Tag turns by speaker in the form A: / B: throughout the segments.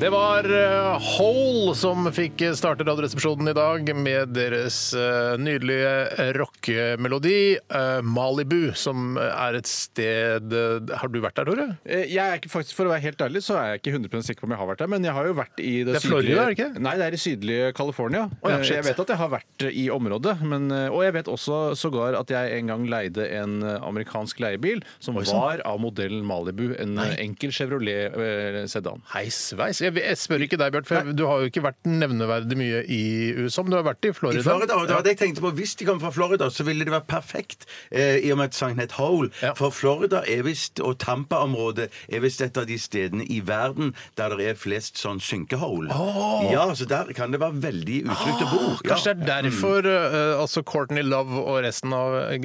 A: Det var eh, Hole som fikk starte Radioresepsjonen i dag med deres eh, nydelige rockemelodi eh, Malibu, som eh, er et sted eh, Har du vært der, Tore?
B: Eh, Jeg er ikke, faktisk, for å være helt ærlig så er jeg ikke 100 sikker på om jeg har vært der, men jeg har jo vært i det,
A: Det er Florida, er det ikke det?
B: Nei, det er i sydlige California.
A: Å ja,
B: Eh,
A: shit.
B: jeg vet at jeg har vært i området, men, eh, og jeg vet også sågar at jeg en gang leide en eh, amerikansk leiebil som
A: sånn.
B: var av modellen Malibu, en eh, enkel Chevrolet eh, sedan.
A: Hei sveis. Jeg, jeg spør ikke deg, Bjart, for jeg, du har jo ikke vært nevneverdig mye i USA, men du har vært i
C: I
A: Florida.
C: Florida, og det var det jeg tenkte på. Hvis de kom fra Florida, så ville det vært perfekt, eh, i og med at sangen het Hole.
A: Ja.
C: For Florida er visst, og Tampa-området er visst et av de stedene i verden der det er flest sånn synkehull. Ja, så der kan det være veldig utrygt å bo.
A: Kanskje
C: Ja.
A: det
B: Mm.
A: er derfor eh, altså Courtney Love og resten av eh,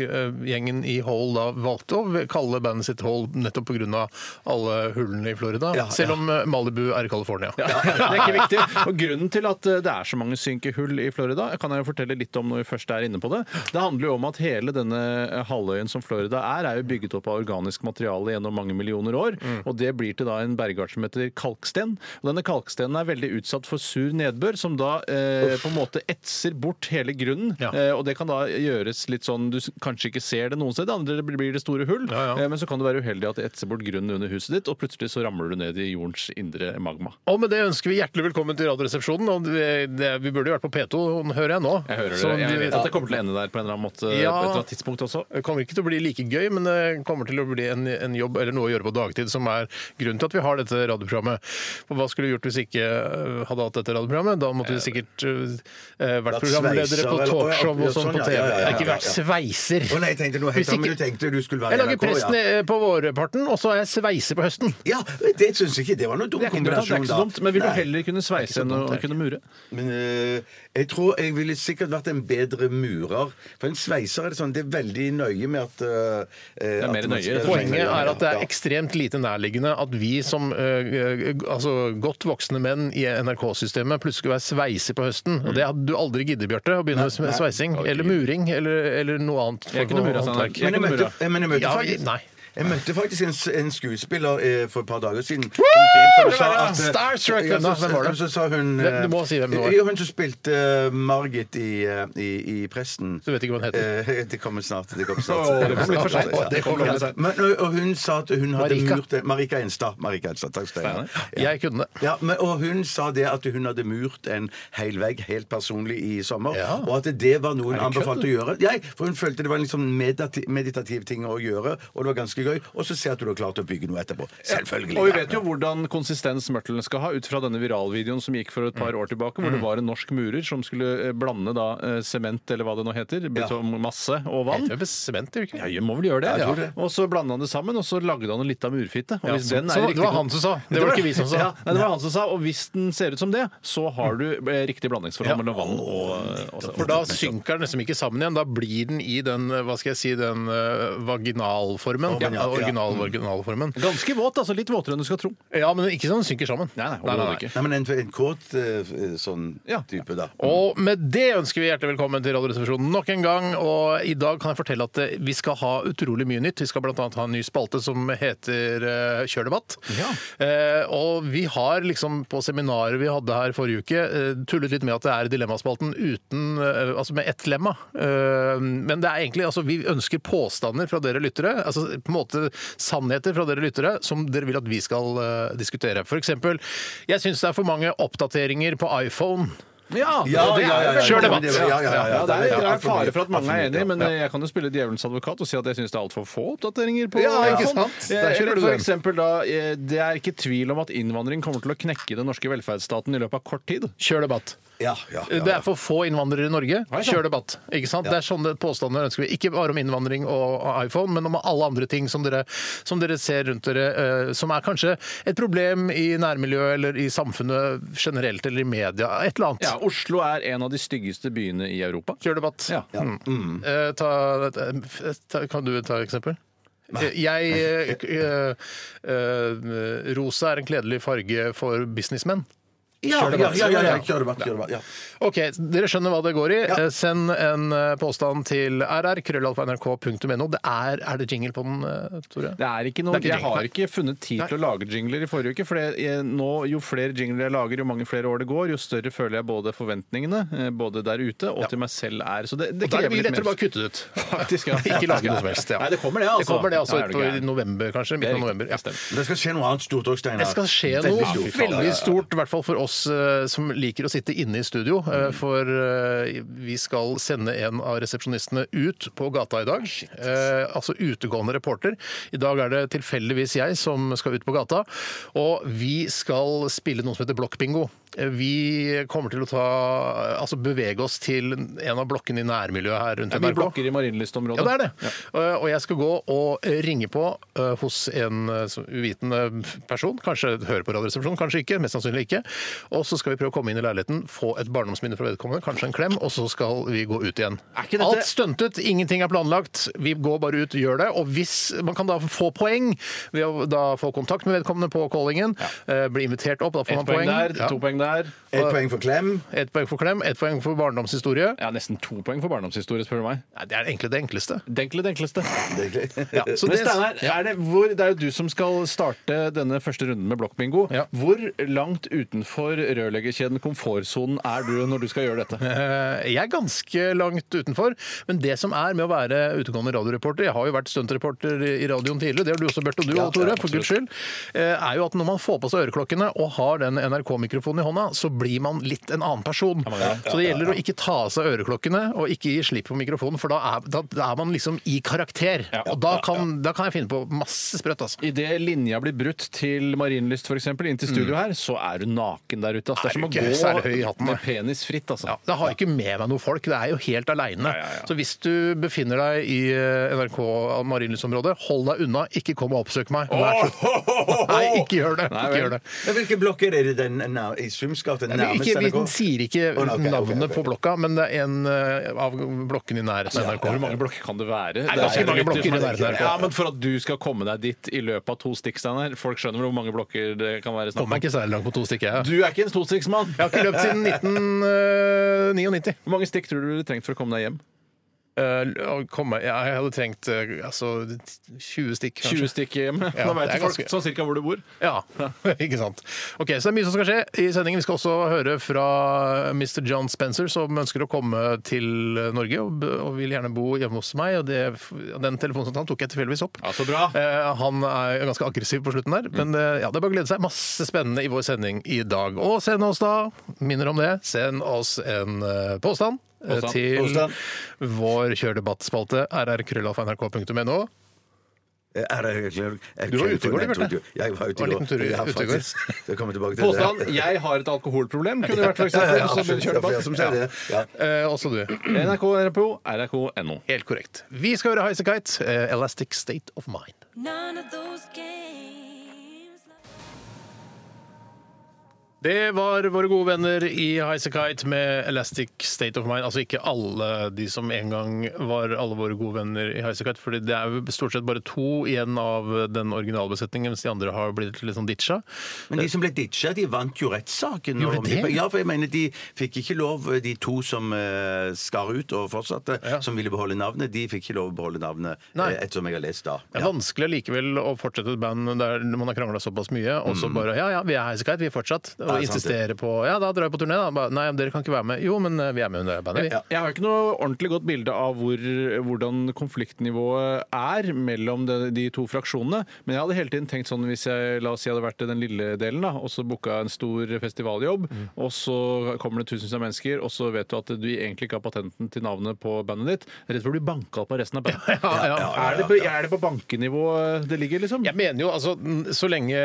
A: gjengen i Hole da valgte å kalle bandet sitt Hole nettopp pga. alle hullene i Florida.
C: Ja,
A: selv
C: ja.
A: om eh, Malibu er i California.
B: Det er ikke viktig. Og Grunnen til at eh, det er så mange synkehull i Florida, kan jeg jo fortelle litt om når vi først er inne på det. Det handler jo om at hele denne eh, halvøyen som Florida er, er jo bygget opp av organisk materiale gjennom mange millioner år.
A: Mm.
B: Og det blir til da en bergart som heter kalksten. Og denne kalkstenen er veldig utsatt for sur nedbør, som da eh, på en måte etser bort hele grunnen.
A: Ja.
B: Eh, og det kan da gjøres litt sånn du s- kanskje ikke ser det noen steder, andre blir det store hull.
A: Ja, ja.
B: Eh, men så kan det være uheldig at det etser bort grunnen under huset ditt, og plutselig så ramler du ned i jordens indre magma.
A: Og med det ønsker vi hjertelig velkommen til Radioresepsjonen. Og vi, det, vi burde jo vært på P2, hører jeg nå.
B: Jeg hører
A: Så
B: det. Jeg
A: vi-
B: vet at det kommer til å ende der på en eller annen måte.
A: Ja.
B: På et eller annet tidspunkt også.
A: Det kommer ikke til å bli like gøy, men det kommer til å bli en, en jobb eller noe å gjøre på dagtid, som er grunnen til at vi har dette radioprogrammet. For hva skulle vi gjort hvis vi ikke øh, hadde hatt dette radioprogrammet? Da måtte vi sikkert øh, øh, vært
C: Eh, Vært
A: programledere
C: sveiser,
A: på
C: eller-
A: talkshow
C: Ja,
A: og sånn
C: sånn,
A: på
C: ja,
A: TV.
C: ja, ja, ja,
A: Ikke
C: ja.
A: vært sveiser.
C: Å nei, jeg tenkte noe
A: Hvis
C: helt annet, men
A: ikke-
C: du tenkte du skulle
A: Jeg
C: være
A: lager presten eh, på vårparten, og så er jeg sveiser på høsten.
C: Ja, det syns jeg ikke. Det var noen dum
B: Det er ikke, dumt, da. det er
C: kombinasjon,
B: ikke så
C: da.
B: dumt, men vil du
C: Nei.
B: heller kunne sveise enn å
A: dumt, det er
B: kunne mure?
C: Men øh, jeg tror jeg ville sikkert vært en bedre murer. For en sveiser er det sånn, det er veldig nøye med at Det
B: er mer nøye, rett og slett.
A: Poenget er at det er ekstremt lite nærliggende at vi som eh, eh, altså godt voksne menn i NRK-systemet plutselig skulle være sveiser på høsten. Og
B: Mm.
A: det hadde du aldri giddet, Bjarte, å begynne med sveising. Eller muring, eller, eller noe annet.
B: Jeg kunne mura, Steinar.
A: håndverk.
B: Jeg
C: Men jeg
B: kunne
C: møtte,
B: mura.
C: jeg, men jeg møtte
A: Ja,
C: faktisk,
A: nei.
C: jeg møtte faktisk en, s- en skuespiller eh, for et par dager siden. som
A: Woo!
C: sa at, eh,
A: Starstruck,
C: ja,
A: hvem
C: så-
A: da? altså. Hvem var det?
C: Så sa hun
A: Hvem- du
C: eh,
A: må si hvem det var.
C: jo, Hun som spilte eh, Margit i, eh, i, i Presten.
A: Så du vet ikke hva hun heter.
C: Eh, Det kommer snart. Det kommer snart.
B: Åh, det kommer litt for sent.
C: Ja,
A: Det kommer litt for sent.
C: Men, og- og hun sa at hun hadde
A: Marika.
C: murt en Marika Enstad. Marika Enstad. Takk skal du ha.
B: Eh,
C: Ja.
A: Jeg kunne det.
C: Ja, men, og hun sa det at hun hadde murt en hel vegg helt personlig i sommer.
A: Ja.
C: Og at det var noe hun anbefalte å gjøre. Nei, for hun følte det var en liksom meditativ, meditativ ting å gjøre, og det var ganske gøy. Og så ser jeg at du har klart å bygge noe etterpå. Selvfølgelig.
B: Og vi vet jo hvordan konsistens mørtelen skal ha, ut fra denne viralvideoen som gikk for et par år tilbake,
A: Mm.
B: hvor det var en norsk murer som skulle eh, blande da eh, sement, eller hva det nå heter, betongmasse og vann.
A: Heter det sement, gjør det ikke?
B: Ja, jeg må vel gjøre det.
C: jeg tror det.
B: Og så blanda han det sammen, og så lagde han en lita murfitte. Og
A: Ja,
B: hvis
A: så-
B: den er
A: så det
B: riktig-
A: var han som sa, det var ikke vi som sa.
B: Ja, nei, det var han som sa, og hvis den ser ut som det, så har du eh, riktig blandingsforhold mellom vann og, eh, altså. og, og
A: For da synker den liksom ikke sammen igjen. Da blir den i den eh, hva skal jeg si, den eh, vaginalformen.
C: Ja, ja.
B: Mm.
A: Original-vaginalformen.
B: Ganske våt, altså. Litt våtere enn du skal tro.
A: Ja, men ikke sånn den synker sammen.
B: Nei, nei, overhodet ikke.
C: Nei, men en, en kåt eh, f- sånn
B: Ja.
C: type, da.
A: Og med det ønsker vi hjertelig velkommen til Radioresepsjonen nok en gang. Og i dag kan jeg fortelle at eh, vi skal ha utrolig mye nytt. Vi skal bl.a. ha en ny spalte som heter eh, Kjør debatt. Eh, og vi har liksom på seminaret vi hadde her forrige uke, eh, tullet litt med at det er Dilemmaspalten uten eh, Altså med ett lemma. Eh, men det er egentlig altså vi ønsker påstander fra dere lyttere, altså på en måte sannheter fra dere lyttere, som dere vil at vi skal eh, diskutere. For eksempel, jeg syns det er for mange oppdateringer på iPhone.
B: Ja,
C: Ja,
B: det
C: ja, ja,
B: er
C: ja.
B: vel-
A: Kjør debatt.
C: Ja, ja, ja, ja, ja.
B: Ja, det er, det
C: Ja,
B: er fare for at mange er
C: mye,
B: enig,
C: ja.
B: men jeg kan jo spille djevelens advokat og si at jeg syns det er altfor få oppdateringer på
A: Ja, ikke
B: iPhone.
A: sant?
B: Eh,
A: Der kjører
B: Eller
A: du
B: for
A: den.
B: eksempel da eh, Det er ikke tvil om at innvandring kommer til å knekke den norske velferdsstaten i løpet av kort tid.
A: Kjør debatt.
C: Ja, ja, ja, sånn.
A: Det er for få innvandrere i Norge.
B: Oi, sant.
A: Kjør debatt. Ikke sant? Det er sånne påstander ønsker vi. Ikke bare om innvandring og iPhone, men om alle andre ting som dere, som dere ser rundt dere, eh, som er kanskje et problem i nærmiljøet eller i samfunnet generelt eller i media. Et eller annet.
B: Ja, Oslo er en av de styggeste byene i Europa.
A: Kjør debatt.
C: Mm.
B: Ja.
A: Mm. Eh, Ta, ta, kan du ta et eksempel? Jeg eh, eh, Rosa er en kledelig farge for businessmenn.
C: Ja,
A: Kjør
C: ja,
A: debatt.
C: ja, ja, ja, kjør debatt. Kjør debatt ja.
A: Ok, Dere skjønner hva det går i. Eh, Send en eh, påstand til rr.krøllalfa.nrk.no. Det er, er det jingle på den, eh, Tore?
B: Det er ikke noe,
A: Det er ikke
B: jeg har
A: jingle.
B: ikke funnet tid til å lage jingler i forrige uke. For det, eh, nå, jo flere jingler jeg lager, jo mange flere år det går, jo større føler jeg både forventningene, eh, både der ute og til meg selv er. Så det, det
A: Og da er det
B: krever
A: mye
B: litt
A: lettere å bare
B: mer.
A: kutte det ut.
B: Faktisk, ja.
A: Ikke lage noe som helst. Ja.
B: Nei, det kommer det, altså.
A: Det kommer det altså
B: Ja, er du
A: utpå i
B: gæren.
A: november, kanskje.
B: Det er
A: Midten av
B: riktig.
A: november. Ja.
B: Det stemmer.
C: Men Det skal skje noe annet stort òg, Steinar.
A: Det skal skje
C: Veldig
A: noe
C: stort.
A: veldig stort, i hvert fall for oss eh, som liker å sitte inne i studio. eh,
C: Mm.
A: For eh, vi skal sende en av resepsjonistene ut på gata i dag. Eh, altså utegående reporter. I dag er det tilfeldigvis jeg som skal ut på gata. Og vi skal spille noe som heter blokkbingo. Eh, Vi kommer til å ta Altså bevege oss til en av blokkene i nærmiljøet her rundt
B: Det er mye blokker i Marienlyst-området.
A: ja, det er det. Eh, Og jeg skal gå og ringe på eh, hos en eh, som- uvitende person. Kanskje hører på Radioresepsjonen, kanskje ikke. Mest sannsynlig ikke. Og så skal vi prøve å komme inn i leiligheten, få et barndomsminne fra vedkommende, kanskje en klem, og så skal vi gå ut igjen.
B: Er ikke dette-
A: Alt stuntet, ingenting er planlagt. Vi går bare ut, gjør det. Og hvis man kan da få poeng ved å da få kontakt med vedkommende på callingen, eh, bli invitert opp, da får
B: Ett
A: man
B: poeng,
A: poeng.
B: der,
A: Ja.
B: to poeng der.
C: Et poeng for klem.
A: Ett poeng for klem, ett poeng for barndomshistorie.
B: Ja, Nesten to poeng for barndomshistorie, spør du meg.
A: Nei, det er egentlig det enkleste.
B: Denkelig, denkleste.
A: Ja, så
B: Men
A: det-
B: Steinar, er det, hvor, det er jo du som skal starte denne første runden med blokkbingo.
A: Ja.
B: Hvor langt utenfor rørleggerkjeden komfortsonen er du når du skal gjøre dette?
A: Eh, Jeg er ganske langt utenfor, men det som er med å være utegående radioreporter Jeg har jo vært stuntreporter i radioen tidligere, det har du også, Bert, og du og Tore, for guds skyld. eh, Er jo at når man får på seg øreklokkene og har den NRK-mikrofonen i hånda, så blir man litt en annen person. Så det gjelder å ikke ta av seg øreklokkene og ikke gi slipp på mikrofonen, for da er, da, da er man liksom i karakter.
B: Ja.
A: Og da kan, da kan jeg finne på masse sprøtt, altså.
B: Idet linja blir brutt til Marienlyst, f.eks., inn til studio her, så er du naken der ute. Altså. Det er
A: Mm.
B: som
A: Er
B: å
A: du ikke? Så er det høy i
B: gå
A: hatten,
B: med
A: da.
B: penis fritt, altså.
A: Ja, det har ikke med meg noen folk, det er jo helt aleine.
B: Ja, ja, ja.
A: Så hvis du befinner deg i eh, NRK Marienlyst-området, hold deg unna, ikke kom og oppsøk meg. Vær så Nei, ikke gjør det.
B: Nei,
A: Ikke
B: vel.
A: gjør det.
C: Ja, Hvilken blokk er det i den nær- i Sumsgata?
A: Vi,
C: Nærmest
A: ikke, vi
C: NRK?
A: sier ikke
C: Å, nei, ok, ok,
A: navnet
C: ok.
A: på blokka, men det er en eh, av blokkene i nærheten av
B: Hvor
A: NRK.
B: mange blokker kan det være?
A: er ganske mange
B: jo
A: blokker i
B: lytter som-
A: nærheten av NRK.
B: Ja, men For at du skal komme deg dit i løpet av to stikk, Steinar Folk skjønner hvor mange blokker det kan være snakk
A: Kommer
B: om.
A: ikke særlig langt på to stykker. Jeg
B: Du er ikke en tostikksmann!
A: Jeg har ikke løpt siden eh, 1999.
B: Hvor mange stikk tror du du hadde trengt for å komme deg hjem?
A: Eh, å komme- ja, jeg hadde trengt eh, altså 20 stikk, kanskje.
B: 20 stikk hjem.
A: Ja,
B: da
A: det
B: vet
A: er
B: folk
A: ganske-
B: sånn cirka hvor du bor.
A: Ja, ikke sant. Ok, Så det er mye som skal skje i sendingen. Vi skal også høre fra Mr. John Spencer, som ønsker å komme til Norge og, b- og vil gjerne bo hjemme hos meg. Og det, og den telefonsamtalen tok jeg tilfeldigvis opp.
B: Ja, så bra. Mm.
A: Eh, han er jo ganske aggressiv på slutten der, men eh, ja, det er bare å glede seg. Masse spennende i vår sending i dag. Og send oss da, minner om det, send oss en eh, påstand, eh,
B: Påstand.
A: til
C: Påstand.
A: vår kjørdebattspalte rrkrøllalfa.nrk.no.
C: Eh, Er det-
A: Du var ute i går, du, Bjarte.
C: Jeg
A: Det var
C: var ute i
A: en
C: går.
A: liten tur i-
C: Ja,
A: ute i går.
C: faktisk. Jeg kommer tilbake til det.
B: Påstand 'jeg har et alkoholproblem' kunne det vært, for
C: Ja, ja,
B: eksempel.
C: ja,
B: Så
C: absolutt.
B: kjør
C: Det er flere som sier
B: debatt.
C: det. Ja.
A: Eh, også du.
B: Ja. NRK, RPO, rrk.no.
A: Helt korrekt. Vi skal høre Highasakite, eh, 'Elastic State of Mind'.
D: None of those games.
A: Det var våre gode venner i Highasakite med 'Elastic State of Mind'. Altså ikke alle de som en gang var alle våre gode venner i Highasakite, for det er jo stort sett bare to igjen av den originalbesetningen, mens de andre har blitt litt sånn ditcha.
C: Men de som ble ditcha, de vant jo rettssaken.
A: Gjorde
C: om
A: de det?
C: ja, for jeg mener de fikk ikke lov, de to som eh, skar ut og fortsatte, som ville beholde navnet, de fikk ikke lov å beholde navnet,
A: Nei.
C: eh, ettersom jeg har lest da.
A: Det er vanskelig likevel å fortsette et band der man har krangla såpass mye, og så bare Ja, ja, vi er Highasakite, vi Mm. er fortsatt. Og
C: Ja, sant
A: insistere på Ja, da drar vi på turné, da. Bare, Nei, dere kan ikke være med. Jo, men eh, vi er med i det bandet, vi.
B: Ja. Jeg har ikke noe ordentlig godt bilde av hvor, hvordan konfliktnivået er mellom de, de to fraksjonene, men jeg hadde hele tiden tenkt sånn hvis jeg la oss si jeg hadde vært i den lille delen da, og så booka en stor festivaljobb,
A: Mm.
B: og så kommer det tusenvis av mennesker, og så vet du at du egentlig ikke har patenten til navnet på bandet ditt, rett for å bli banka opp av resten av bandet.
A: Ja, ja.
B: Er, det på, er det på bankenivå det ligger, liksom?
A: Jeg mener jo, altså, n- Så lenge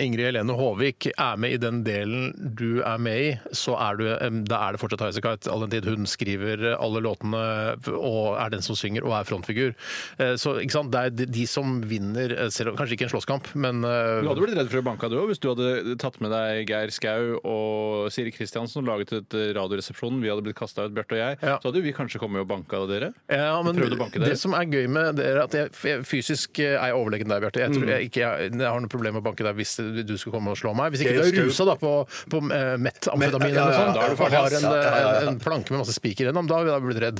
A: Ingrid Helene Håvik er med i den del delen du er med i, så er, du, em, da er det fortsatt Highasakite all den tid hun skriver eh, alle låtene og er den som synger og er frontfigur. Eh, Så ikke sant? det er de- de som vinner, eh, selv om kanskje ikke en slåsskamp, men eh,
B: Du hadde blitt redd for å bli banka du òg, hvis du hadde tatt med deg Geir Skau og Siri Kristiansen og laget et Radioresepsjon, vi hadde blitt kasta ut, Bjarte og jeg,
A: Ja.
B: så hadde vi kanskje kommet og banka dere.
A: Ja, men
B: prøvde å banke dere.
A: det som er gøy med det, er at jeg, jeg fysisk eh, er jeg overlegen deg, Bjarte. Jeg, tror jeg, ikke, jeg, jeg har noe problem med å banke deg hvis du skulle komme og slå meg. Hvis ikke
C: Geir
A: du er
C: Skau.
A: rusa da, på, på eh, metamfetamin eller
C: Ja, ja,
A: noe
C: ja,
A: sånt,
C: da er du
A: og
C: farlig,
A: har
C: ass.
A: en, eh,
C: Ja, ja, ja,
A: en, en planke med masse spiker gjennom, da hadde jeg blitt redd.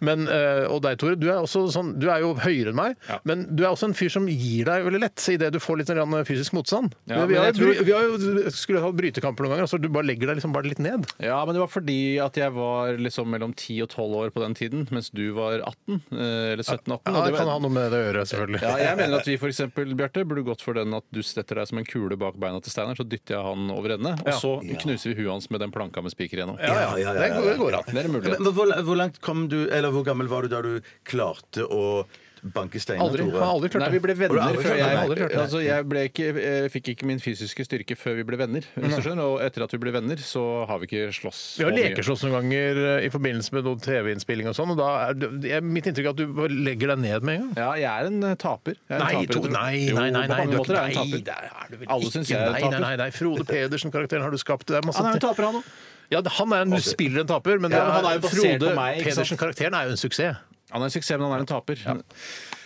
A: Men, eh, og deg, Tore, du er, også sånn, du er jo høyere enn meg,
B: Ja.
A: men du er også en fyr som gir deg veldig lett idet du får litt sånn grann fysisk motstand.
B: Ja,
A: vi,
B: men
A: har,
B: jeg tror-
A: vi har jo skulle ha brytekamper noen ganger, så du bare legger deg liksom bare litt ned.
B: Ja, men det var fordi at jeg var liksom mellom 10 og 12 år på den tiden, mens du var 18, eh, eller 17-18.
A: Ja,
B: og
A: det
B: det
A: kan
B: var-
A: ha noe med det å gjøre, selvfølgelig.
B: Ja, jeg mener at vi for eksempel, Bjarte, burde gått for den at du setter deg som en kule bak beina til Steinar, så dytter jeg han over ende, og
A: Ja.
B: så knuser vi huet hans med den planka med spiker gjennom.
A: Ja, ja,
C: ja, ja,
A: Det,
C: ja,
A: går, det går an.
B: Det er en mulighet.
C: Men Hvor, hvor langt kom du, eller hvor gammel var du da du klarte å banke steiner,
A: Aldri,
C: Tore?
A: har aldri klart
B: Nei, vi
A: det.
B: ble venner
C: Har du aldri
B: før
C: klart det?
B: jeg
A: Aldri klart det.
B: Altså, jeg ble ikke, eh, fikk ikke min fysiske styrke før vi ble venner, hvis du skjønner. Og etter at vi ble venner, så har vi ikke slåss.
A: Vi har
B: så mye.
A: lekeslåss noen ganger eh, i forbindelse med noen TV-innspilling og sånn, og da er det, det er mitt inntrykk er at du bare legger deg ned med en gang.
B: Ja, jeg er en eh, taper. Jeg er en taper,
A: Tore,
B: jeg tror.
A: nei,
B: Jo,
A: nei, nei,
B: på
A: nei,
B: mange
A: du er
B: måter
A: ikke-
B: er jeg en
A: nei,
B: taper.
A: der er du vel
B: Alle syns jeg er
A: ikke.
B: en
A: Nei,
B: taper.
A: Nei, nei, nei, Frode Pedersen-karakteren har du skapt. Det er masse
B: Han er en taper, han òg.
A: Ja, han er en, du spiller en taper, men
B: Ja,
A: det
B: men han er jo basert på
A: Frode
B: meg, ikke sant?
A: Pedersen-karakteren er jo en suksess.
B: Han er en suksess, men han er en taper.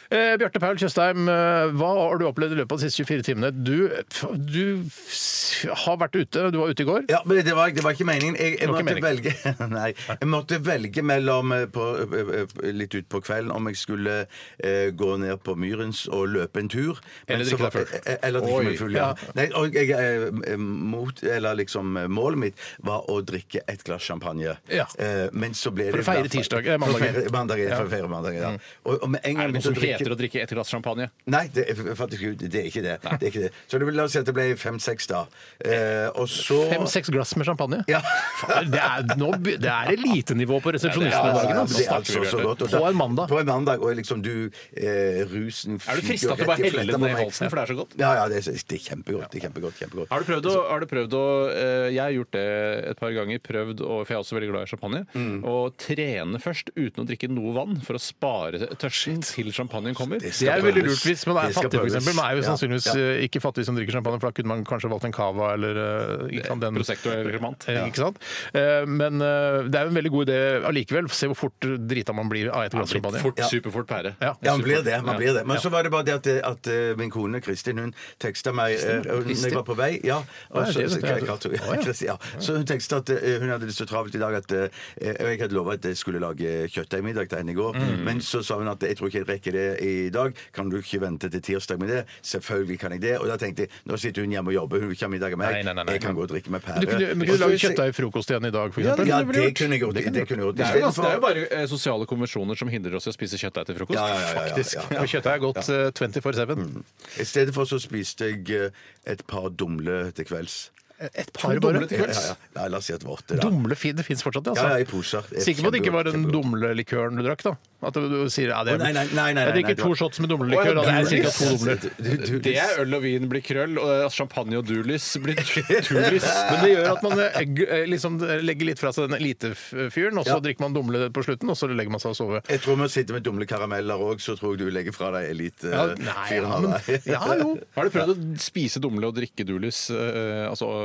A: Eh, Bjarte Paul Tjøstheim, eh, hva har du opplevd i løpet av de siste 24 timene? Du, f- du s- har vært ute, du var ute i går.
C: Ja, men det var, det var ikke meningen. Jeg, jeg,
A: var
C: måtte,
A: ikke
C: Velge, nei, jeg måtte velge mellom eh, på, eh, eh, litt utpå kvelden om jeg skulle eh, gå ned på Myrens og løpe en tur. men
A: Eller
C: så
A: drikke
C: var-
A: deg full.
C: eh, Eller drikke
B: Oi.
C: meg full, ja. Nei, og jeg, eh, eh, mot, eller liksom, eh, målet mitt var å drikke et glass champagne.
A: Ja.
C: Eh, men så ble
A: For
C: det
A: å feire tirsdag, eh, mandagen. Mm.
C: For å feire mandagen, for å feire mandagen, ja. Og, og med en gang
B: Er det noe
C: begynte
B: som
C: å drikke-
B: heter å drikke ett glass champagne?
C: Nei, det, er- faktisk, det, er ikke det. det er ikke det. Så det, ble- la oss si at det ble fem-seks, da. Eh, og så
A: Fem-seks glass med champagne.
C: Ja.
A: Faen, Det er, nå, be- det er elitenivå på resepsjonistene i
C: Ja,
A: dag.
C: ja,
A: altså.
C: det er altså så godt. Og
A: På
C: da-
A: en mandag.
C: På en mandag, og liksom du eh, Rusen
B: Er du
C: fyker
B: frista til å
C: rett i
B: bare helle den
C: fletta på
B: ned i
C: meg.
B: halsen, for det er så godt?
C: Ja, ja, det er, det er kjempegodt. Det er kjempegodt, kjempegodt.
B: Har du prøvd å, har du prøvd å eh, Jeg har gjort det et par ganger, prøvd, å- for jeg er også veldig glad i champagne, å trene først uten å drikke noe vann for å spare tørsten til champagnen kommer.
C: Det
A: Det
C: skal
A: er veldig
C: prøves.
A: lurt hvis man er
C: Det skal
A: fattig, f.eks.
C: prøves.
A: Man er jo
C: Ja,
A: sannsynligvis
C: ja.
A: eh, ikke fattig som drikker champagne, for da kunne man kanskje valgt en cava eller eh, ikke
B: sånn
A: sant, den
B: Prosecco eller Cremant.
A: Eh, Ikke sant? Eh, Men eh, det er jo en veldig god idé allikevel. Se hvor fort drita man blir av et glass champagne.
B: Fort, Superfort pære.
A: Ja.
C: Altså, Ja, man blir det. man blir det. Men så var det bare det at, at eh, min kone Kristin hun teksta meg eh, når jeg var på vei. Ja, og
A: Hva er
C: så,
A: det,
C: så,
A: dette?
C: Kato-
A: Å, ja.
C: Kristin, ja. så hun teksta at eh, hun hadde det så travelt i dag at eh, Jeg hadde lova at jeg skulle lage kjøttdeigmiddag til henne i går,
A: Mm.
C: men så sa hun at jeg tror ikke jeg rekker det i dag. Kan du ikke vente til tirsdag med det? Selvfølgelig kan jeg det. Og da tenkte jeg nå sitter hun hjemme og jobber, hun vil ikke ha middag av meg.
A: Nei, nei, nei, nei.
C: Jeg kan gå og drikke med pære.
A: Du kunne, men
C: Og
A: kunne
C: så-
A: du lage kjøttdeigfrokost igjen i dag, f.eks.?
B: det
C: Ja,
B: kunne du
C: det
B: vel gjort.
C: kunne jeg gjort. Det kunne jeg gjort.
B: Det er, jo, ganske- det er jo
C: Istedenfor-
B: bare eh, sosiale konvensjoner som hindrer oss i å spise kjøttdeig til frokost.
C: Ja, ja, ja, ja, Mm. ja.
A: Faktisk. Og kjøttdeig er godt eh, 24-7.
C: I stedet for så spiste jeg eh, et par dumle til kvelds.
A: Et par
B: dumle
A: bare.
B: til kvelds.
C: Ja, ja. Nei, la oss si at det var åtte, da.
A: Dumle fin, det fins fortsatt, det, altså.
C: Ja, ja, i poser. Det er
A: Sikker på at det ikke var den
C: kjempegodt,
A: dumlelikøren du drakk, da? At du, du sier ja, det er,
C: Å, nei, nei, nei, nei,
A: Jeg
C: nei,
A: drikker
C: det
A: to
C: var-
A: shots med
B: Å,
A: dumlelikør, og
B: ja,
A: det er ca. to
B: dumlelikør.
A: dumler.
B: Det er øl og vin blir krøll, og eh, champagne og durlys blir turlys.
A: Men det gjør at man eh, g- eh, liksom legger litt fra seg den elitefyren, og så
C: Ja.
A: drikker man dumle på slutten, og så legger man seg og sover.
C: Jeg tror vi sitter med dumle karameller òg, så tror jeg du legger fra
A: Ja,
C: deg
A: nei,
C: elitefyren
A: ja,
C: av
A: men,
C: deg.
A: ja jo.
B: Har du prøvd å spise dumle og drikke durlys? eh, altså eh,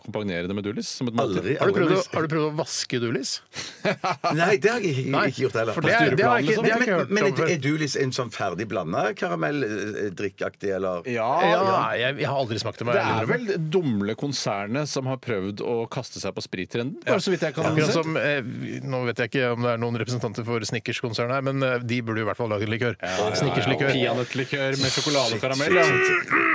B: akkompagnere det med durlys? Som et måltid?
C: Aldri.
A: Har du, prøvd å, har du prøvd å vaske dulis?
C: Nei, det har jeg ikke, ikke gjort heller.
A: for det, er- det har jeg ikke, det har jeg ikke
C: men,
A: hørt
C: men
A: om før.
C: er Dulis en sånn ferdig blanda karamell, eh, drikkeaktig, eller?
A: Ja,
B: Ja,
A: nei, jeg, jeg har aldri smakt det. må
B: det
A: jeg ærlig
B: er
A: innrømme.
B: vel dumle-konsernet som har prøvd å kaste seg på sprittrenden? Bare så vidt jeg kan
A: Akkurat
B: se.
A: som, eh, Nå vet jeg ikke om det er noen representanter for Snickers-konsernet her, men eh, de burde jo i hvert fall lage en likør. Snickers-likør.
B: Peanøttlikør med sjokoladekaramell. Ja.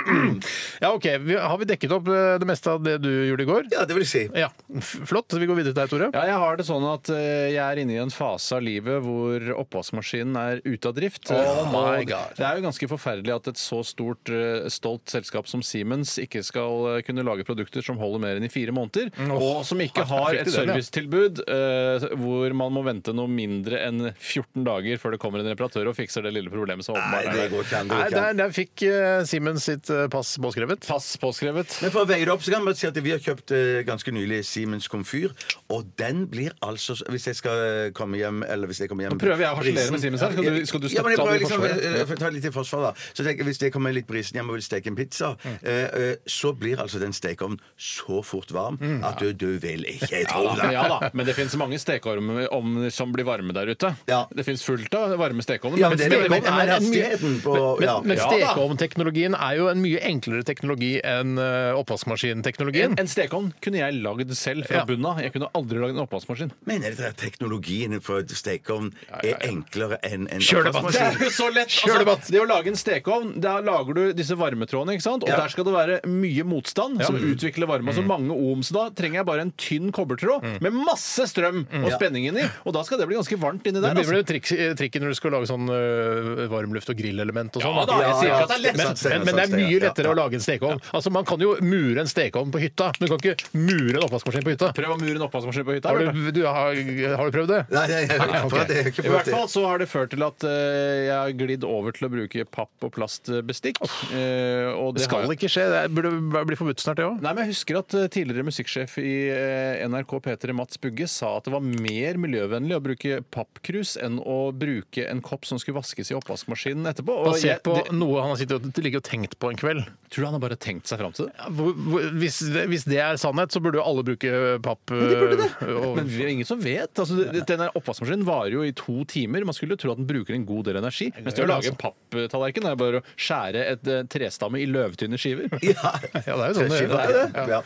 A: Ja, OK. Vi, har vi dekket opp eh, det meste av det du gjorde i går?
C: Ja, det vil jeg si.
A: Ja. F flott. Vi går videre til deg, Tore.
B: Ja, jeg har det sånn at eh, jeg er inne i en fase av livet hvor oppvaskmaskinen er ute av drift. Eh,
A: Oh my
B: Og
A: God.
B: Det er jo ganske forferdelig at et så stort, eh, stolt selskap som Siemens ikke skal eh, kunne lage produkter som holder mer enn i fire måneder,
A: Mm,
B: og som ikke har
A: fikk
B: et
A: du den, ja.
B: servicetilbud eh, hvor man må vente noe mindre enn 14 dager før det kommer en reparatør og fikser det lille problemet som
C: Nei,
B: åpenbart
C: det
B: er der.
C: går ikke an. det
A: Nei,
C: går ikke
A: der,
C: an.
A: der fikk eh, Simens sitt eh, pass påskrevet.
B: Pass påskrevet.
C: Men for å veie det opp, så kan vi bare si at vi har kjøpt eh, ganske nylig Siemens komfyr, og den blir altså så- Hvis jeg skal eh, komme hjem eller hvis jeg kommer hjem
B: Nå prøver jeg å harselere
C: brisen-
B: med Siemens her. Skal du- skal du
C: ja, men jeg
B: støtte han
C: prøver,
B: i
C: liksom,
B: forsvaret?
C: eh, for å ta litt i forsvar, da. Så tenker jeg, Hvis jeg kommer litt brisen hjem og vil steke en pizza,
B: Mm.
C: eh, eh, så blir altså den stekeovnen så fort varm at du, du vil ikke. Jeg tror
B: Mm. Ja,
C: det.
B: men ja da, men det fins mange stekeovner som blir varme der ute.
C: Ja.
B: Det fins fullt av varme stekeovner.
C: Ja, men det, men,
B: stekeovn
C: men,
B: er en mye-
C: hastigheten på
A: Men,
C: ja.
A: men
B: Ja, da.
A: stekeovnteknologien er jo en mye enklere teknologi enn eh, oppvaskmaskinteknologien.
B: En, en stekeovn kunne jeg lagd selv fra
A: Ja.
B: bunnen av. Jeg kunne aldri lagd en oppvaskmaskin.
C: Mener dere at teknologien for stekeovn er enklere enn en
A: Kjør debatt!
B: Det er jo så lett!
A: Kjør debatt.
B: Altså, det å lage en stekeovn, der lager du disse varmetrådene, ikke sant? Og
C: Ja.
B: der skal det være mye motstand som
A: Mm.
B: utvikler varme. Altså mange ohms da trenger jeg bare en tynn kobbertråd
A: Mm.
B: med masse strøm og spenning inni, og da skal det bli ganske varmt inni der.
A: Det Mm. blir
B: Altså.
A: vel trik, eh, trikken når du skal lage sånn ø, varmluft- og grillelement og sånn.
B: Ja da, jeg sier ikke at det er lett.
A: Men,
C: Stemmer,
A: men, men det er
C: stemmer,
A: mye
C: ja,
A: lettere
C: ja.
A: å lage en stekeovn. Altså, Man kan jo mure en stekeovn på hytta, men du kan ikke mure en oppvaskmaskin på hytta.
B: Prøv å mure en oppvaskmaskin på hytta.
A: Har
B: Bjarte.
A: du, du, har, har du prøvd det?
C: Nei, nei, jeg,
A: Nei, ok.
C: for at jeg har ikke
B: I
C: prøvd
B: hvert
C: det.
B: fall så har det ført til at eh, jeg har glidd over til å bruke papp- og plastbestikk. Eh, og
A: Det
B: har jeg-
A: skal ikke skje. Det burde bli forbudt snart, det òg.
B: Nei, men jeg husker at eh, Tidligere musikksjef i eh, NRK P3, Mats Bugge, sa at det var mer miljøvennlig å bruke pappkrus enn å bruke en kopp som skulle vaskes i oppvaskmaskinen etterpå. Og jeg,
A: Basert på
B: det,
A: noe han har sittet og ligget og tenkt på en kveld.
B: tror du han har bare tenkt seg fram til det?
A: Ja, hvor- hvor- Hvis det, hvis det er sannhet, så burde jo alle bruke papp. ø, og-
B: Men vi er ingen som vet. Altså, det- den der Oppvaskmaskinen varer jo i to timer. Man skulle jo tro at den bruker en god del energi. Mens det å lage
A: altså.
B: en papptallerken er bare å skjære et eh, trestamme i løvtynne skiver.
C: Ja.
A: Ja, det er jo sånn det
C: Det
A: er.
C: er det. Ja.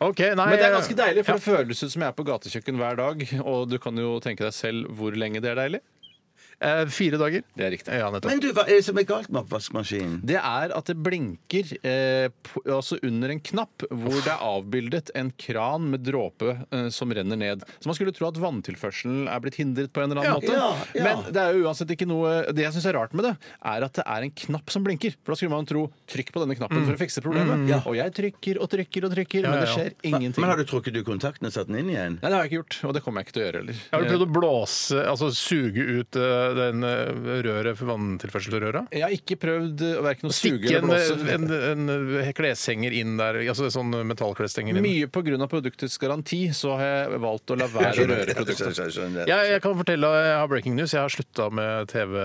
A: Ok, nei,
B: Men det er ganske deilig, for det føles ut som jeg er på gatekjøkken hver dag. Og du kan jo tenke deg selv hvor lenge det er deilig.
A: eh, Fire dager.
B: Det er riktig.
A: Ja, nettopp.
C: Men du, hva er det som er galt med oppvaskmaskinen?
B: Det er at det blinker eh, på, altså under en knapp hvor det er avbildet en kran med dråpe eh, som renner ned. Så man skulle tro at vanntilførselen er blitt hindret på en eller annen måte.
C: ja, ja.
B: Men det er jo uansett ikke noe Det jeg syns er rart med det, er at det er en knapp som blinker. For da skulle man tro trykk på denne knappen
C: Mm.
B: for å fikse problemet. Og jeg trykker og trykker og trykker, men det
A: ja, ja.
B: skjer ingenting.
C: Men har du trukket ut kontakten og satt den inn igjen?
B: Nei, det har jeg ikke gjort, og det kommer jeg ikke til å gjøre heller.
A: Har du prøvd å blåse, altså suge ut eh, den eh, røret, vanntilførselrøra?
B: Jeg har ikke prøvd eh, verken å suge
A: Stikke
B: eller
A: en,
B: blåse.
A: en, en, kleshenger inn der, altså sånn metallkleshenger inn.
B: Mye pga. produktets garanti så har jeg valgt å la være å røre produktet.
C: Skjønner.
A: Jeg, jeg kan fortelle, jeg har breaking news. Jeg har slutta med TV.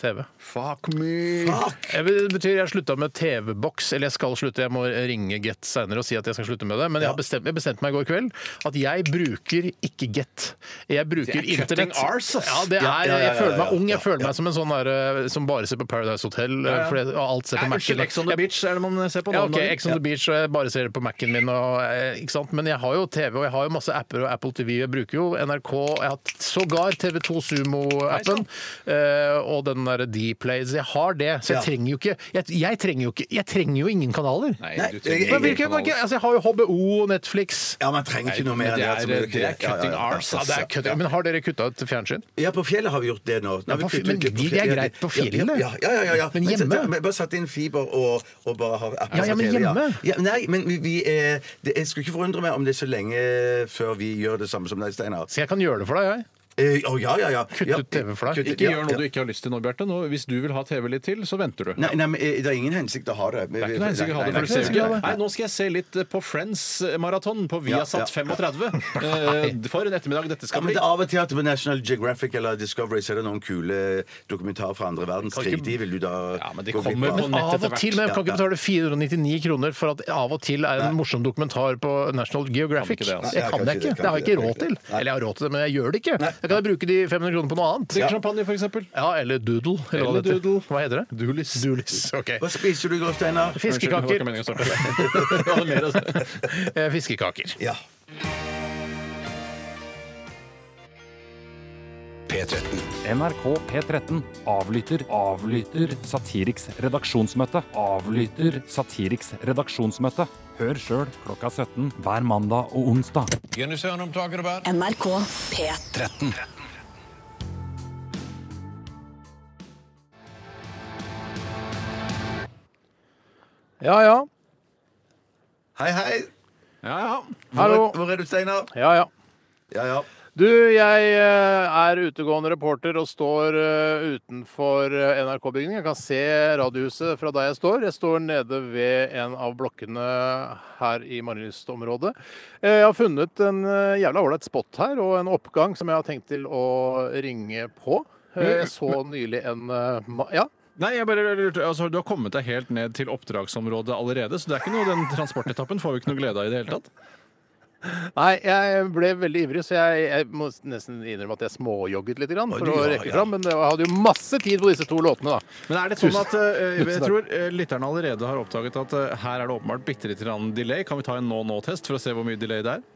A: TV.
B: Fuck me!
A: Jeg vil- Det betyr jeg har slutta med TV-boks, eller jeg skal slutte. Jeg må ringe Get seinere og si at jeg skal slutte med det. Men jeg har bestemt, jeg bestemte meg i går kveld at jeg bruker ikke Get. Jeg bruker
B: Det er cutting
A: internett.
B: arse, ass.
A: Ja, det er,
C: Ja, ja, ja, ja,
A: Jeg føler meg
C: ja,
A: ung. Jeg føler meg som en sånn derre som bare ser på Paradise Hotel, eh, fordi alt ser på
B: Nei,
A: Mac.
B: Unnskyld, Ex on the
A: Jeg-
B: Beach er sånn det man ser på nå.
A: Ja,
B: om
A: ok,
B: dagen.
A: Ex on the Beach, og jeg bare ser det på Mac-en min. Og, eh, ikke sant? Men jeg har jo TV, og jeg har jo masse apper og Apple TV. Jeg bruker jo NRK. Jeg har hatt sågar TV2 Sumo-appen. eh, og den derre Dplay. Så jeg har det. Så jeg
C: Ja.
A: trenger jo ikke Jeg, jeg trenger jo ikke Jeg trenger jo ingen kanaler.
B: Nei,
C: Nei,
B: du trenger
C: jeg- jeg-
A: Men
B: ingen
A: hvilke,
B: kanaler.
A: hvilke, altså, jeg har jo HBO og Netflix.
C: Ja, man trenger ikke noe mer enn
B: det
C: altså,
B: er-
C: men-
B: det er cutting
C: Ja, ja, ja.
B: arse, altså.
A: Ja, det er kødd. Men har dere kutta ut fjernsyn?
C: Ja, på fjellet har vi gjort det nå. Nå har vi
A: på fjellet,
C: kuttet ut
A: men
C: på
A: de- det er greit på
C: Ja,
A: fjellet.
C: Ja, ja, ja, ja, ja.
A: Men hjemme?
C: Men, men bare satt inn fiber og, og bare har appen
A: Ja, ja,
C: på
A: men
C: TV,
A: hjemme?
C: Ja, nei, men vi, vi eh, det, Jeg skulle ikke forundre meg om det er så lenge før vi gjør det samme som deg, Steinar.
A: Så jeg kan gjøre det for deg, jeg.
C: Eh, å, ja, ja, ja.
A: Kutt
C: ja,
A: ut TV for deg.
C: kutt ut-
B: Ikke
C: ja,
B: gjør
C: ja.
B: noe du ikke har lyst til nå, Bjarte. Nå, Hvis du vil ha TV litt til, så venter du.
C: Nei, nei, men eh, det er ingen hensikt å ha det.
B: Det er ikke noe hensikt å ha det,
C: Nei, nei,
B: for du ser jo
C: nei,
B: ikke.
C: nei,
B: Nei,
C: nei.
B: nå skal jeg se litt eh, på Friends-maraton på Viasat
C: Ja,
B: 35. Eh, For en ettermiddag dette
C: Ja,
B: skal
C: men
B: bli.
C: det er Av og til at på National Geographic eller Discovery så er det noen kule dokumentarer fra andre verdenskrig. De vil du da
B: Ja, men de
C: gå glipp
B: kommer
C: av.
B: på nett
A: Av
B: etter
A: og til, men jeg kan ikke betale 499 kroner for at av og til er en morsom dokumentar på National Geographic.
B: Kan ikke det, altså.
A: Det kan jeg ikke. Det har jeg ikke råd til. Eller jeg har råd til det, men jeg gjør det ikke. Da kan jeg bruke de 500 kronene på noe annet.
B: Sikker champagne, for eksempel.
A: Ja, eller doodle. Eller hva
B: Eller
A: det
B: doodle.
A: heter. Hva heter det? Dulis. ok.
C: Hva spiser du i går, Steinar?
B: Unnskyld, det
A: Fiskekaker.
B: var ikke meningen å starte. Jeg hadde mer å si.
A: Eh, Fiskekaker.
C: Ja.
E: P13.
F: NRK P13 avlytter, avlytter Satiriks redaksjonsmøte. Avlytter Satiriks redaksjonsmøte. Hør sjøl klokka 17 hver mandag og onsdag.
D: NRK P13.
A: Ja, ja.
C: Hei, hei.
B: Ja, ja.
A: Hallo.
C: Hvor er du, Steinar?
A: Ja, ja.
C: Ja, ja.
A: Du, jeg eh, er utegående reporter og står eh, utenfor eh, NRK-bygningen. Jeg kan se Radiohuset fra der jeg står. Jeg står nede ved en av blokkene her i Marienlyst-området. Eh, Jeg har funnet en eh, jævla ålreit spot her, og en oppgang som jeg har tenkt til å ringe på.
C: Mm,
A: Eh, Jeg så nylig en eh, ma- Ja?
B: Nei, jeg bare lurte, altså, Du har kommet deg helt ned til oppdragsområdet allerede, så det er ikke noe, den transportetappen får vi ikke noe glede av i det hele tatt.
A: Nei, jeg ble veldig ivrig, så jeg, jeg må nesten innrømme at jeg småjogget litt grann for
C: du
A: å
C: gjorde,
A: rekke
C: ja.
A: fram. Men det var- jeg hadde jo masse tid på disse to låtene, da.
B: Men er det sånn at eh, jeg tror eh, lytterne allerede har oppdaget at eh, her er det åpenbart bitte litt grann delay. Kan vi ta en nå-nå-test for å se hvor mye delay det er?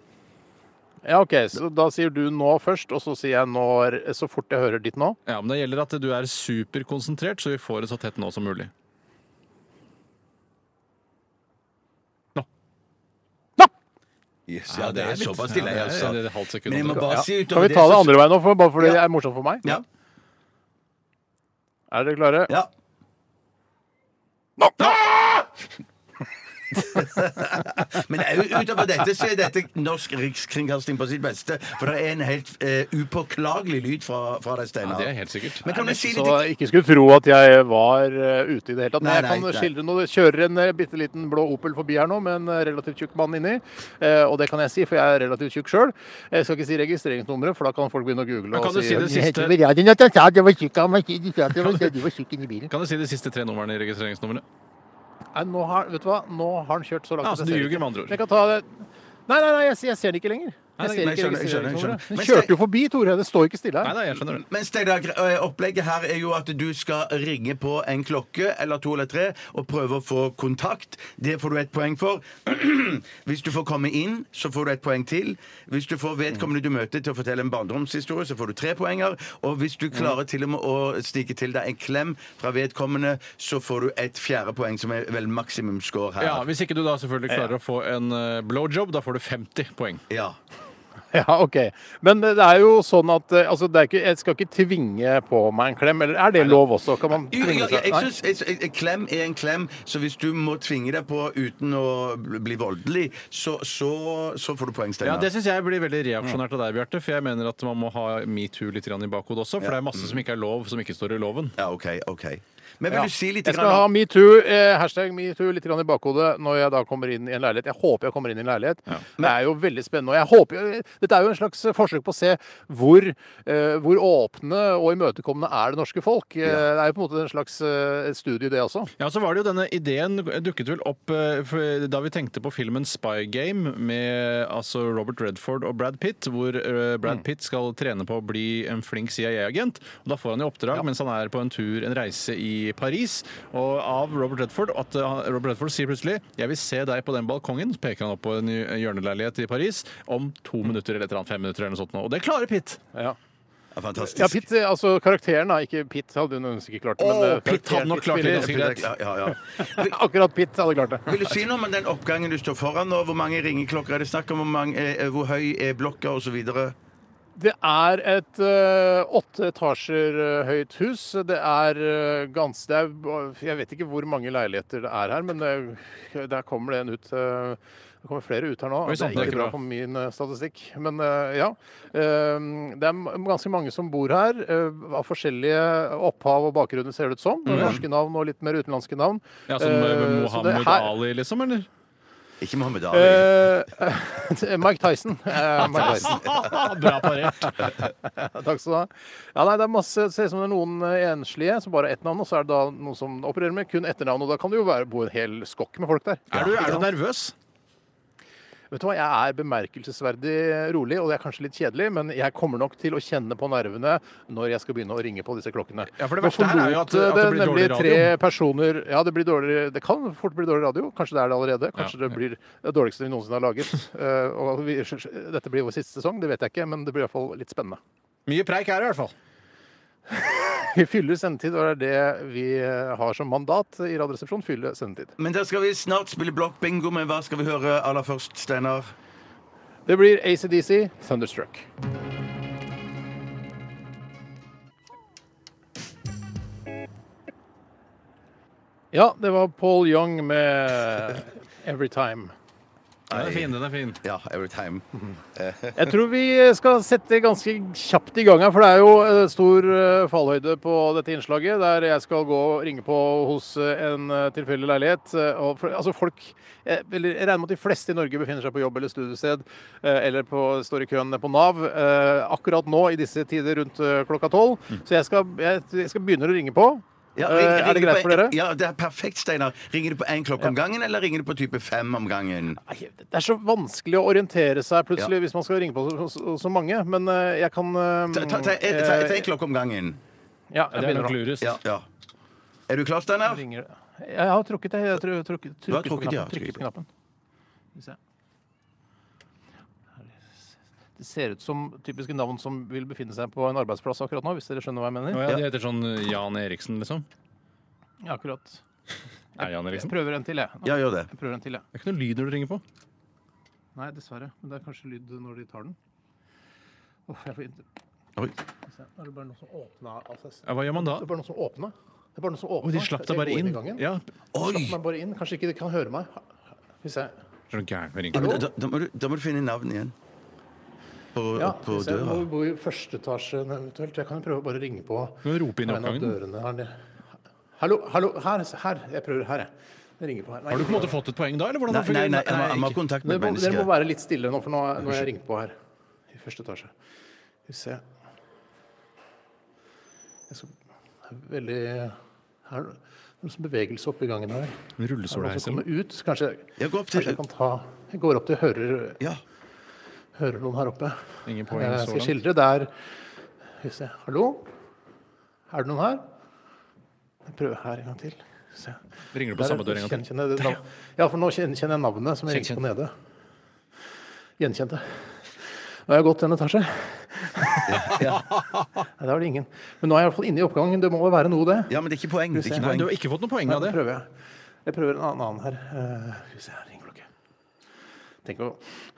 A: Ja, OK, så da sier du nå først, og så sier jeg når, så fort jeg hører ditt nå.
B: Ja, men Det gjelder at du er superkonsentrert, så vi får det så tett nå som mulig.
C: Yes, ja, det
B: det er
C: er
B: litt-
C: såpass stille,
B: ja, det er-
C: altså.
B: det er et halvt sekund
C: Men jeg må
B: også.
C: bare si
A: Kan
C: utover
A: vi ta det
C: så-
A: andre veien nå, for, bare fordi
C: Ja.
A: det er morsomt for meg?
C: Ja.
A: Er dere klare?
C: ja. Men au- utover dette så er dette norsk rikskringkasting på sitt beste. For det er en helt eh, upåklagelig lyd fra, fra deg,
B: Ja,
C: Steinar.
B: det er helt sikkert.
C: Men kan du si
A: Så
C: litt
A: jeg ikke skulle tro at jeg var eh, ute i det hele tatt. Men
C: Nei,
A: jeg
C: nei,
A: kan
C: nei.
A: skildre noe. Det kjører en eh, bitte liten blå Opel forbi her nå med en eh, relativt tjukk mann inni. Eh, Og det kan jeg si, for jeg er relativt tjukk sjøl. Jeg skal ikke si registreringsnummeret, for da kan folk begynne å google.
B: Men
A: og
B: kan du si det siste, kan du si de siste tre numrene i registreringsnummeret?
A: Nei, nå har, vet du hva? Nå har han kjørt så langt
B: Ja,
A: at
B: så
A: jeg
B: du
A: ser det
B: ljuger
A: ikke.
B: med andre ord.
A: Jeg kan ta det. Nei, nei, nei, jeg, ser- jeg ser det ikke lenger.
B: Nei,
A: Jeg
B: nei,
A: ser
C: nei,
A: ikke
C: jeg skjønner, jeg skjønner, jeg skjønner.
A: registreringsnummeret. Den
C: Men
A: kjørte
C: Stein-
A: jo forbi, Tore. Det står ikke stille
B: Nei
A: her.
B: da, jeg skjønner det.
C: Men Steinar, eh, opplegget her er jo at du skal ringe på en klokke eller to eller tre og prøve å få kontakt. Det får du et poeng for. Hvis du får komme inn, så får du et poeng til. Hvis du får vedkommende du møter til å fortelle en barndomshistorie, så får du tre poenger. Og hvis du klarer til og med å snike til deg en klem fra vedkommende, så får du et fjerde poeng, som er vel maksimumscore her.
B: Ja, Hvis ikke du da selvfølgelig klarer å få en eh, blowjob, da får du 50 poeng.
C: Ja.
A: Ja, OK. Men det er jo sånn at eh, altså, det er ikke, jeg skal ikke tvinge på meg en klem. Eller er det lov også? Kan man
C: Jo, jo,
A: tvinge
C: jo,
A: seg?
C: jeg
A: Nei.
C: synes, jeg, jeg, jeg- klem er en klem, så hvis du må tvinge deg på uten å bli bli voldelig, så, så, så får du poeng,
B: Ja,
C: Steinar.
B: Det syns jeg blir veldig reaksjonært av deg, Bjarte. For jeg mener at man må ha metoo litt grann i bakhodet også. For det er masse som ikke er lov, som ikke står i loven.
C: Ja, OK. ok. Men vil
A: Ja.
C: du si litt
A: Jeg skal
C: grann
A: ha
C: om-
A: metoo, eh, hashtag metoo litt grann i bakhodet når jeg da kommer inn i en leilighet. Jeg håper jeg kommer inn i en leilighet. Det er jo veldig spennende. Og jeg håper, dette er jo en slags forsøk på å se hvor, eh, hvor åpne og imøtekommende er det norske folk. Eh, Det er jo på en måte en slags eh, studie, det også.
B: Ja, så var det jo denne ideen dukket vel opp eh, for- da vi tenkte på filmen Spy Game med altså Robert Redford og Brad Pitt, hvor eh, Brad Pitt skal trene på å bli en flink CIA-agent. Og Da får han i oppdrag mens han er på en tur, en reise i Paris, og av Robert Redford at eh, han- Robert Redford sier plutselig 'Jeg vil se deg på den balkongen', så peker han opp på en hjørneleilighet i Paris, om to minutter eller et eller annet, fem minutter eller noe sånt. nå. Og det klarer Pitt!
A: Ja.
C: Ja, Fantastisk.
A: Ja, Pitt, eh, altså karakteren da, ikke Pitt hadde hun ønskelig klart det. men, eh,
B: Pitt hadde nok klart det
A: spiller-
B: ganske
C: Ja,
B: greit.
C: ja, ja. Vil,
A: Akkurat Pitt hadde klart det.
C: vil du si noe om den oppgangen du står foran nå? Hvor mange ringeklokker er det snakk om? Hvor, mange, eh, hvor høy er blokka, osv.?
A: Det er et eh, åtte etasjer eh, høyt hus. Det er eh, gans... Det er, jeg vet ikke hvor mange leiligheter det er her, men det, der kommer det en ut. eh, det kommer flere ut her nå.
B: Oi, sant,
A: sånn, det er ikke bra for min eh, statistikk. Men eh, ja. Eh, det er m- ganske mange som bor her, eh, av forskjellige opphav og bakgrunner, ser det ut som. Norske navn og litt mer utenlandske navn.
B: Ja, Som
A: Mm. Eh,
B: eh,
A: så det
B: Mohammed
A: her-
B: Ali, liksom, eller?
C: Ikke Mohammed Ali.
A: Eh, Mike Tyson. Eh, Mike Tyson.
B: Bra parert.
A: Takk skal du ha. Ja, nei, det er masse, det ser ut som det er noen eh, enslige som bare har ett navn, og så er det da noen som opererer med kun etternavn. Og da kan det jo være, bo en hel skokk med folk der.
B: Er du, er du nervøs?
A: Vet du hva, Jeg er bemerkelsesverdig rolig, og det er kanskje litt kjedelig, men jeg kommer nok til å kjenne på nervene når jeg skal begynne å ringe på disse klokkene.
B: Ja, for det
A: Nå
B: verste her er jo at-
A: forlot, eh,
B: at det blir
A: nemlig
B: dårlig
A: tre
B: radio.
A: personer Ja, det blir dårlig Det kan fort bli dårlig radio. Kanskje det er det allerede. Kanskje det blir det dårligste vi noensinne har laget. Eh, og vi, dette blir vår siste sesong, det vet jeg ikke, men det blir i hvert fall litt spennende.
B: Mye preik er det i hvert fall.
A: Vi fyller sendetid, og det er det vi eh, har som mandat i Radioresepsjonen. Fylle sendetid.
C: Men der skal vi snart spille blokkbingo, men hva skal vi høre aller først, Steinar?
A: Det blir ACDC, Thunderstruck. Ja, det var Paul Young med Every Time.
B: Den er fin, den er fin.
C: Ja, every time.
A: Jeg tror vi skal sette ganske kjapt i gang her, for det er jo eh, stor eh, fallhøyde på dette innslaget, der jeg skal gå og ringe på hos eh, en eh, tilfeldig leilighet. eh, Og, for- altså folk, eh, eller jeg regner med at de fleste i Norge befinner seg på jobb eller studiested, eh, eller på, står i køen på Nav, eh, akkurat nå i disse tider rundt eh, klokka tolv. Så jeg skal, jeg, jeg skal begynne å ringe på.
C: Mm. Ja,
A: Eh,
C: ring-
A: er det
C: ringer
A: greit
C: du på
A: for dere?
C: en- Ja, det er perfekt, Steinar. Ringer du på én klokke om gangen, eller ringer du på type fem om gangen?
A: Nei, Det er så vanskelig å orientere seg plutselig hvis man skal ringe på så, så, så mange, men eh, jeg kan eh,
C: Ta- Ta ta- ta- ta en klokke om gangen.
A: Ja,
B: Det
A: jeg
B: er
A: begynner nå.
B: nok lurest.
C: Ja. ja. Er du klar, Steinar?
A: ringer det. Jeg har trukket det. Jeg har trukket, trukket,
C: har
A: på
C: trukket, ja,
A: knappen, trykket på knappen. Skal vi se. Det ser ut som typiske navn som vil befinne seg på en arbeidsplass akkurat nå, hvis dere skjønner hva jeg
B: Å
A: mener.
B: ja, de heter sånn Jan Eriksen, liksom?
A: Ja, akkurat.
B: Er det Jan
A: Jeg
B: Eriksen?
A: prøver en til, jeg. Nå,
C: Ja, gjør det.
A: jeg prøver en til, jeg.
B: Det er ikke noe lyd når du ringer på.
A: Nei, dessverre. Men det er kanskje lyd når de tar den. Åh, jeg får inntil...
C: Oi.
A: Se, nå er det bare noe som åpna av seg selv.
B: Ja, hva gjør man da?
A: Det er bare noe som åpna. Det er bare noe som
B: Å,
A: åpna.
B: de slapp deg
A: Jeg
B: bare
A: går
B: inn.
A: i gangen.
B: Ja.
C: Oi!
A: Slapp meg bare inn. Kanskje ikke de kan høre meg. Skal vi se.
B: Er du gæren med å
C: Ja,
B: ringe
C: men
B: på?
C: Da, da, må du, da må du finne navn igjen. På,
A: Ja,
C: på
A: hvis jeg
C: døra.
A: må bo i første etasje eventuelt. Jeg kan prøve å bare ringe på
B: Kan du rope inn i
A: på en av
B: oppgangen?
A: dørene her nede. Hallo, hallo, her, her. Jeg prøver her, jeg. jeg ringer på her. Nei,
B: Har du på en måte fått et poeng da? Eller hvordan
C: Nei, nei, nei,
B: Nei,
C: han må ha
B: ikke.
C: kontakt med
A: dere,
C: et
A: må,
C: menneske.
A: dere må være litt stille nå, for nå, er- nå har jeg ringt på her. I første etasje. Skal vi se. Jeg skal, det er veldig Her er det noe sånn bevegelse oppe i gangen her. Er
B: En
A: det noen som
B: Rullestolheis eller
A: kommer ut? Så Kanskje,
C: Jeg går opp til-
A: kanskje jeg kan ta Jeg går opp til hører,
C: Ja.
A: hører noen her oppe.
B: Ingen poeng
A: Jeg
B: så
A: skal
B: langt.
A: skildre. Det er Skal vi se. Hallo? Er det noen her? Jeg prøver her en gang til. Se.
B: Ringer du på
A: Der er-
B: samme dør en gang til?
A: kjenner- kjenner det navn- Ja, for nå kjen- kjenner jeg navnet som jeg ringte på nede. Gjenkjente. Nå har jeg gått en etasje. Nei, der var det ingen. Men nå er jeg i hvert fall inne i oppgangen. Det må jo være noe, det.
C: ja, men det er ikke poeng. Det er ikke
B: Nei,
C: poeng.
B: du har ikke fått noe poeng
A: Nei,
B: av
A: det
B: det.
A: prøver jeg. Jeg prøver en annen- annen her. Eh, Skal vi se her, ringeklokke. Tenk å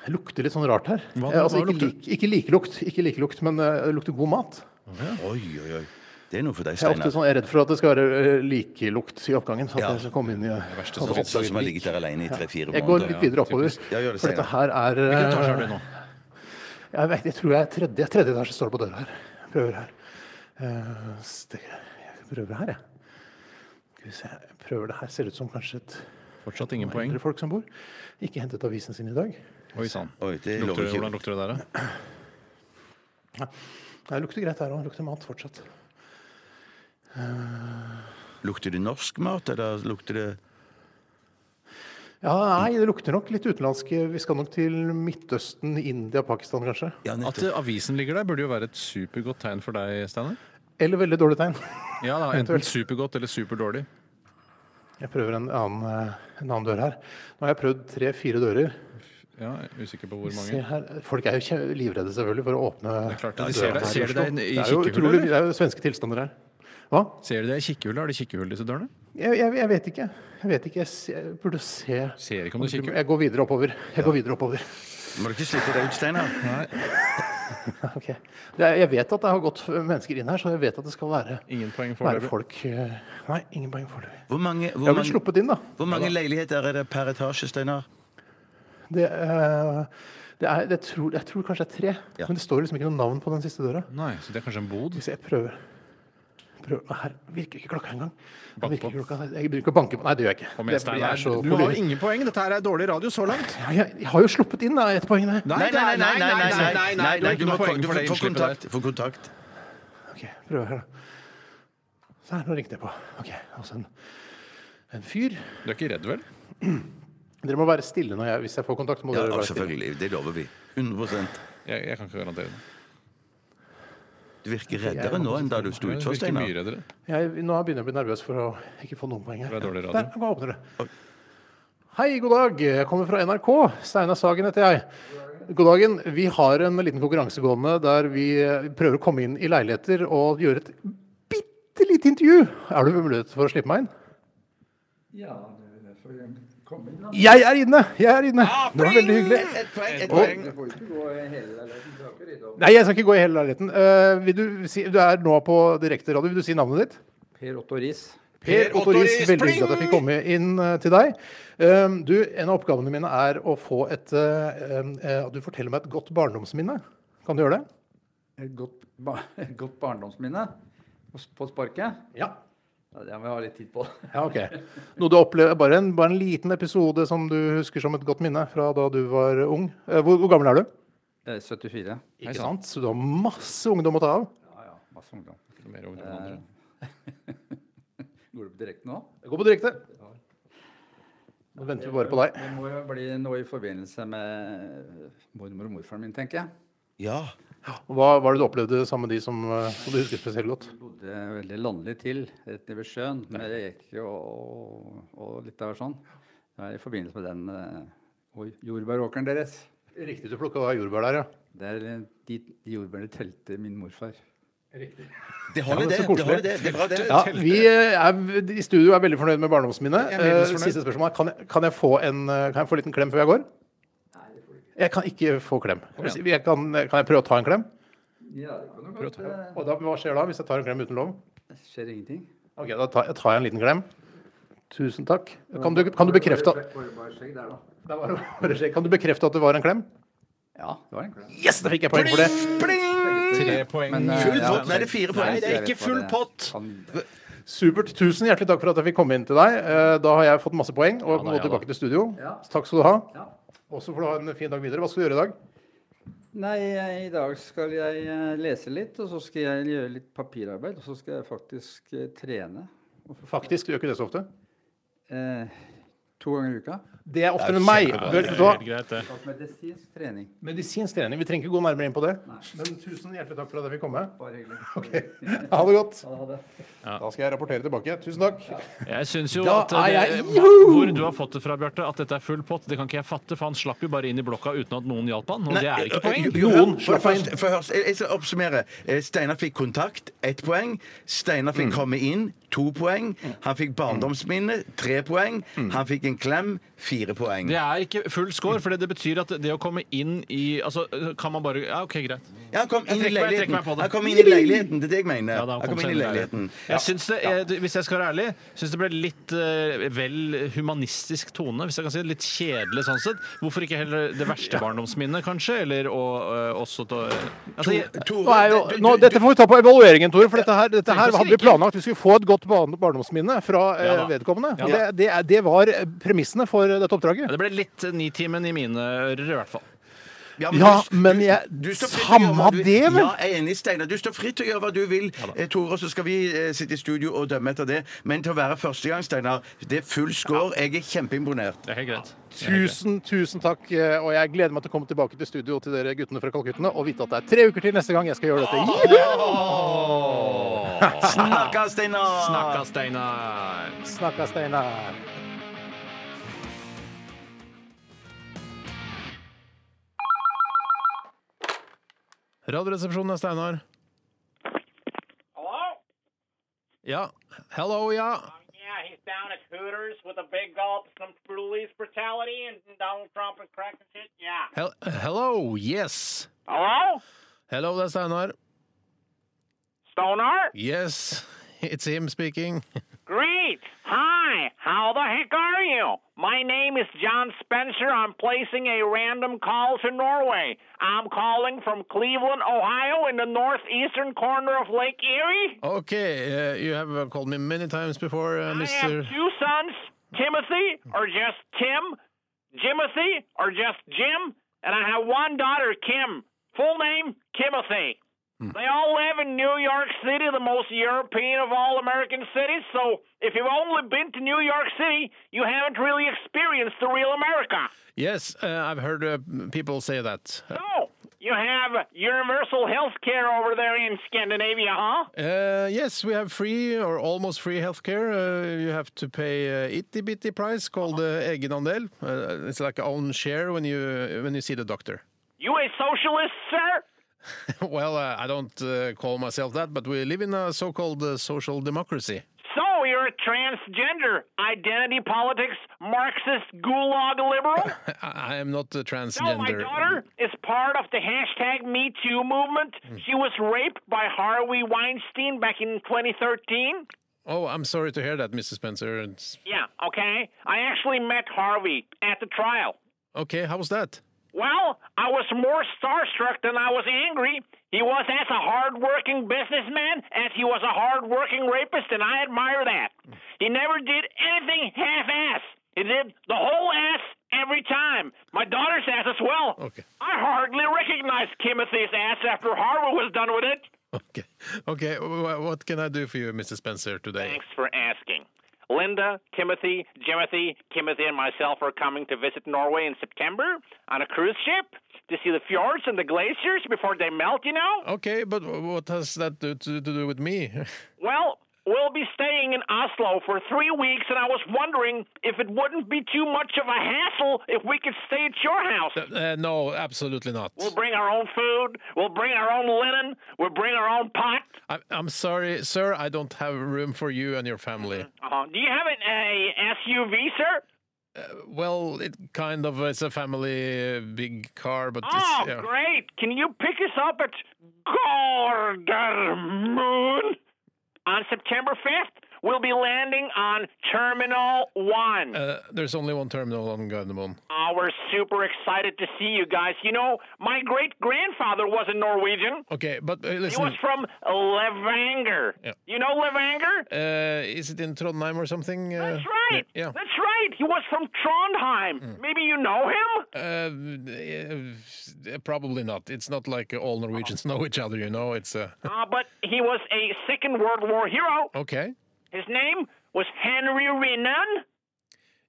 A: det lukter litt sånn rart her.
B: Hva-
A: Eh, altså,
B: hva
A: ikke,
B: lukter?
A: lik, ikke likelukt, ikke likelukt, men eh, det lukter god mat.
C: Oi, oi, oi. Det er noe for deg,
A: Jeg er ofte
C: Steinar.
A: sånn, jeg er redd for at det skal være eh, likelukt i oppgangen. sånn at
C: Ja.
A: Jeg skal komme inn i...
B: verste
A: sånn
B: som
A: at
B: finnes.
C: Sånn
A: oppdager
C: som har
A: lik.
C: ligget der alene i tre-fire
A: Jeg går
C: måneder.
A: litt videre oppover.
C: Ja, gjør det,
A: For dette her er
B: Hvilken etasje er du i nå?
A: eh, Jeg, vet, jeg tror jeg er tredje, tredje etasje står det på døra her. Prøver her. Eh, ste- Jeg prøver her, jeg. Skal vi se. Jeg prøver det her. Ser ut som kanskje et
B: Fortsatt ingen poeng.
A: mindre folk som bor. Ikke hentet avisen sin i dag.
B: Oi sann.
C: Oi, det
B: Lukter
C: lover
B: det- Hvordan
C: ikke.
B: lukter det der, da?
A: Det lukter greit her òg. Lukter mat fortsatt.
C: Lukter det norsk mat, eller lukter det
A: Ja, nei, det lukter nok litt utenlandsk. Vi skal nok til Midtøsten, India, Pakistan kanskje.
C: Ja, nettopp.
B: At eh, avisen ligger der, burde jo være et supergodt tegn for deg, Steinar.
A: Eller veldig dårlig tegn.
B: Ja da, enten supergodt eller superdårlig.
A: Jeg prøver en annen, eh, en annen dør her. Nå har jeg prøvd tre-fire dører.
B: Ja, jeg er usikker på hvor
A: Se
B: mange.
A: her. Folk er jo kje- livredde selvfølgelig for å åpne
B: klart det.
A: døra
B: De ser deg-
A: her i
B: ser de
A: Oslo.
B: deg i
A: Det er jo
B: kikkehullet,
A: utrolig,
B: eller?
A: det er jo svenske tilstander her. Hva?
B: Ser du det i kikkehullet? Er det kikkehull i disse dørene?
A: Jeg, jeg, jeg vet ikke. Jeg vet ikke. Jeg, se- jeg burde se
B: Ser ikke om det er kikkehull.
A: Jeg går videre oppover. Jeg går videre oppover.
C: Må du ikke slite deg ut, Steinar?
A: Ok. Det er, jeg vet at det har gått mennesker inn her, så jeg vet at det skal være,
B: Ingen poeng
A: være
B: foreløpig.
A: folk eh, Nei, ingen poeng foreløpig.
C: Hvor mange,
A: Jeg har
C: hvor
A: blitt
C: mange,
A: sluppet inn, da.
C: hvor mange leiligheter er det per etasje, Steinar?
A: Det, eh, det er, det tror, jeg tror kanskje det er tre,
C: Ja.
A: men det står liksom ikke noe navn på den siste døra.
B: Nei, så det er kanskje en bod?
A: Hvis jeg prøver Prøv. Nei, Her virker ikke klokka engang. Her
B: Bank
A: virker
B: på.
A: ikke klokka. Jeg bruker å banke på Nei, det gjør jeg ikke.
B: Kom
A: Det-
B: igjen,
A: jeg, er
B: Steinar.
A: så
B: Du har
A: forvirret.
B: jo ingen poeng. Dette her er dårlig radio så langt.
A: Ja, jeg, jeg har jo sluppet inn da, ett poeng der.
C: Nei, nei, nei, nei, nei, nei, nei, nei, nei,
B: Du har
C: du
B: ikke
C: må
B: noe poeng
C: du
B: for det
C: får- får
B: innslippet der.
C: kontakt. Får kontakt.
A: Ok, prøv her, da. Så her, nå ringte jeg på. Ok, altså en, en fyr.
B: Du er ikke redd, vel?
A: Dere må være stille når jeg, hvis jeg får kontakt. Må
C: Ja,
A: dere være stille.
C: selvfølgelig. Det lover vi. 100
B: Jeg, jeg kan ikke garantere det.
C: Du virker reddere nå enn da du sto
B: Du
C: utfor,
B: virker mye
C: Steinar.
B: reddere.
A: Jeg, nå begynner jeg å bli nervøs for å ikke få noen poeng her.
B: Det er dårlig radio.
A: Der, nå åpner det. Hei, god dag. Jeg kommer fra NRK. Steinar Sagen heter jeg. God dagen. Vi har en liten konkurranse gående der vi eh, prøver å komme inn i leiligheter og gjøre et bitte lite intervju. Er du mulighet for å slippe meg inn? Ja, du får komme inn. Jeg er inne! Jeg er inne.
B: Ah,
A: Det var veldig hyggelig.
C: Et poeng, et
A: Og-
C: poeng.
A: Nei, jeg skal ikke gå i hele leiligheten. Eh, vil du, si, du er nå på direkte radio. Vil du si navnet ditt?
G: Per Otto Riis.
A: Per
H: Otto
A: Otto Riis,
H: Riis,
A: veldig
H: pling!
A: hyggelig at jeg fikk komme inn eh, til deg. Um, Du, en av oppgavene mine er å få et eh, um, eh, At du forteller meg et godt barndomsminne. Kan du gjøre det?
G: Et godt, ba et godt barndomsminne på s- på sparket?
A: Ja.
G: Det må jeg ha litt tid på.
A: Ja, ok. Noe du opplever, bare en, bare en liten episode som du husker som et godt minne fra da du var ung. Eh, Hvor, hvor gammel er du?
G: Eh, 74.
A: Ikke sant? Så du har masse ungdom å ta av.
G: Ja, ja. Masse ungdom.
B: Mer
G: Går det på direkten nå?
A: Det går på direkte. Nå venter vi bare på deg.
G: Det må jo bli noe i forbindelse med mormor og morfaren min, tenker jeg.
C: Ja.
A: Hva var det du opplevde sammen med de som, eh, som du husker spesielt godt?
G: Vi bodde veldig landlig til rett nede ved sjøen, med reker og, og litt av sånn. Det er i forbindelse med den eh, og jordbæråkeren deres.
A: Riktig, du plukka jordbær der, ja.
G: Det er eh, de, de jordbærene telte min morfar.
C: Det holder,
A: Ja, men så
C: det.
A: koselig.
C: Det holder det. Det er bra, det.
A: Ja, vi eh, er, de i studio er veldig fornøyd med barndomsminnet.
B: Jeg er meget
A: Eh,
B: fornøyd.
A: Siste spørsmål er kan jeg, kan jeg få en eh, kan jeg få en liten klem før jeg går? Jeg kan ikke få klem. Jeg kan, kan jeg prøve å ta en klem?
G: Ja, det kan jo godt.
A: Og da, hva skjer da hvis jeg tar en klem uten lov?
G: Det skjer ingenting.
A: Ok, Da tar, tar jeg en liten klem. Tusen takk. Kan du, kan du bekrefte at
G: Bare- bare skjegg der, da.
A: Det var bare å sjekke. Kan du bekrefte at det var en klem?
G: Ja, det var en klem.
A: Yes, da fikk jeg poeng for det!
B: Tre poeng.
G: Men, eh,
C: Full
G: ja,
C: pott. Nei, det er fire poeng.
G: Nei,
C: Det er
G: jeg
C: ikke
G: vet hva
C: full
G: det
C: pott.
G: kan-
A: Supert. Tusen hjertelig takk for at jeg fikk komme inn til deg. Eh, Da har jeg fått masse poeng og
B: da,
A: må
B: ja da.
A: tilbake til studio.
G: Ja.
A: Takk skal du ha.
G: Ja.
A: Og så får du ha en fin dag videre. Hva skal du gjøre i dag?
G: Nei, jeg- i dag skal jeg eh, lese litt, og så skal jeg gjøre litt papirarbeid. Og så skal jeg faktisk eh, trene
A: Faktisk, du gjør ikke det så ofte.
G: eh, to ganger i uka.
A: Det er oftere enn meg. Vet du hva?
B: eh,
G: Og medisinsk trening.
A: Medisinsk trening. Vi trenger ikke gå nærmere inn på det. Men tusen hjertelig takk for at jeg fikk komme.
G: Bare hyggelig.
A: Ha det godt.
G: Ha det.
A: Da skal jeg rapportere tilbake. Tusen takk.
B: Jeg syns jo
A: Da
B: at
A: er jeg-
B: det, Hvor du har fått det fra, Bjarte, at dette er full pott, det kan ikke jeg fatte, for han slapp jo bare inn i blokka uten at noen hjalp han, og det er ikke poeng.
C: Noen
A: slapp
C: først, for først, jeg, jeg skal oppsummere. Eh, Steinar fikk kontakt, ett poeng. Steinar fikk komme inn, to poeng. Han fikk barndomsminne, tre poeng. Han fikk en klem, fire poeng.
B: Det er ikke full score, for det, det betyr at det å komme inn i Altså, kan man bare Ja, OK, greit.
C: Ja, han kom inn i
B: trekker meg- jeg trekker
C: leiligheten.
B: meg på det.
C: Han kom inn i leiligheten, det er det jeg mener.
B: Ja, da,
C: han kom inn
B: seg
C: i leiligheten.
B: Jeg syns det, eh, du, Hvis jeg skal være ærlig, syns det ble litt eh, vel humanistisk tone. Hvis jeg kan si det, Litt kjedelig sånn sett. Hvorfor ikke heller det verste barndomsminnet, kanskje? Eller og, eh, også ta altså, jeg-
C: Tore,
A: Nå er jo,
C: du- du-
A: nå,
C: du-
A: dette får vi ta på evalueringen, Tore. For dette her, dette
B: Tenk å
A: her hadde vi
B: skrike.
A: planlagt. Vi skulle få et godt barn- barndomsminne fra eh,
B: Ja da.
A: vedkommende.
B: Ja
A: Og Det,
B: da.
A: det, er- det var eh, premissene for dette
B: ja,
A: oppdraget.
B: Det ble litt Nitimen i mine ører, i hvert fall.
A: Ja,
C: du-
A: men jeg
C: du står fritt til å gjøre
A: Samma
C: hva du-
A: det, vel?
C: Ja, jeg er enig, Steinar. Du står fritt til å gjøre hva du vil, eh, Tore, så skal vi eh, sitte i studio og dømme etter det. Men til å være første gang, Steinar, det er full score. Jeg er kjempeimponert.
B: Det er helt greit.
A: Tusen, tusen takk. eh, Og jeg gleder meg til å komme tilbake til studio til dere guttene fra Kalkuttene og vite at det er tre uker til neste gang jeg skal gjøre dette. Juhu!
C: Snakka, Steinar!
B: Snakka, Steinar.
A: Snakkes, Steinar.
H: Radioresepsjonen er Steinar.
I: Hello?
H: Ja. Hello, ja.
I: Yeah, he's down at Hooters with a big gulp, some police brutality, and Donald Trump and crack and shit. Yeah.
H: Hel hello, yes.
I: Hello?
H: Hello, det er Steinar.
I: Stoner?
H: Yes, it's him speaking.
I: Great. Hi. How the heck are you? My name is John Spencer. I'm placing a random call to Norway. I'm calling from Cleveland, Ohio, in the northeastern corner of Lake Erie.
H: Okay, uh, you have called me many times before, uh,
I: I have
H: Mr.
I: two sons, Timothy or just Tim, Jimothy or just Jim, and I have one daughter, Kim. Full name, Kimothy. They all live in New York City, the most European of all American cities. So if you've only been to New York City, you haven't really experienced the real America.
H: Yes, uh, I've heard uh, people say that.
I: So you have universal health care over there in Scandinavia, huh?
H: Uh, yes, we have free or almost free healthcare. Uh, you have to pay uh, itty bitty price called uh, egenandel. Uh, it's like own share when you when you see the doctor.
I: You a socialist, sir?
H: well, uh, I don't uh, call myself that, but we live in a so-called uh, social democracy.
I: So you're a transgender, identity politics, Marxist gulag liberal?
H: I, I am not a
I: No, my
H: transgender.
I: daughter is part of the hashtag Me Too movement. She was raped by Harvey Weinstein back in 2013.
B: Oh, I'm sorry to hear that, Mr. Spencer. It's-
I: Yeah, okay? I actually met Harvey at the trial.
B: Okay, how was that?
I: Well, I was more starstruck than I was angry. He was as a hard-working businessman as he was a hard-working rapist, and I admire that. He never did anything half-ass. He did the whole ass every time. My daughter's ass as well.
B: Okay.
I: I hardly recognized Timothy's ass after Harvey was done with it.
B: Okay, wh- what can I do for you, Mr. Spencer, today?
I: Thanks for asking. Linda, Timothy, Jimothy, Timothy, and myself are coming to visit Norway in September on a cruise ship to see the fjords and the glaciers before they melt, you know?
B: Okay, but wh- what has that to, to, to do with me?
I: Well, we'll be staying in Oslo for three weeks, and I was wondering if it wouldn't be too much of a hassle if we could stay at your house.
B: uh, no, absolutely not.
I: We'll bring our own food, we'll bring our own linen, we'll bring our own pot.
B: I, I'm sorry, sir, I don't have room for you and your family.
I: Uh-huh. Do you have an a SUV, sir?
B: Uh, Well, it kind of is a family uh, big car, but
I: Oh,
B: it's, yeah.
I: great! Can you pick us up at Gardermoen on September 5th? We'll be landing on Terminal 1.
B: Uh, there's only one terminal on Gardermoen.
I: Oh, we're super excited to see you guys. You know, my great grandfather wasn't Norwegian.
B: Okay, but uh,
I: He was
B: listen,
I: from Levanger.
B: Yeah.
I: You know Levanger?
B: uh, is it in Trondheim or something? Uh,
I: That's right.
B: Yeah. Hmm.
I: That's right. He was from Trondheim. Maybe you know him?
B: Uh, uh, probably not. It's not like all Norwegians know each other, you know. It's uh,
I: Uh, but he was a Second World War hero.
B: okay.
I: His name was Henry Renan.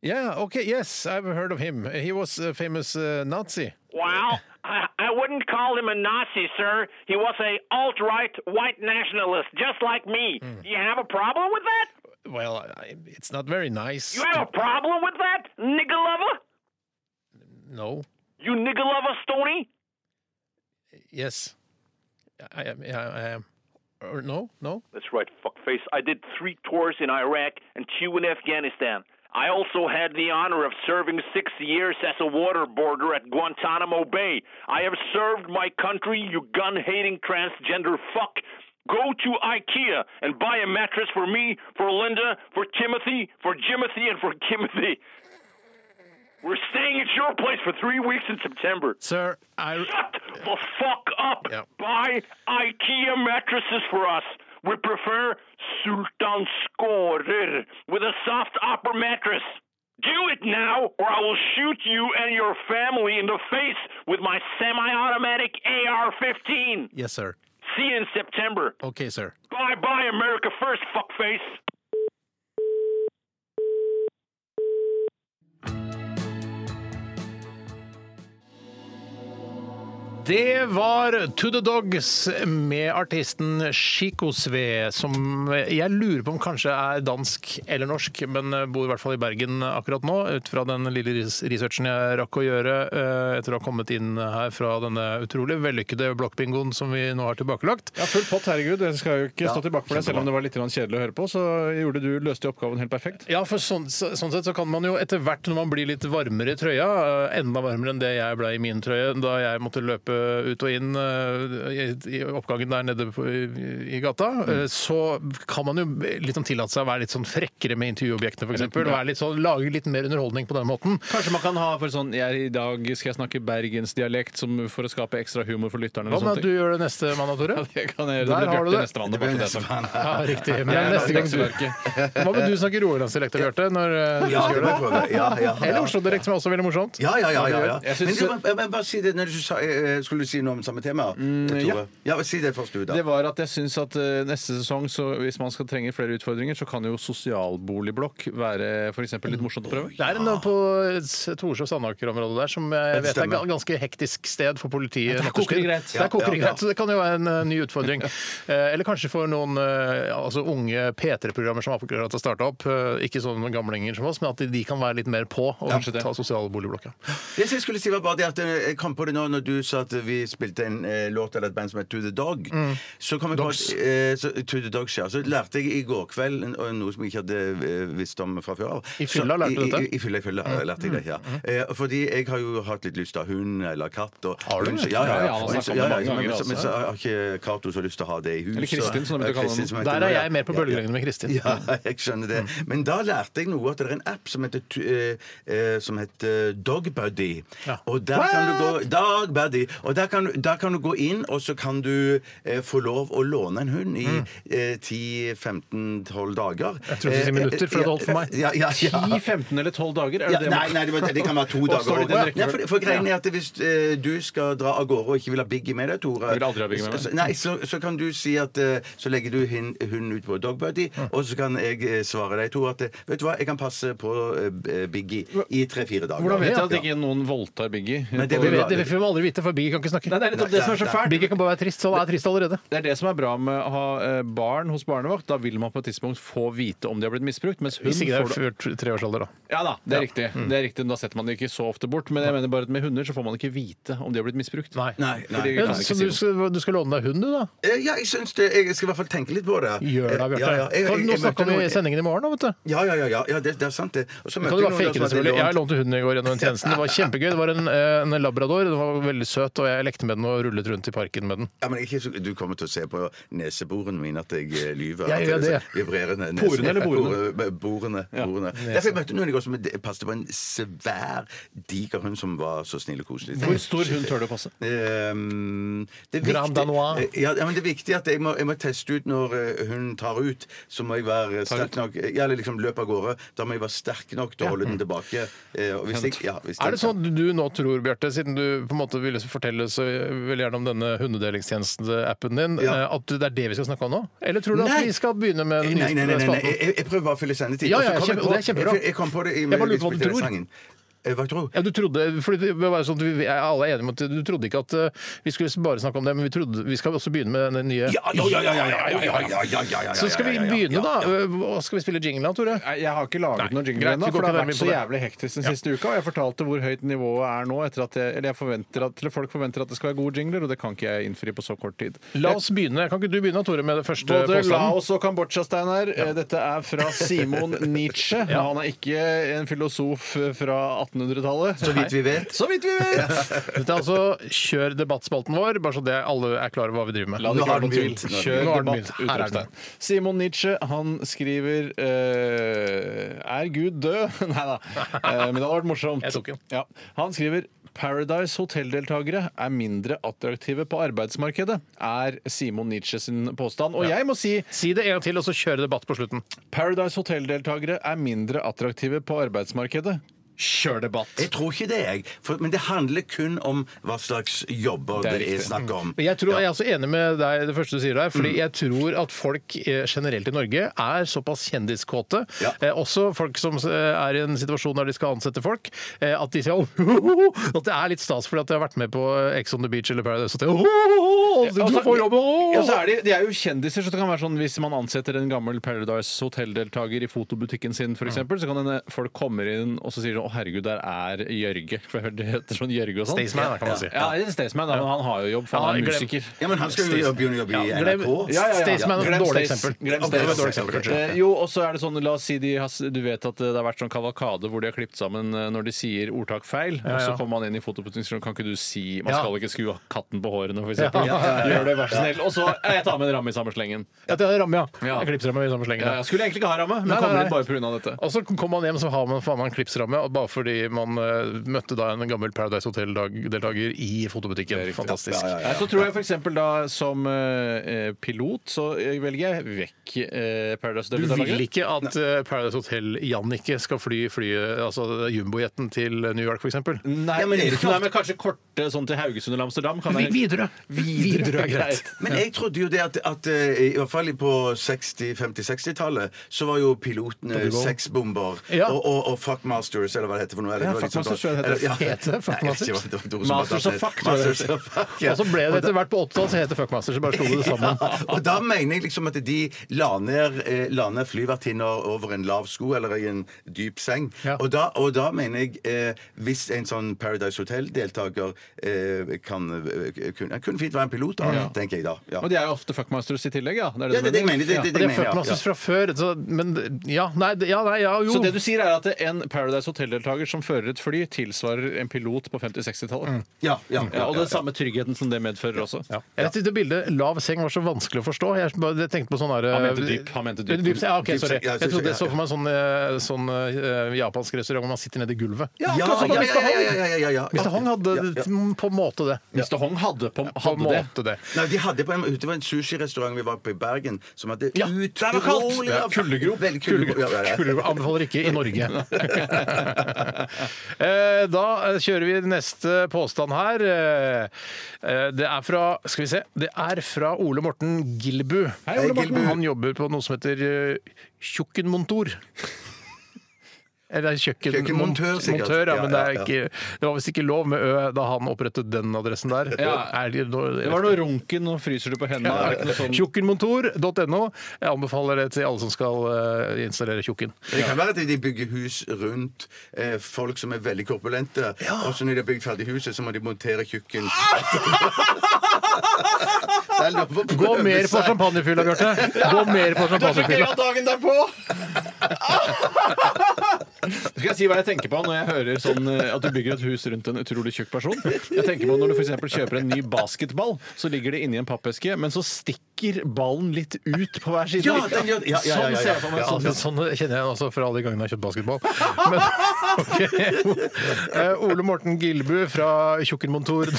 B: Yeah, okay, yes, I've heard of him. He was a famous uh, Nazi.
I: Wow. I, I wouldn't call him a Nazi, sir. He was a alt-right white nationalist, just like me. Do you have a problem with that?
B: Well, I, it's not very nice.
I: You have a problem with that, nigger lover?
B: No.
I: You nigger lover, Stony?
B: Yes. I am. I, I am. Or no? No?
I: That's right, fuckface. I did three tours in Iraq and two in Afghanistan. I also had the honor of serving six years as a waterboarder at Guantanamo Bay. I have served my country, you gun hating transgender fuck. Go to IKEA and buy a mattress for me, for Linda, for Timothy, for Jimothy, and for Kimothy. We're staying at your place for three weeks in September.
B: Sir, I.
I: Shut the fuck up. Buy IKEA mattresses for us. We prefer Sultan Skårer with a soft upper mattress. Do it now, or I will shoot you and your family in the face with my semi-automatic AR-15.
B: Yes, sir.
I: See you in September.
B: Okay, sir.
I: Bye, bye, America first, fuckface.
B: Det var To The Dogs med artisten Chico Sve, som jeg lurer på om kanskje er dansk eller norsk, men bor i hvert fall i Bergen akkurat nå, ut fra den lille res- researchen jeg rakk å gjøre eh, etter å ha kommet inn her fra denne utrolig vellykkede blokkbingoen som vi nå har tilbakelagt.
A: Ja, full pott, herregud. Jeg skal jo ikke stå tilbake for deg, selv om det var litt grann kjedelig å høre på. Så gjorde du, løste du oppgaven helt perfekt.
B: Ja, for sånn, så, sånn sett så kan man jo etter hvert når man blir litt varmere i trøya, eh, enda varmere enn det jeg ble i min trøye da jeg måtte løpe ut og inn eh, i, i oppgangen der nede på, i, i gata,
A: Mm.
B: eh, så kan man jo litt sånn tillate seg å være litt sånn frekkere med intervjuobjektene, f.eks.
A: Ja.
B: Sånn, lage litt mer underholdning på den måten.
A: Kanskje man kan ha for sånn jeg, I dag skal jeg snakke bergensdialekt som- for å skape ekstra humor for lytterne.
B: Hva
A: eller
B: med
A: sånne
B: at du
A: ting.
B: gjør det neste mandag, Tore?
A: Ja, det kan jeg gjøre.
B: Der
A: Det blir
B: har du
A: Bjarte
B: det.
A: neste mandag. bare for det som-
B: Ja, riktig. Men
A: Ja,
B: neste gang du...
A: lekseverket.
B: Hva med du snakker rogalandsdialekt, Bjarte? Når eh, du skal
C: Ja, det
B: gjøre
C: må jeg prøve. Ja, ja, ja.
B: Eller Oslo-dialekt, som er også veldig morsomt.
C: Ja, ja, ja. ja, ja.
A: Jeg
C: Men
A: synes-
C: du, jeg, jeg, bare si det når du sa, eh, Skulle du si noe om samme tema?
B: Mm,
C: Tore?
A: ja.
C: ja, men Si det først, du, da.
A: Det var at jeg syns at eh, neste sesong, så hvis man skal trenge flere utfordringer, så kan jo sosialboligblokk være for eksempel litt morsomt å prøve.
B: Det er
C: Ah.
B: en på Torshov Sandaker-området der som jeg vet er
C: stemmer.
B: et ganske hektisk sted for politiet.
A: Ja, der
B: nattestid.
A: koker det greit.
B: Der koker det
C: Ja, ja, ja.
B: greit, så det kan jo være en eh, ny utfordring. Eh, Eller kanskje for noen eh, altså unge P3-programmer som akkurat har starta opp, eh, ikke sånne gamlinger som oss, men at de kan være litt mer på og
A: det.
B: ta sosialboligblokka.
C: Det som jeg skulle si var bare det at eh, jeg kom på det nå når du sa at eh, vi spilte en eh, låt eller et band som het To The Dog.
J: Mm.
C: Så kom jeg på at, eh, så, To The Dogs, ja. Så lærte jeg i går kveld en- og noe som jeg ikke hadde eh, visst om fra før av.
B: I fylla
C: Så-
B: lærte du
C: i-
B: dette? Mm.
C: I, i fylla, i fylla eh, lærte jeg det, ja. Eh, fordi jeg har jo hatt litt lyst til å ha hund eller katt. Og,
B: Har du
C: hund-
B: det?
C: Ja, ja.
B: Ja, ja,
C: ja,
B: han har
C: Men
B: snakket
C: så-
B: om
C: ja,
B: det mange
C: ja, men
B: ganger
C: så- men så har ikke Cato så lyst til å ha det i huset.
B: Eller Kristin, som du kaller han. Der er jeg mer på bølgelengde med Kristin. Mm.
C: Ja, jeg skjønner det. Men da lærte jeg noe at det er en app som heter, tu- eh, eh, som heter Dogbuddy. Og der kan du gå Dogbuddy. Og der kan, du- der kan du gå inn, og så kan du eh, få lov å låne en hund i eh, 10-15-12 dager.
B: Mm.
C: Eh,
B: Jeg trodde du skulle si minutter, for det hadde holdt for meg.
C: Ja, ja, ja.
A: 10, 15 eller 12 dager? Er
C: Ja,
A: det det
C: nei, nei, det, var- det kan være to
A: Og
C: dager.
A: står det i den
C: også.
A: rekkefølgen?
C: Nei, for, for greien er at Hvis eh, du skal dra av gårde og ikke vil ha Biggie med deg, Tore
A: Jeg vil aldri ha Biggie med meg.
C: så- Nei, så, så kan du si at eh, så legger du hin- hunden ut på Dogbuddy,
A: Mm.
C: og så kan jeg eh, svare deg, Tore, at eh, vet du hva, jeg kan passe på eh, Biggie i tre-fire dager.
A: Hvordan vet jeg at
C: Ja.
A: ikke noen voldtar Biggie?
C: Men det
A: På-
C: vil-
B: Det får vi aldri vite, for Biggie kan ikke snakke.
A: Nei, det er nettopp det som er så fælt.
B: Biggie kan bare være trist, så han er trist allerede.
A: Det er det som er bra med å ha eh, barn hos barnevakt. Da vil man på et tidspunkt få vite om de har blitt misbrukt. Mens hund
B: Hvis ikke det er
A: får du-
B: før t- treårsalder, da.
A: Ja Mm. da, det er
B: Ja.
A: riktig. Det er riktig. Da setter man det ikke så ofte bort. Men jeg mener bare at med hunder så får man ikke vite om de har blitt misbrukt. Nei. Fordi vi
B: Men,
A: kan ikke
B: så
A: si
B: du skal,
A: noe.
B: du skal låne deg hund, du, da?
C: Eh, Ja, jeg syns det. Jeg skal i hvert fall tenke litt på det.
B: Gjør det,
C: Eh,
B: Bjarte.
C: ja, ja. Jeg- jeg-
B: Nå
C: jeg
B: snakker
C: møtte
B: vi i
C: noen-
B: sendingen i morgen, da, vet du.
C: Ja, ja, ja. ja, ja det, det er sant, det. Og så
B: Kan
C: møtte
B: du
C: jeg
B: bare
C: noen der
B: fake det,
C: som hadde
B: selvfølgelig. Jeg
C: lånt-
B: lånte hunden i går gjennom en tjeneste. Det var kjempegøy. Det var en, eh, en labrador. Den var veldig søt, og jeg lekte med den og rullet rundt i parken med den.
C: Ja, men ikke, så- du kommer til å se på neseborene mine at jeg eh, lyver.
B: Jeg
C: At
B: gjør
C: er
B: det.
C: så Vibrerende nese.
B: Porene eller borene?
C: Bore- Borene. borene.
B: Nese.
C: Derfor jeg møtte noen i går som passet på en svær, diger hund som var så snill og koselig.
A: Hvor stor hund tør du å passe?
C: Ehm, det er
A: Grand
C: viktig-
A: Danois.
C: Eh, Ja, ja, men det er viktig at jeg må, jeg må teste ut når eh, hunden tar ut. Så må jeg være sterk nok. Ja, eller liksom løpe av gårde. Da må jeg være sterk nok til å holde den tilbake. Eh, og hvis jeg, ja, hvis
B: Mm. Er
C: den-
B: det sånn at du nå tror, Bjarte, siden du på en måte ville fortelle så veldig gjerne om denne hundedelingstjenesten-appen din,
C: Ja.
B: eh, at det er det vi skal snakke om nå? Eller tror du
C: Nei.
B: at vi skal begynne med den nye
C: Nei, nei, nei, nei, nei.
B: spalten?
C: Jeg, jeg- jeg prøver bare å fylle sendetid.
B: Ja,
C: og så
B: ja, kjempe-
C: kom jeg på-
B: det er kjempebra.
C: Jeg, jeg kom på det i,
B: Jeg bare lurer på hva
C: vi
B: du
C: spilte
B: tror.
C: den sangen. Eh, Hva jeg tror
B: Ja, du trodde, fordi det var sånn at vi er alle enige om at du trodde ikke at eh, vi skulle bare snakke om det, men vi trodde vi skal også begynne med den nye
C: Ja, ja, ja, ja, ja, ja, ja, ja, ja, ja, ja,
B: Så skal vi
C: ja, ja, ja.
B: begynne, da. Eh, Hva Skal vi spille jingle av, Tore?
A: Nei, Jeg har ikke laget noen jingle
B: greit,
A: ennå,
B: vi går
A: for
B: ikke
A: det har
B: nærmere
A: vært så
B: på
A: jævlig hektisk den siste uka. Og jeg fortalte hvor høyt nivået er nå, etter at jeg, eller jeg forventer at, eller folk forventer at det skal være gode jingler, og det kan ikke jeg innfri på så kort tid.
B: La oss begynne. Kan ikke du begynne, Tore, med det første
A: Både
B: påstanden?
A: Laos og Kambodsja, Steinar. Eh, Dette er fra Simon Nietzsche.
B: Ja.
A: Han er ikke en filosof fra 1800-tallet.
C: Så vidt vi vet.
A: Så vidt vi vet!
B: Dette er altså Kjør debattspalten vår, bare så det alle er klar over hva vi driver med.
A: La det ikke være noen tvil.
B: Nå
A: Kjør
B: har den
A: debatt!
B: begynt. Her er den.
A: Utropstegn. Simon Nietzsche han skriver eh, Er Gud død? Nei da. Eh, men det hadde vært morsomt.
B: Jeg tok den.
A: Ja. Han skriver Paradise Hotel-deltakere er mindre attraktive på arbeidsmarkedet, er Simon Nietzsche sin påstand. Og jeg må si
B: Si det en gang til, og så kjøre debatt på slutten.
A: Paradise Hotel-deltakere er mindre attraktive på arbeidsmarkedet. Kjør debatt!
C: Jeg tror ikke det, jeg. For, men det handler kun om hva slags jobber
A: Det
C: det
A: er
C: er,
A: riktig.
C: snakk om.
B: Men Jeg, tror, jeg er også enig med deg det første du sier der,
A: Mm.
B: fordi jeg tror at folk eh, generelt i Norge er såpass kjendiskåte, eh, også folk som eh, er i en situasjon der de skal ansette folk, eh, at de sier «Åh!» at det er litt stas fordi at de har vært med på Ex on the Beach eller Paradise Hotel. «Åh!»
A: Ja,
B: Du
A: altså,
B: får jobb! «Åh!»
A: ja, så er de, de er jo kjendiser, så det kan være sånn hvis man ansetter en gammel Paradise Hotel-deltaker i fotobutikken sin,
B: Mm.
A: for eksempel, så kan hende folk kommer inn og så sier de, å herregud, der er Jørge. For jeg hørte det heter sånn Jørge og sånn.
B: Staysman, da, kan man si.
A: Ja, det er Staysman, da, men han har jo jobb, for
B: Ja,
A: han er
B: glem-
A: musiker.
C: Ja, men han skal jo
A: Staysman.
C: jobbe, jobbe i
B: Ja, glem-
C: NRK.
B: Ja, ja, ja. Staysman er et
A: Glem
B: dårlig
A: Stays-
B: eksempel.
A: Glem
B: Ok, det var et
A: Stays.
B: dårlig eksempel, kanskje.
A: Eh, Jo, og så er det sånn, la oss si de har, Du vet at det har vært sånn kavakade hvor de har klippet sammen eh, når de sier ordtak feil,
B: Ja,
A: og så
B: ja.
A: kommer man inn i fotobutikken, kan ikke du si Man
B: Ja.
A: skal ikke skue katten på hårene, for eksempel.
B: Ja, ja, ja.
A: Gjør det, vær så snill. Og så eh, Jeg tar med en ramme i samme slengen.
B: Ja, det er ramme, ja.
A: Ja.
B: Jeg klipser dem i samme slengen.
A: Ja, jeg skulle egentlig ikke ha ramme, men
B: Nei, nei,
A: kommer
B: nei.
A: inn bare pga. dette.
B: Og så kommer man hjem, så har man faen meg en klipsramme, og bare fordi man eh, møtte da en gammel Paradise Hotel-deltaker i fotobutikken. Fantastisk.
A: Nei, Så tror jeg f.eks. da som eh, pilot så velger jeg vekk eh, Paradise
B: Du
A: Hotel-deltakere.
B: vil ikke at eh, Paradise Hotel-Jannicke skal fly flyet, altså jumbojetten til New York, f.eks.?
A: Nei,
B: Ja, men
A: men,
B: det er ikke
A: nei, men kanskje korte sånn til Haugesund eller Amsterdam. Kan
B: Vi- Widerøe.
A: Widerøe,
B: Widerøe er greit.
C: Men jeg trodde jo det at, at eh, i hvert fall på 60-, 50-60-tallet så var jo pilotene
B: Dobbeltbom.
C: sexbomber
B: Ja.
C: og, og, og fuckmasters, eller hva det heter for noe. eller
B: Ja,
C: det var litt sånn-
B: fuckmasters, tror jeg det heter.
C: eller- ja.
B: Heter det fuckmasters?
C: Nei, jeg vet ikke hva det var, det var ordet som
B: Masters of
C: var tatt
B: fuck,
C: ned.
B: tror jeg det
C: Masters
B: heter.
C: of fuck, ja.
B: Og så ble det etter hvert på 80-tallet så het det Fuckmaster, så bare slo de det sammen.
C: Ja, og da mener jeg liksom at de la ned, eh, la ned flyvertinner over en lav sko eller i en dyp seng. Og, da, og da mener jeg eh, hvis en sånn Paradise Hotel-deltaker eh, kan eh, kunne, kunne fint være en pilot, da,
A: Ja.
C: tenker jeg da. Ja.
A: Og de er jo ofte fuckmasters i tillegg, ja.
C: Ja, det er det jeg mener. Det- det-
B: Og
C: det
B: det
C: mener
B: er
C: jeg, ja.
B: Fuckmasters fra før, så, men ja, nei, det- ja, nei, ja, jo.
A: Så det du sier er at en Paradise Hotel-deltaker som fører et fly, tilsvarer en pilot på 50-60-tallet?
C: Ja, ja, ja,
A: Og
C: ja, ja.
A: den samme tryggheten som det medfører også?
B: Jeg synes det bildet 'lav seng' var så vanskelig å forstå. Jeg bare- Jeg tenkte på sånn her
A: Han mente dyp, han mente dyp.
B: seng. Ja, ok,
A: Dyp
B: sorry.
A: seng, ja,
B: Jeg trodde
A: ja,
B: jeg så for meg en sånn, eh, sånn eh, japansk restaurant hvor man sitter nede i gulvet.
C: Ja,
B: akkurat som på
C: ja, ja,
B: Mr. Hong.
C: ja, ja, ja, ja, ja.
B: Mr. Hong hadde
C: Ja, ja.
B: mm, på en måte det.
A: Mr. Hong hadde på,
B: På en måte det.
C: Nei, de hadde på en, det var en sushirestaurant vi var på i Bergen, som hadde
B: Ja,
A: der var kaldt!
C: utrolig
A: Ja, kuldegrop.
C: Veldig kuldegrop, ja, ja, ja.
B: Kuldegrop anbefaler ikke i Norge. Eh, da eh, kjører vi neste påstand her. Eh, eh, Det er fra Skal vi se. Det er fra Ole Morten Gilbu.
A: Hei, Ole Morten. Gilbu.
B: Han jobber på noe som heter eh, Tjukkenmontor. Eller kjøkken,
C: Kjøkkenmontør,
B: mont-
C: sikkert.
B: montør, ja,
C: Ja,
B: men det, er
C: ja, ja.
B: ikke, det var visst ikke lov med Ø da han opprettet den adressen der.
A: Ja.
B: Er det, noe-
A: Det var noe runken, nå fryser du på hendene. Er det ikke noe sånn
B: Tjukkenmontor.no. Jeg anbefaler det til alle som skal eh, installere tjukken.
C: Det kan være at de bygger hus rundt eh, folk som er veldig korpulente. Og så når de har bygd ferdig huset, så må de montere tjukken.
B: Ah!
C: Det er lov
B: Gå
C: å prøve
B: mer på
C: seg.
B: champagnefylla, Bjarte. Gå mer på champagnefylla.
A: dagen derpå! Skal jeg si hva jeg tenker på når jeg hører sånn eh, at du bygger et hus rundt en utrolig tjukk person? Jeg tenker på Når du for eksempel kjøper en ny basketball, så ligger det inni en pappeske, men så stikker ballen litt ut på hver side.
C: Ja, den gjør- ja, ja, ja, ja, ja.
A: Sånn ser jeg for meg.
B: Ja,
A: Sånn,
B: men sånn kjenner jeg også fra alle de gangene jeg har kjøpt basketball. Men, ok. Eh, Ole Morten Gilbu fra Tjukkenmontor.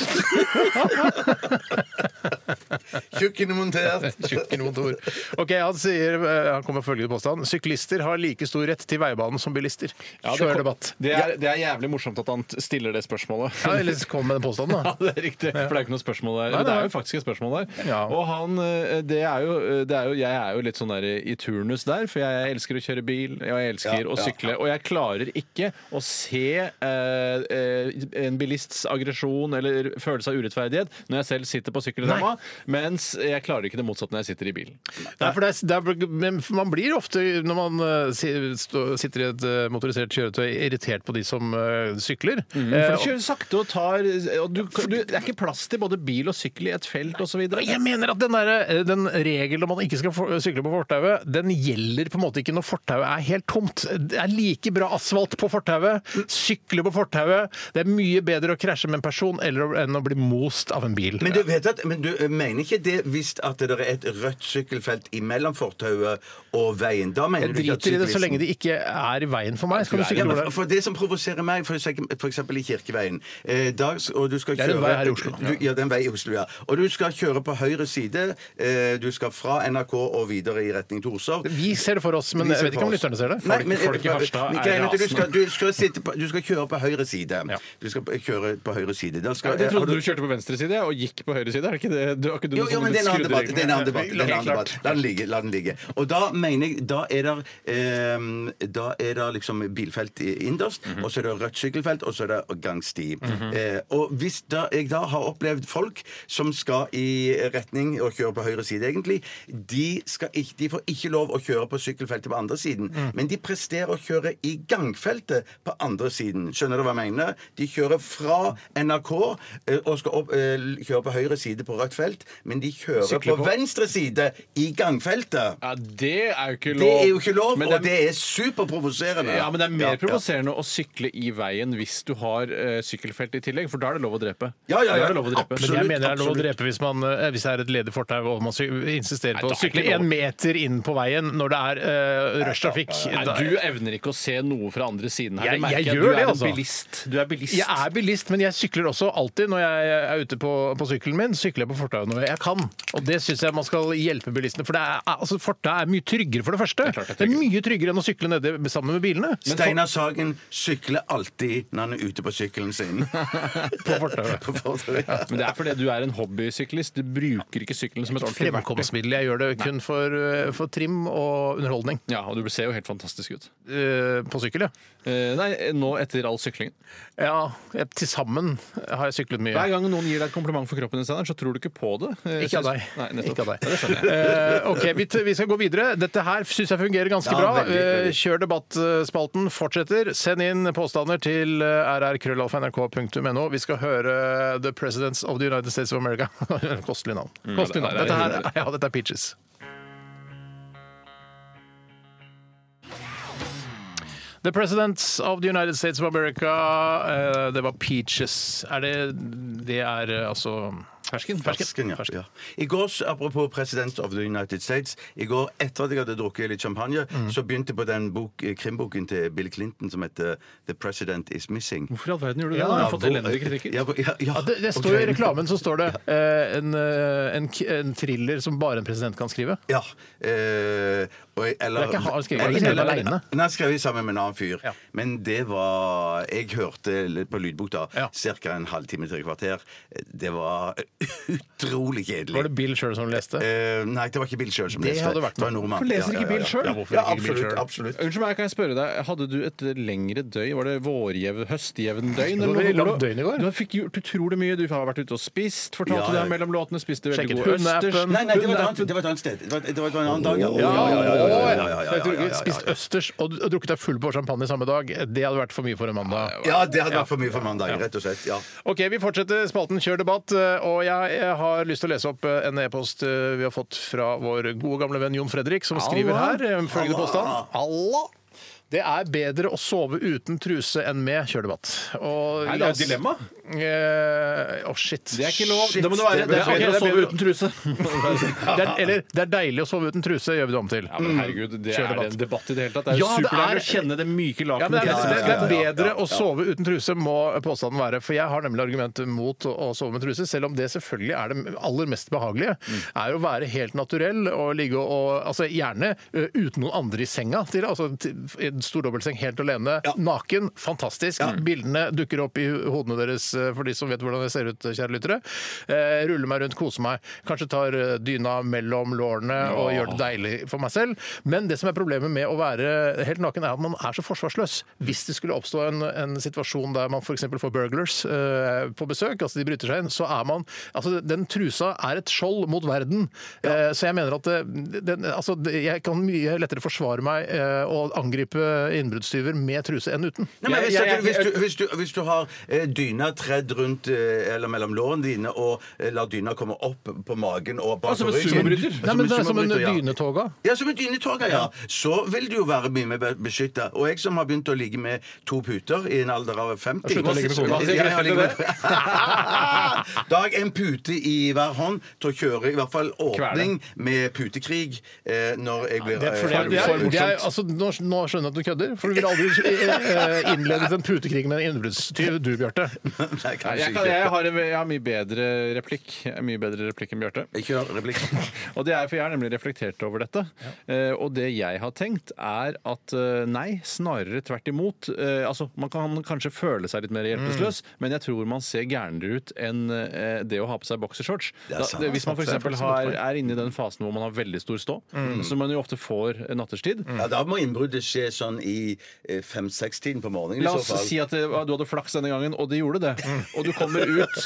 C: Tjukken er montert.
B: Tjukkenmontor. Ok, han, sier, eh, han kommer med følgende påstand. Syklister har like stor rett til veibanen som bilister.
A: Ja, det,
B: Kjør debatt.
A: det, er, det er jævlig morsomt at han t- stiller det spørsmålet.
B: Ja, eller kom med den påstanden,
A: Ja,
B: da.
A: det er riktig. For det er ikke noe spørsmål
B: Nei,
A: der. Men det
B: nei.
A: er jo faktisk et spørsmål der.
B: Ja.
A: Og han, eh, det er jo, det er jo, jeg er jo litt sånn der i turnus der, for jeg elsker å kjøre bil, og jeg elsker å sykle. Og jeg klarer ikke å se eh, eh, en bilists aggresjon eller følelse av urettferdighet når jeg selv sitter på sykkeldama, mens jeg klarer ikke det motsatte når jeg sitter i bilen.
B: Nei, for det er, det er, men man blir ofte, når man eh, si- stå- sitter i et eh, motorisert kjøretøy, irritert på de som eh, sykler. Eh,
A: Mm. For du kjører sakte og tar og du, du, Det er ikke plass til både bil og sykkel i et felt osv.
B: og jeg mener at den, der, eh, den regelen om man ikke skal for- sykle på fortauet, den gjelder på en måte ikke når fortauet er helt tomt. Det er like bra asfalt på fortauet, sykle på fortauet. Det er mye bedre å krasje med en person eller, enn å bli most av en bil.
C: Men du, vet at, men du eh, mener ikke det hvis at det er et rødt sykkelfelt imellom fortauet og veien? Da mener
B: jeg
C: du ikke at
B: driter i det så
C: syklisten-
B: lenge de ikke er i veien for meg. Skal du
C: Ja,
B: sykle
C: men
B: hvor det
C: for-
B: er?
C: for det som provoserer meg, for eksempel for eksempel i Kirkeveien eh, da, og du skal
B: Det er
C: kjøre,
B: en vei her i Oslo.
C: Du, ja, det er en vei i Oslo, ja. Og du skal kjøre på høyre side. Eh, du skal fra NRK og videre i retning Torshov.
B: Vi ser det for oss, men
C: Vi
B: jeg
C: ser
B: vet ikke om
C: for oss.
B: lytterne ser det.
C: Nei,
B: Folk-
C: men-
A: folk i Harstad
C: men
A: er
C: greien at du
A: rasende.
C: skal, du, skal sitte på, du skal kjøre på høyre side.
B: Ja.
C: Du skal kjøre på høyre side. Da skal,
A: Jeg
C: har
A: trodde du kjørte på venstre side og gikk på høyre side. Er det ikke det? Du, har ikke du
C: jo,
A: noen
C: jo,
A: sånne
C: men det er en annen debatt.
A: skruddregler?
C: Det er en annen debatt. Det er en annen
A: Helt
C: debatt.
A: klart.
C: La den ligge. la den ligge. Og da mener jeg, da er det, ehm, da er det liksom bilfelt i- innerst, og så er det rødt sykkelfelt, og så er det gangsti. eh, og hvis da, jeg da har opplevd folk som skal i retning og kjører på høyre side, egentlig, de, skal ikke, de får ikke lov å kjøre på sykkelfeltet på andre siden, men de presterer å kjøre i gangfeltet på andre siden. Skjønner du hva jeg mener? De kjører fra NRK eh, og skal opp, eh, kjøre på høyre side på rødt felt, men de kjører
A: Sykler
C: på
A: på.
C: venstre side i gangfeltet.
A: Ja, det er jo ikke lov.
C: Det er jo ikke lov,
A: Men
C: og det er superprovoserende.
A: ja, men det er mer
C: Ja, ja.
A: provoserende å sykle i veien hvis du har eh, sykkelfelt i tillegg, for da er det lov å drepe.
C: Ja, ja, ja.
A: Da er det lov å drepe.
B: Men
C: Absolutt,
B: jeg mener det er lov å
C: absolutt.
B: drepe hvis, man, eh, hvis det er et ledig fortau og man sy- insisterer
A: Nei,
B: på
A: da
B: å
A: er det
B: sykle
A: ikke lov.
B: én meter inn på veien når det er uh, rushtrafikk.
A: Nei,
B: Da-
A: du evner ikke å se noe fra andre siden her.
B: Jeg-
A: Det merker
B: jeg
A: jeg.
B: gjør
A: Du er
B: det,
A: en
B: altså.
A: bilist. Du er bilist.
B: Jeg er bilist, men jeg sykler også alltid når jeg er ute på, på sykkelen min. Sykler jeg på fortauet når jeg jeg kan. Og det syns jeg man skal hjelpe bilistene. For det er, altså, fortau er mye tryggere, for det første. Det er, mye tryggere enn å sykle nedi sammen med bilene.
C: Steinar
A: sånn-
C: Sagen sykler alltid når han er ute på sykkelen sin.
B: på fortauet.
A: Men det er fordi du er en hobbysyklist. Du bruker ikke sykkelen som et ordentlig
B: Fremkomstmiddel. Jeg gjør det kun for, eh, for trim og underholdning.
A: Ja, og du ser jo helt fantastisk ut.
B: Eh, På sykkel, ja.
A: Eh, Nei, nå etter all syklingen.
B: Ja, jeg- til sammen har jeg syklet mye.
A: Hver gang noen gir deg et kompliment for kroppen din, Steinar, så tror du ikke på det. Eh,
B: Ikke av
A: så-
B: deg.
A: Nei, nettopp.
B: Ikke av deg.
A: Ja, det skjønner jeg.
B: Eh, ok, vi, t- vi skal gå videre. Dette her syns jeg fungerer ganske
A: Ja,
B: bra.
A: veldig, veldig.
B: Eh, Kjør debattspalten fortsetter. Send inn påstander til eh, rrkrøllalfa.nrk.no. Vi skal høre The Presidents of the United States of America. Kostelig navn.
A: Mm,
B: Kostelig
A: ja,
B: navn.
A: det er-
B: Dette, her, ja, dette er Peaches. The Presidents of the United States of America. eh, Det var Peaches. Er det Det er eh, altså Fersken.
C: Fersken, ja. ja. I går, s- Apropos President of the United States. I går, etter at jeg hadde drukket litt champagne,
A: Mm.
C: så begynte jeg på den bok, eh, krimboken til Bill Clinton som heter The President Is Missing.
A: Hvorfor i all verden gjorde du det?
B: Ja,
A: da? Jeg har
C: hvor-
A: fått elendige kritikker.
C: Ja, hvor- ja, ja.
B: Ja, det, det står jo I reklamen så står det eh, en, eh, en, k- en thriller som bare en president kan skrive.
C: Ja. Eh, og, jeg- eller,
B: Det er ikke han skrevet, han skrev
C: Eller-
B: det
C: eller-
B: alene.
C: Nei, han skrev sammen med en annen fyr. Men det var Jeg hørte litt på lydbok da, ca. en halvtime til et kvarter. Det var utrolig kjedelig.
B: Var det Bill sjøl som leste?
C: Eh, nei, det var ikke Bill sjøl som
B: Det
C: leste.
B: hadde vært
C: det var
B: noe.
C: en nordmann.
A: Hvorfor leser ikke Bill sjøl?
C: Ja, ja, absolutt, absolutt.
A: Unnskyld meg, kan jeg spørre deg, hadde du et lengre døgn? Var det vårjevn, høstjevn døgn?
B: Det var veldig langt døgn i går.
A: Du fikk gjort utrolig mye. Du har vært ute og spist,
C: Ja,
A: fortalte
C: ja.
A: du deg mellom låtene, spiste veldig
B: Sjekket
A: gode
B: hundeappen.
A: østers.
C: Nei, nei, det var et annet, det var et annet sted. Det var, det var en annen dag, ja.
B: Jeg tror ikke Spist østers og og drukket deg full på champagne samme dag, det hadde vært for mye for en mandag.
C: Ja, det hadde vært for mye for mandag, rett og slett. Ja.
B: Ok, Vi fortsetter spalten Kjør debatt. Og jeg, jeg har lyst til å lese opp en e-post eh, vi har fått fra vår gode gamle venn Jon Fredrik, som skriver
A: Allah.
B: her eh, følgende påstand. Allah! Det er bedre å sove uten truse enn med Kjør debatt. Og
A: Nei, det er et
B: jeg-
A: dilemma.
B: Eh, Å, shit.
A: Det er ikke lov.
B: Shit,
A: det må det være. Det er
B: ok,
A: bedre å sove
B: bedre-
A: uten truse.
B: Det er, eller det er deilig å sove uten truse, gjør vi det om til.
A: Ja, men herregud, det
B: Kjør
A: er
B: debatt.
A: en debatt i det hele tatt. Det er jo
B: Ja, det
A: superdeilig
B: er-
A: å kjenne det myke
B: Ja, men
A: lakenet.
B: det, er, det, er,
A: Ja, ja,
B: det
A: ja, ja.
B: er bedre å sove uten truse, må påstanden være. For jeg har nemlig argumentet mot å, å sove med truse, selv om det selvfølgelig er det aller mest behagelige.
A: Mm.
B: Er jo å være helt naturell og ligge og altså Gjerne ø, uten noen andre i senga. Til, altså til, i en stor dobbeltseng helt alene, naken. Fantastisk. Bildene dukker opp i hodene deres ø, for de som vet hvordan jeg ser ut, kjære lyttere. Eh, ruller meg rundt, koser meg. Kanskje tar ø, dyna mellom lårene og gjør det deilig for meg selv. Men det som er problemet med å være helt naken, er at man er så forsvarsløs. Hvis det skulle oppstå en, en situasjon der man f.eks. får burglars eh, på besøk, altså de bryter seg inn, så er man Altså, den trusa er et skjold mot verden. Eh, så jeg mener at det, den, altså, det, jeg kan mye lettere forsvare meg eh, og angripe innbruddstyver med truse enn uten.
C: Nei, men hvis, at du, hvis, du, hvis, du, hvis du har eh, dyna tredd rundt eh, eller mellom lårene dine og eh, lar dyna komme opp på magen og bak
A: Ja, som en
C: på ryggen-
A: sumobryter.
B: Nei, men det er som en
C: sumobryter, ja.
B: dynetoga.
C: Ja, som en dynetoga, ja. Så vil du jo være mye mer beskytta. Og jeg som har begynt å ligge med to puter i en alder av 50
B: Slutt å ligge med kona.
C: Ja, jeg har ligget med- Da har jeg en pute i hver hånd til å kjøre i hvert fall åpning med putekrig eh, når jeg blir
B: Det er,
C: eh,
B: fordi- det er, det er, altså, nå, nå skjønner jeg at du kødder, for du ville aldri eh, eh, innledet en putekrig med en innbruddstyv, du, Bjarte.
A: Nei,
C: Nei, kanskje
A: Jeg, kan, jeg,
C: ikke.
A: har en, jeg har mye bedre replikk Jeg har Mye bedre replikk enn Bjarte.
C: Ikke replikk.
A: Og det er for Jeg har nemlig reflektert over dette. Eh, og det jeg har tenkt, er at eh, nei, snarere tvert imot. Eh, altså, Man kan kanskje føle seg litt mer hjelpeløs, men jeg tror man ser gærnere ut enn eh, det å ha på seg boksershorts.
C: Det er
A: Da-
C: sant.
A: det- Hvis man
B: Det er
A: f.eks.
B: faktisk et godt poeng.
A: er inne i den fasen hvor man har veldig stor stå, som man jo ofte får eh, natterstid.
C: Ja, da må innbruddet skje sånn i eh, fem-seks-tiden på morgenen.
A: La
C: i
A: oss
C: så fall.
A: si at eh, du hadde flaks denne gangen, og det gjorde det. Og du kommer ut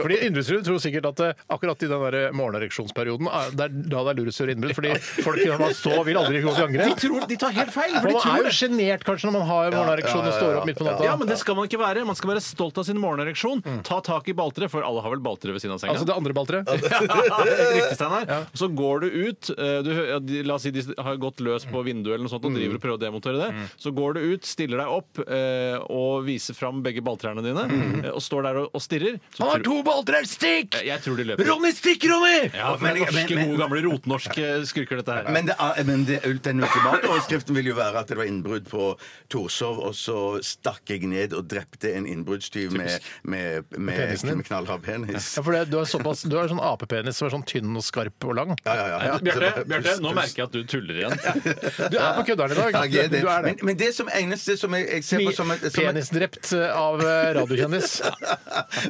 B: Fordi Innbruddsrud tror sikkert at eh, akkurat i den der morgenereksjonsperioden er- det er da det er lurest å gjøre innbrudd. Fordi folk når man står vil aldri gå til
A: De,
B: angrep.
A: tror, de tar helt feil!
B: Og
A: For de
B: man
A: tror
B: er jo sjenert kanskje når man har morgenereksjon og står opp midt på natta.
A: Ja, men det skal man ikke være. Man skal være stolt av sin morgenereksjon. Ta tak i balltreet, for alle har vel balltre ved siden av senga.
B: Altså det andre balltreet.
A: Riktig, Steinar. Så går du ut eh, du, hø- ja, de- La oss si de har gått løs på vinduet eller noe sånt og driver Mm. og prøver å demontere det. Så går du ut, stiller deg opp eh, og viser fram begge balltrærne dine. eh, og står der og, og stirrer så
B: Han har
A: tror-
B: to bolter her! Stikk!
A: Jeg- Jeg tror de løper.
B: Ronny, stikk, Ronny!
A: Ja, for
C: Men-
A: det er norske,
C: men- men-
A: gode, gamle rotnorske skurker, dette her.
C: Men, det, er- eh, men det, den ultimate overskriften vil jo være at det var innbrudd på Torshov, og så stakk jeg ned og drepte en innbruddstyv med, med, med,
B: penisen din.
C: med knallhard penis.
B: Ja, for det, du er såpass, du er sånn apepenis som er sånn tynn og skarp og lang.
C: Ja, ja, ja.
A: Nei, Eh, Bjarte,
C: Det var-
A: Bjarte, nå merker jeg at du tuller igjen.
B: Du er på kødderen i dag.
C: Ja, jeg er det.
B: Du er det.
C: Men, men det som eneste som jeg, jeg ser på som et, som et
B: Penisdrept av eh, radiokjendis.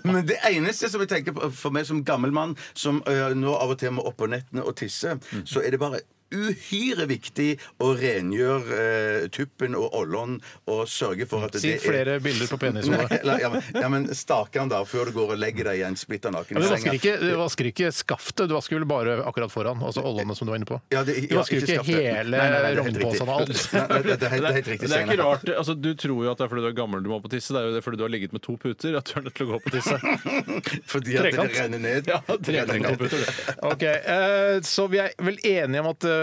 C: Men det eneste som jeg tenker på for meg som gammel mann, som ø, nå av og til må opp på nettene og tisse,
B: Mhm.
C: så er det bare uhyre viktig å rengjøre ø, tuppen og ollån og sørge for at
B: Si
C: det
B: flere bilder på
C: Nei,
B: penishodet.
C: la- ja, men, ja, men stake den da før du går og legger deg igjen splitter naken
B: Ja, men
C: i
B: du,
C: senga.
B: vasker ikke, du vasker ikke skaftet, du vasker vel bare akkurat foran. Altså ollene som du var inne på.
C: Ja, det-
B: Du
C: ja,
B: vasker jo
C: ikke
B: ikke
C: skaftet.
B: hele
C: Nei, nei, nei, det er helt
B: rognposen og alt.
C: riktig. Nei, nei, det, det er helt, det er helt
A: Det
C: riktig.
A: er ikke
C: Steinar.
A: rart, altså Du tror jo at det er fordi du er gammel du må på tisse. Det er jo det fordi du har ligget med to puter at du er nødt til å gå på tisse.
C: Fordi at
B: Trekant.
C: det renner ned.
A: Ja, trekant av puter, det.
B: Ok, eh, Så vi er vel enige om at eh,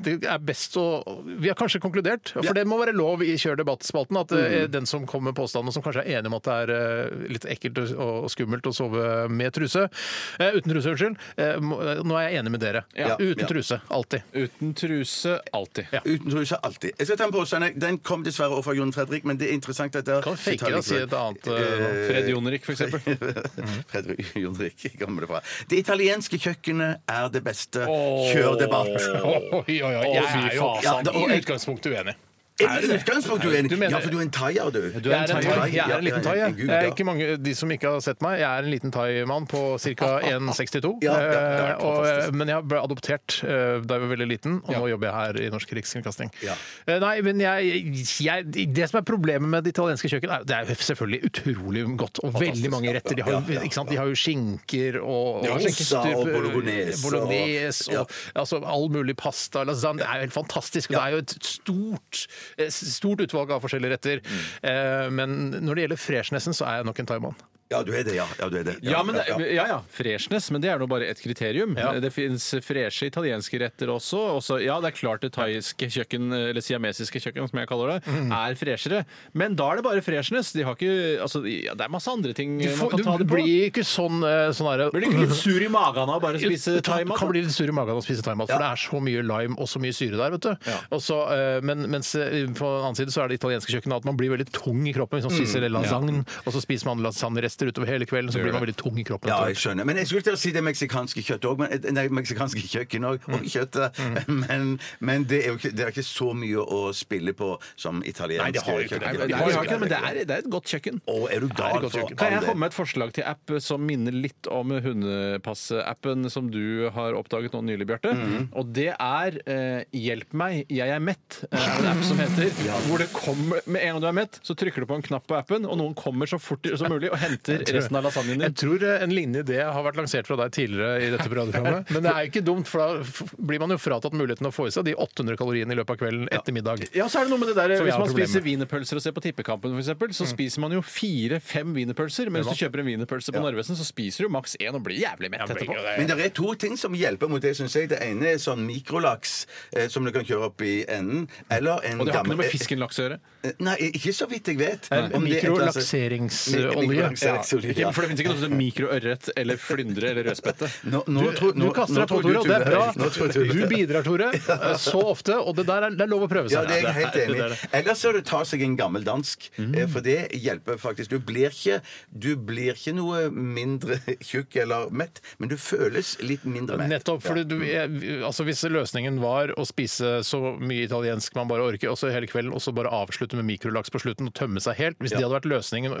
B: det er best å Vi har kanskje konkludert, for det må være lov i Kjør debatt-spalten at
C: Mm.
B: eh, den som kommer med påstanden, og som kanskje er enig om at det er eh, litt ekkelt og- og skummelt å sove med truse eh, Uten truse, unnskyld. eh, må- eh, Nå er jeg enig med dere.
C: Ja.
B: Uten
C: Ja.
B: truse. Alltid.
A: Uten truse alltid.
B: Ja.
C: Uten truse alltid. Jeg skal ta en påstand. Den kom dessverre over fra Jon Fredrik, men det er interessant dette.
B: Kan du fake det og si et annet, eh,
A: Fred Jonrik, for eksempel.
C: Fredrik Jonrik kommer det fra. Det italienske kjøkkenet er det beste.
A: Åh.
C: Kjør debatt.
B: oi, oi, oi.
A: Å, fy
B: Jeg er jo
A: faen.
C: Ja, da- og
B: i
C: jeg-
B: utgangspunktet uenig.
C: Er det utgangspunktet uenig?
B: Du mener-
C: Ja, for du er en thaier, du.
A: Du
B: jeg
A: er en
B: er en,
A: thai.
B: thai. Jeg er en liten thai.
C: Ja,
B: Jeg.
C: en gud,
B: Det er
C: ja.
B: ikke mange, de som ikke har sett meg, jeg er en liten thai-mann på ca. 1,62.
C: Ja, ja, det er
B: Eh, og,
C: fantastisk.
B: men jeg ble adoptert eh, da jeg var veldig liten, og nå jobber jeg her i Norsk Rikskringkasting.
C: Ja.
B: Eh, Nei, men jeg, jeg, Det som er problemet med det italienske kjøkkenet, er det er jo selvfølgelig utrolig godt og veldig mange retter. De har,
C: Ja,
B: jo-
C: ja,
B: ikke sant? De har jo skinker og, eh,
C: De har pizza og bolognese og-
B: bolognese og, altså, all mulig pasta. Lasagne. Det er jo helt fantastisk. Og det er jo et stort, eh, stort utvalg av forskjellige retter.
A: Mm.
B: Eh, Men når det gjelder freshnessen, så er jeg nok en thaimann.
C: Ja, du er det, ja. ja, du er det.
A: Ja, men, det- ja, ja. Freshness, men det er nå bare et kriterium. Det fins freshe italienske retter også. også. Ja, det er klart det thaiske kjøkken, eller siamesiske kjøkken, som jeg kaller det,
B: Mhm.
A: er freshere. Men da er det bare freshness. De har ikke, altså, ja, det er masse andre ting
B: Du,
A: man
B: får,
A: kan ta
B: du
A: det på.
B: blir ikke sånn, eh, sånn herre
A: Blir du ikke litt sur eh, i magen av å bare spise thaimat?
B: kan bli litt sur i magen av å spise thaimat, for det er så mye lime og så mye syre der. vet du.
A: Ja.
B: Og så, eh, men mens eh, på den annen side så er det italienske kjøkkenet at man blir veldig tung i kroppen
A: Mm.
B: hvis man spiser lasagne, og så spiser man lasagnerester utover hele kvelden, så blir man veldig tung i kroppen.
C: Ja,
B: etter
C: jeg
B: hvert.
C: skjønner. Men jeg skulle til å si det meksikanske kjøttet òg. Nei, meksikanske kjøkken òg.
A: Mm.
C: Og kjøttet. Men, men det, er jo ikke, det er ikke så mye å spille på som italiensk
B: Nei, det har jo ikke det.
A: Nei, men det er, jo ikke det, men det er, det er et godt kjøkken.
C: Å, er du
B: er et
C: gal
B: godt
C: for
B: kjøkken.
A: Kan jeg
C: all
A: komme
C: det?
A: med et forslag til app som minner litt om hundepassappen som du har oppdaget nå nylig, Bjarte?
B: Mhm.
A: Og det er eh, Hjelp meg, jeg er mett. eh, er det en app som heter. Hvor det kommer, Med en gang du er mett, så trykker du på en knapp på appen, og noen kommer så fort som mulig og henter resten av lasagnen din.
B: Jeg tror eh, en lignende idé har vært lansert fra deg tidligere i dette programmet. Men det er jo ikke dumt, for da f- blir man jo fratatt muligheten å få i seg de 800 kaloriene i løpet av kvelden etter middag.
A: Ja, så er det noe med det der,
B: Så vi
A: Hvis
B: har
A: man
B: problemet.
A: spiser wienerpølser og ser på Tippekampen, for eksempel, så spiser man jo fire-fem wienerpølser. Men hvis du kjøper en wienerpølse på Narvesen, så spiser du maks én og blir jævlig mett etterpå.
C: Men det er to ting som hjelper mot det, syns jeg. Det ene er sånn mikrolaks eh, som du kan kjøre opp i enden. Eller en
A: Og det har ikke
C: gammel-
A: noe med fisken laks å gjøre.
C: Eh, Nei, ikke så vidt jeg vet. Om det er et eller annet-
B: Mikrolakseringsolje.
C: Mikrolakseringsolje,
A: Ikke,
C: ja.
A: for det finnes ikke noe som heter mikroørret eller flyndre eller rødspette.
C: Nå, nå,
B: Du,
C: tror-
B: du
C: nå-
B: kaster
C: nå
B: deg på,
C: tror du
B: Tore, og det er
C: tuller. Nå tror
B: bra.
C: jeg tuller.
B: Du bidrar, Tore, eh, så ofte, og det der er, det er lov å prøve
C: Ja,
B: seg.
C: det er jeg helt
A: det Mhm. er
C: enig i. Ellers så er det å ta seg en gammel dansk. eh, For det hjelper faktisk. Du blir ikke, du blir ikke noe mindre tjukk eller mett, men du føles litt mindre mett.
B: Nettopp. fordi du,
C: Mm.
B: jeg, altså Hvis løsningen var å spise så mye italiensk man bare orker, og så hele kvelden, og så bare avslutte med mikrolaks på slutten og tømme seg helt Hvis det hadde vært løsningen, og- og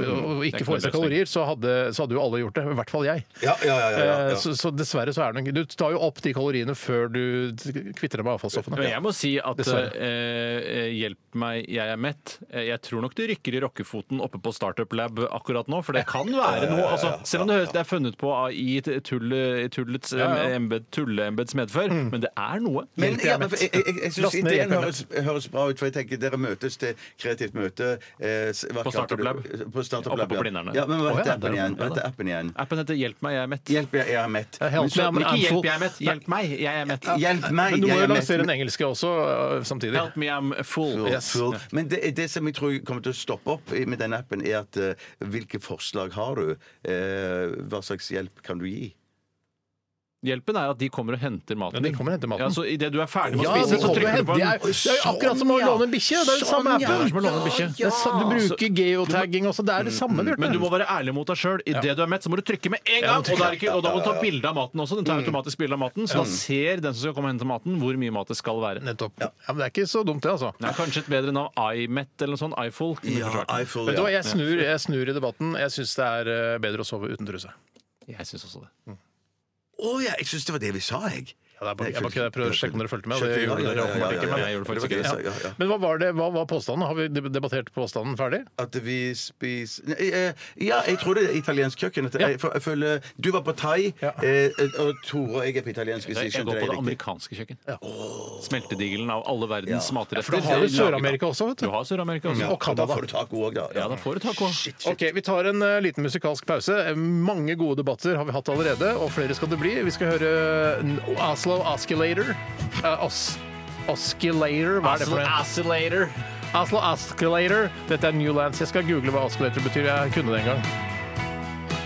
B: ikke
A: Det er ikke
B: få i seg
A: noe løsning.
B: kalorier, så hadde, så hadde jo alle gjort det. I hvert fall jeg.
C: Ja, ja, ja, ja, ja,
B: Eh,
C: ja.
B: Så, så dessverre så er det noe Du tar jo opp de kaloriene før du kvitter deg med avfallsstoffene.
A: Men jeg må si at
B: Dessverre.
A: eh, eh, hjelp meg, jeg er mett. Eh, Jeg tror nok det rykker i rockefoten oppe på Startup Lab akkurat nå, for det kan være noe. Altså, selv om det høres- det er funnet på av- i t- tullet- i tullets eh,
B: Ja, Mm. ja.
A: embed- tulleembeds medfør, men det er noe.
C: Men,
B: Hjelper jeg
C: ja, men
B: mett?
C: jeg, jeg, jeg syns
B: Last ned
C: ideen
B: Hjelper jeg
C: høres, høres bra ut, for jeg tenker dere møtes til kreativt møte eh, s- hva
A: På
C: kalte
A: Startup
C: du-
A: Lab.
C: På Startup
A: Oppe
C: Lab,
A: på
C: ja.
A: Blindern, ja.
C: Ja, men hva hette
A: ja,
C: appen
A: det er-
C: igjen.
A: ja,
C: Hva
A: da.
C: heter appen igjen?
A: Appen heter 'Hjelp meg, jeg er mett'.
C: Hjelp, jeg er mett.
A: Help
C: Men så-
A: me, I'm-
C: men ikke
A: I'm
C: hjelp,
A: full.
C: jeg er mett.
A: Hjelp meg, jeg er mett.
C: Hjelp meg,
B: Men du må
C: jeg er
B: jo
C: mett.
B: lansere den engelske også øh, samtidig.
A: Help me, I'm full.
C: Full,
A: Yes.
C: full. Men det, det som jeg tror kommer til å stoppe opp i- med denne appen, er at eh, hvilke forslag har du? Eh, hva slags hjelp kan du gi?
A: Hjelpen er at de kommer og henter maten.
B: Ja, de kommer og henter maten.
A: Ja, så Idet du er ferdig med
B: Ja,
A: å spise,
I: sånn
B: det
A: så
B: kommer
A: trykker du
B: hen.
A: på
B: Det er,
A: den.
B: det er jo akkurat som å
C: Sånn, ja.
B: låne en bikkje. Det er jo samme
C: Sånn,
B: appen.
C: ja.
A: Det er som å låne en bikkje.
B: Det er sa- Du bruker geotagging også. Det er det samme, Bjarte.
A: Men du må være ærlig mot deg sjøl. Idet du er mett, så må du trykke med en gang! Og, da er det ikke, og da må du ta bilde av maten også. Den tar automatisk bilde av maten, så da ser den som skal komme og hente maten, hvor mye mat det skal være.
B: Nettopp. Ja, men det er ikke så dumt, det, altså.
A: Det er kanskje et bedre navn. iMet eller noe sånt. iFull.
C: Ja, Eiffel,
B: Vet du hva,
C: ja.
B: jeg snur, jeg snur i debatten. Jeg syns det er eh, bedre å sove uten truse.
A: Jeg syns også det.
C: Å ja, jeg syns det var det vi sa, jeg.
B: Ja, det er bare, jeg bare ikke- jeg prøver å sjekke om dere fulgte med. og
C: Skjønte,
B: Det
C: ja,
B: gjorde
C: ja,
B: dere
C: ja, ja,
B: åpenbart
C: ja,
B: ikke.
A: men
C: ja, ja.
A: jeg gjorde faktisk
C: Det var
A: ikke
C: det jeg sa, ja, ja.
B: Men hva var, det, hva var påstanden? Har vi deb- debattert påstanden ferdig?
C: At vi spiser Nei, eh, Ja, jeg tror det er italiensk kjøkken. At eh, Jeg, jeg føler Du var på thai, eh, og Tore og jeg er på italiensk. Hvis jeg
A: Jeg går på
C: skjønte
A: det
C: deg riktig.
A: amerikanske kjøkken. Smeltedigelen av alle verdens
C: Ja.
A: matretter.
B: For da har du Sør-Amerika også, vet
A: Du
B: du.
A: har Sør-Amerika også.
C: Ja,
B: og Canada.
C: Da får du taco òg, da.
A: Ja, da får du taco.
C: Shit, shit.
B: Ok, Vi tar en eh, liten musikalsk pause. Mange gode debatter har vi hatt allerede, og flere skal det bli. Vi skal høre N- Oslo Osculator. Eh, Os Osculator, hva er det for en?
A: Oscillator.
B: Oslo Osculator. Dette er Newlands. Jeg skal google hva osculator betyr. Jeg kunne det en gang.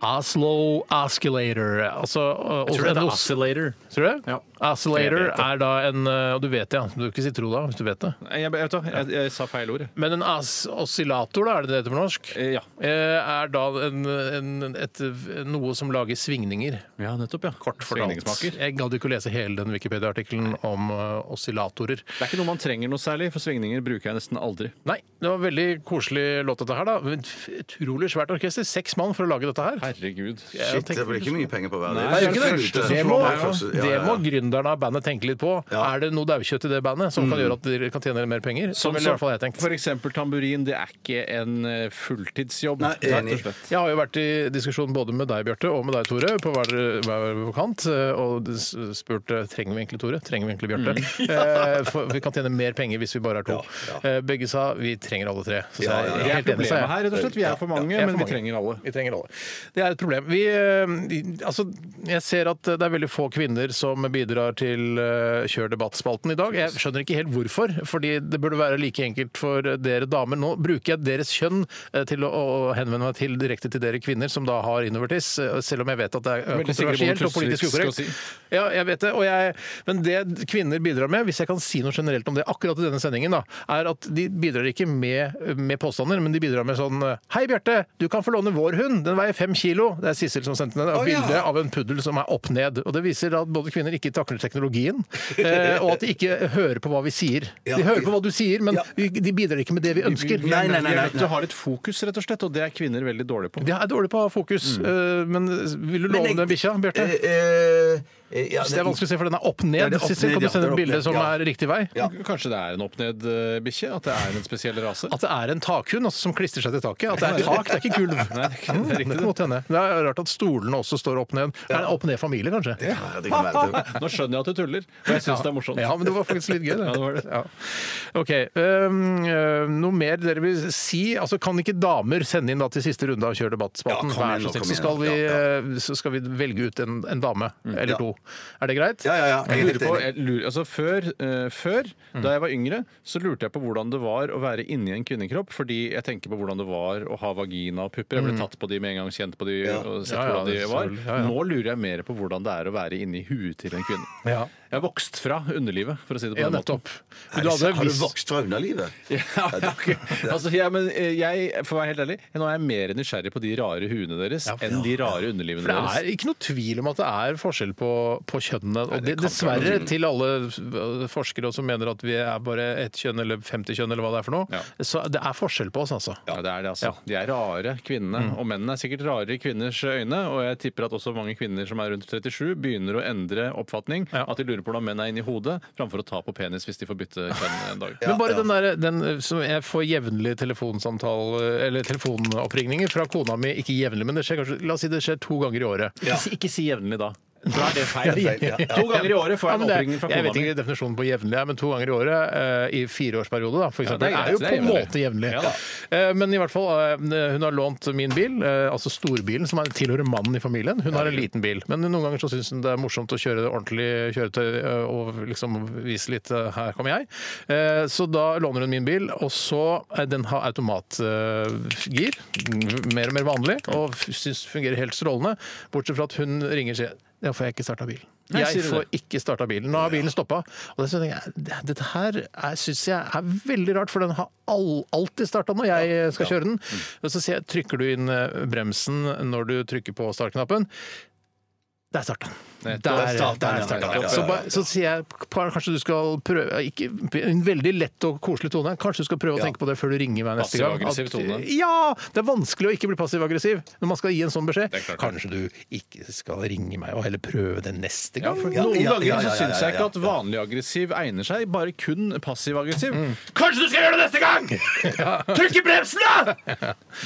B: Oslo Osculator. Altså, eh,
A: Jeg tror det
B: en
A: heter
B: os-
A: oscillator.
B: Tror du det?
A: Ja.
B: Oscillator
A: Jeg vet det.
B: er da en eh, Og du vet det, ja. Du kan ikke si tro da, hvis du vet det.
A: Jeg, jeg, vet du hva, jeg, jeg sa feil ord. jeg.
B: Men en as oscillator, da, er det det heter på norsk?
A: Eh, Ja.
B: Eh, Er da en, en, et, noe som lager svingninger.
A: ja, nettopp. ja. Kort
B: Svingningsmaker. Jeg gadd ikke å lese hele den Wikipedia-artikkelen om eh, oscillatorer.
A: Det er ikke noe man trenger noe særlig, for svingninger bruker jeg nesten aldri.
B: Nei, det var veldig koselig låt, dette her. da Men f- Utrolig svært orkester. Seks mann for å lage dette her.
A: Herregud.
B: Jeg
C: Det
B: tenker-
C: blir ikke mye penger på hver.
A: Nei,
C: er
A: det
C: ikke
A: er
C: det første
A: første
C: som
B: Det må,
C: slår meg først. Ja,
B: det
C: ja,
B: må
C: ja.
B: gründerne av bandet tenke litt på.
C: Ja. Mm.
B: Er det noe daukjøtt i det bandet som kan gjøre at dere kan tjene mer penger? Sånn ville i hvert fall jeg tenkt.
A: For eksempel tamburin. Det er ikke en eh, fulltidsjobb.
C: Nei,
A: rett og
C: enig.
A: slett.
B: Jeg har jo vært i diskusjon både med deg, Bjarte, og med deg, Tore, på hver, hver vår kant, eh, og s- spurt trenger vi egentlig Tore, trenger vi egentlig Bjarte. Eh, for Vi kan tjene mer penger hvis vi bare er to.
C: Mm. Ja, ja.
B: Eh, Begge sa vi trenger alle tre. Så sa
C: Ja,
B: jeg,
C: ja, ja.
B: jeg er helt enig, sa jeg.
A: Problemet her, rett og slett. Vi er for mange,
B: Jeg er for
A: men vi
B: mange.
A: trenger alle.
B: Vi trenger alle. Det er et problem. Vi, eh, de- altså, jeg ser at det er veldig få kvinner som bidrar til eh, Kjør debatt-spalten i dag. Jeg skjønner ikke helt hvorfor, fordi det burde være like enkelt for dere damer. Nå bruker jeg deres kjønn eh, til å, å henvende meg til, direkte til dere kvinner som da har innovertiss, eh, selv om jeg vet at det er eh,
A: Veldig sikker på
B: kontroversielt
A: hva
B: og politisk
A: Tusvik skal
B: ukorrekt. Ja, jeg vet det, og jeg, men det kvinner bidrar med, hvis jeg kan si noe generelt om det akkurat i denne sendingen, da, er at de bidrar ikke med, med påstander, men de bidrar med sånn Hei, Bjarte, du kan få låne vår hund. Den veier fem kilo. Det er Sissel som sendte den. Og bilde av en puddel som er opp ned. Og det viser at både kvinner ikke takler teknologien, eh, og at de ikke hører på hva vi sier.
C: Ja.
B: De hører på hva du sier, men vi- de bidrar ikke med det vi ønsker.
C: Nei, nei, nei,
A: Vi er
C: nei,
A: nødt til å ha litt fokus, rett og slett, og det er kvinner veldig dårlige på.
B: De er dårlige på å ha fokus, eh, men vil du
C: Mm. Men
B: låne
C: jeg-
B: den bikkja, Bjarte?
C: Eh, eh, eh, ja,
B: Så det er vanskelig å se, for den er opp
C: Ja,
B: ned.
C: det er opp
B: Sissel,
C: ned,
B: kan du
C: ja.
B: sende
C: Den er
B: et
C: opp
B: bilde
C: ned,
B: som
C: ja.
B: er riktig vei?
C: Ja.
A: Kanskje det er en opp-ned-bikkje? At det er en spesiell rase?
B: At det er en takhund altså, som klistrer seg til taket. At det er tak, det er ikke gulv. Nei, det,
A: ikke- det er riktig,
B: kan godt hende. Det er rart at stolene også står opp ned. Er det opp ned familie, kanskje?
C: Ja, det kan være det.
A: Nå skjønner jeg at du tuller, og jeg syns det er morsomt.
B: Ja, men det var faktisk litt gøy, det.
A: Ja, det var det.
B: Ja. OK. øhm, øh, noe mer dere vil si? Altså, kan ikke damer sende inn da til siste runde av Kjør debatt-spalten?
C: Ja, kom
B: Vær
C: igjen
B: så
C: nå,
B: snill, så, skal
C: kom igjen.
B: vi,
C: Ja,
B: øh, så skal vi velge ut en, en dame eller
C: Ja.
B: to. Er det greit?
C: Ja, ja, ja. Jeg
A: Jeg
C: er
A: lurer
C: helt
A: på,
C: enig.
A: jeg lurer, altså før, eh, før
C: Mm.
A: da jeg var yngre, så lurte jeg på hvordan det var å være inni en kvinnekropp. Fordi jeg tenker på hvordan det var å ha vagina og pupper. Jeg ble tatt på de med en gang, kjent på de
C: Ja.
A: og sett
B: Ja, ja,
A: hvordan de
B: det er
A: var.
B: selvfølgelig. Ja, ja.
A: Nå lurer jeg mer på hvordan det er å være inni huet til en kvinne.
B: Ja.
A: Jeg har vokst fra underlivet, for å si det på
B: Ja,
A: den måten.
B: nettopp. Men du hadde
C: Har du
B: visst-
C: vokst fra underlivet?
A: Ja, ok. altså, ja, men eh, jeg, for å være helt ærlig, nå er jeg mer nysgjerrig på de rare huene deres
B: Ja, for-
A: enn de rare underlivene
B: For det
A: deres.
B: er ikke noe tvil om at det er forskjell på, på kjønnene. Og det,
A: det kan
B: dessverre, til alle øh, forskere som mener at vi er bare ett kjønn eller 50 kjønn, eller hva det er for noe,
A: Ja.
B: så det er forskjell på oss, altså.
A: Ja, det er det, altså. De er rare, kvinnene.
B: Mm.
A: Og mennene er sikkert rare i kvinners øyne. Og jeg tipper at også mange kvinner som er rundt 37, begynner å endre oppfatning.
B: Ja.
A: At de lurer på hvordan menn er inni hodet, framfor å ta på penis hvis de får bytte kjønn en dag.
B: Men bare den der, den øh, som jeg får jevnlig telefonsamtale, øh, eller telefonoppringninger fra kona mi, ikke jevnlig, men det skjer kanskje, la oss si det skjer to ganger i året.
A: Ikke, si, ikke si jevnlig da. Så er det feil.
B: Ja, feil, ja, ja.
A: To ganger i året får jeg
B: Ja, men
A: en
B: det er-
A: oppringning fra
B: Jeg
A: kona
B: vet
A: mi.
B: ikke definisjonen på jevnlig, er, men to ganger i året eh, i fireårsperiode, da, for
A: Ja,
B: eksempel,
A: det er greit,
B: er jo
A: det
B: på en
A: er jevnlig.
B: måte jevnlig.
A: Ja da.
B: Eh, men i hvert fall, eh, hun har lånt min bil, eh, altså storbilen, som er, tilhører mannen i familien. Hun har en liten bil, men noen ganger så syns hun det er morsomt å kjøre ordentlig kjøretøy eh, og liksom vise litt eh, 'her kommer jeg'. Eh, så da låner hun min bil, og så eh, den har automatgir, mer og mer vanlig, og syns fungerer helt strålende, bortsett fra at hun ringer og sier 'ja, får jeg ikke starta bilen'.
A: Nei, sier
B: Jeg
A: du
B: får
A: det?
B: ikke starta bilen. Nå har bilen stoppa. Og det synes jeg, det- dette her syns jeg er veldig rart, for den har all, alltid starta når jeg eh, skal kjøre den.
A: Mm.
B: Og så sier jeg, trykker du inn eh, bremsen når du trykker på startknappen? Der starta den. Der,
A: Nettopp. Der startet den,
B: der
A: ja,
B: startet
A: ja,
B: den.
A: ja,
B: Så,
A: ja,
B: ba- så sier jeg kanskje du skal prøve ikke, En veldig lett og koselig tone. Kanskje du skal prøve å tenke på det før du ringer meg neste gang.
A: Passiv-aggressiv
B: At-
A: tone.
B: Ja! Det er vanskelig å ikke bli passiv-aggressiv når man skal gi en sånn beskjed.
A: Det er klart.
B: Kanskje du ikke skal ringe meg, og heller prøve det neste gang?
A: Noen
B: Ja, ja,
A: ganger
B: ja, ja,
A: så
B: ja,
A: syns
B: ja,
A: jeg
B: ja.
A: ikke at vanlig aggressiv egner seg, bare kun passiv aggressiv. Kanskje du skal gjøre det neste gang! Trykk i bremsen, da!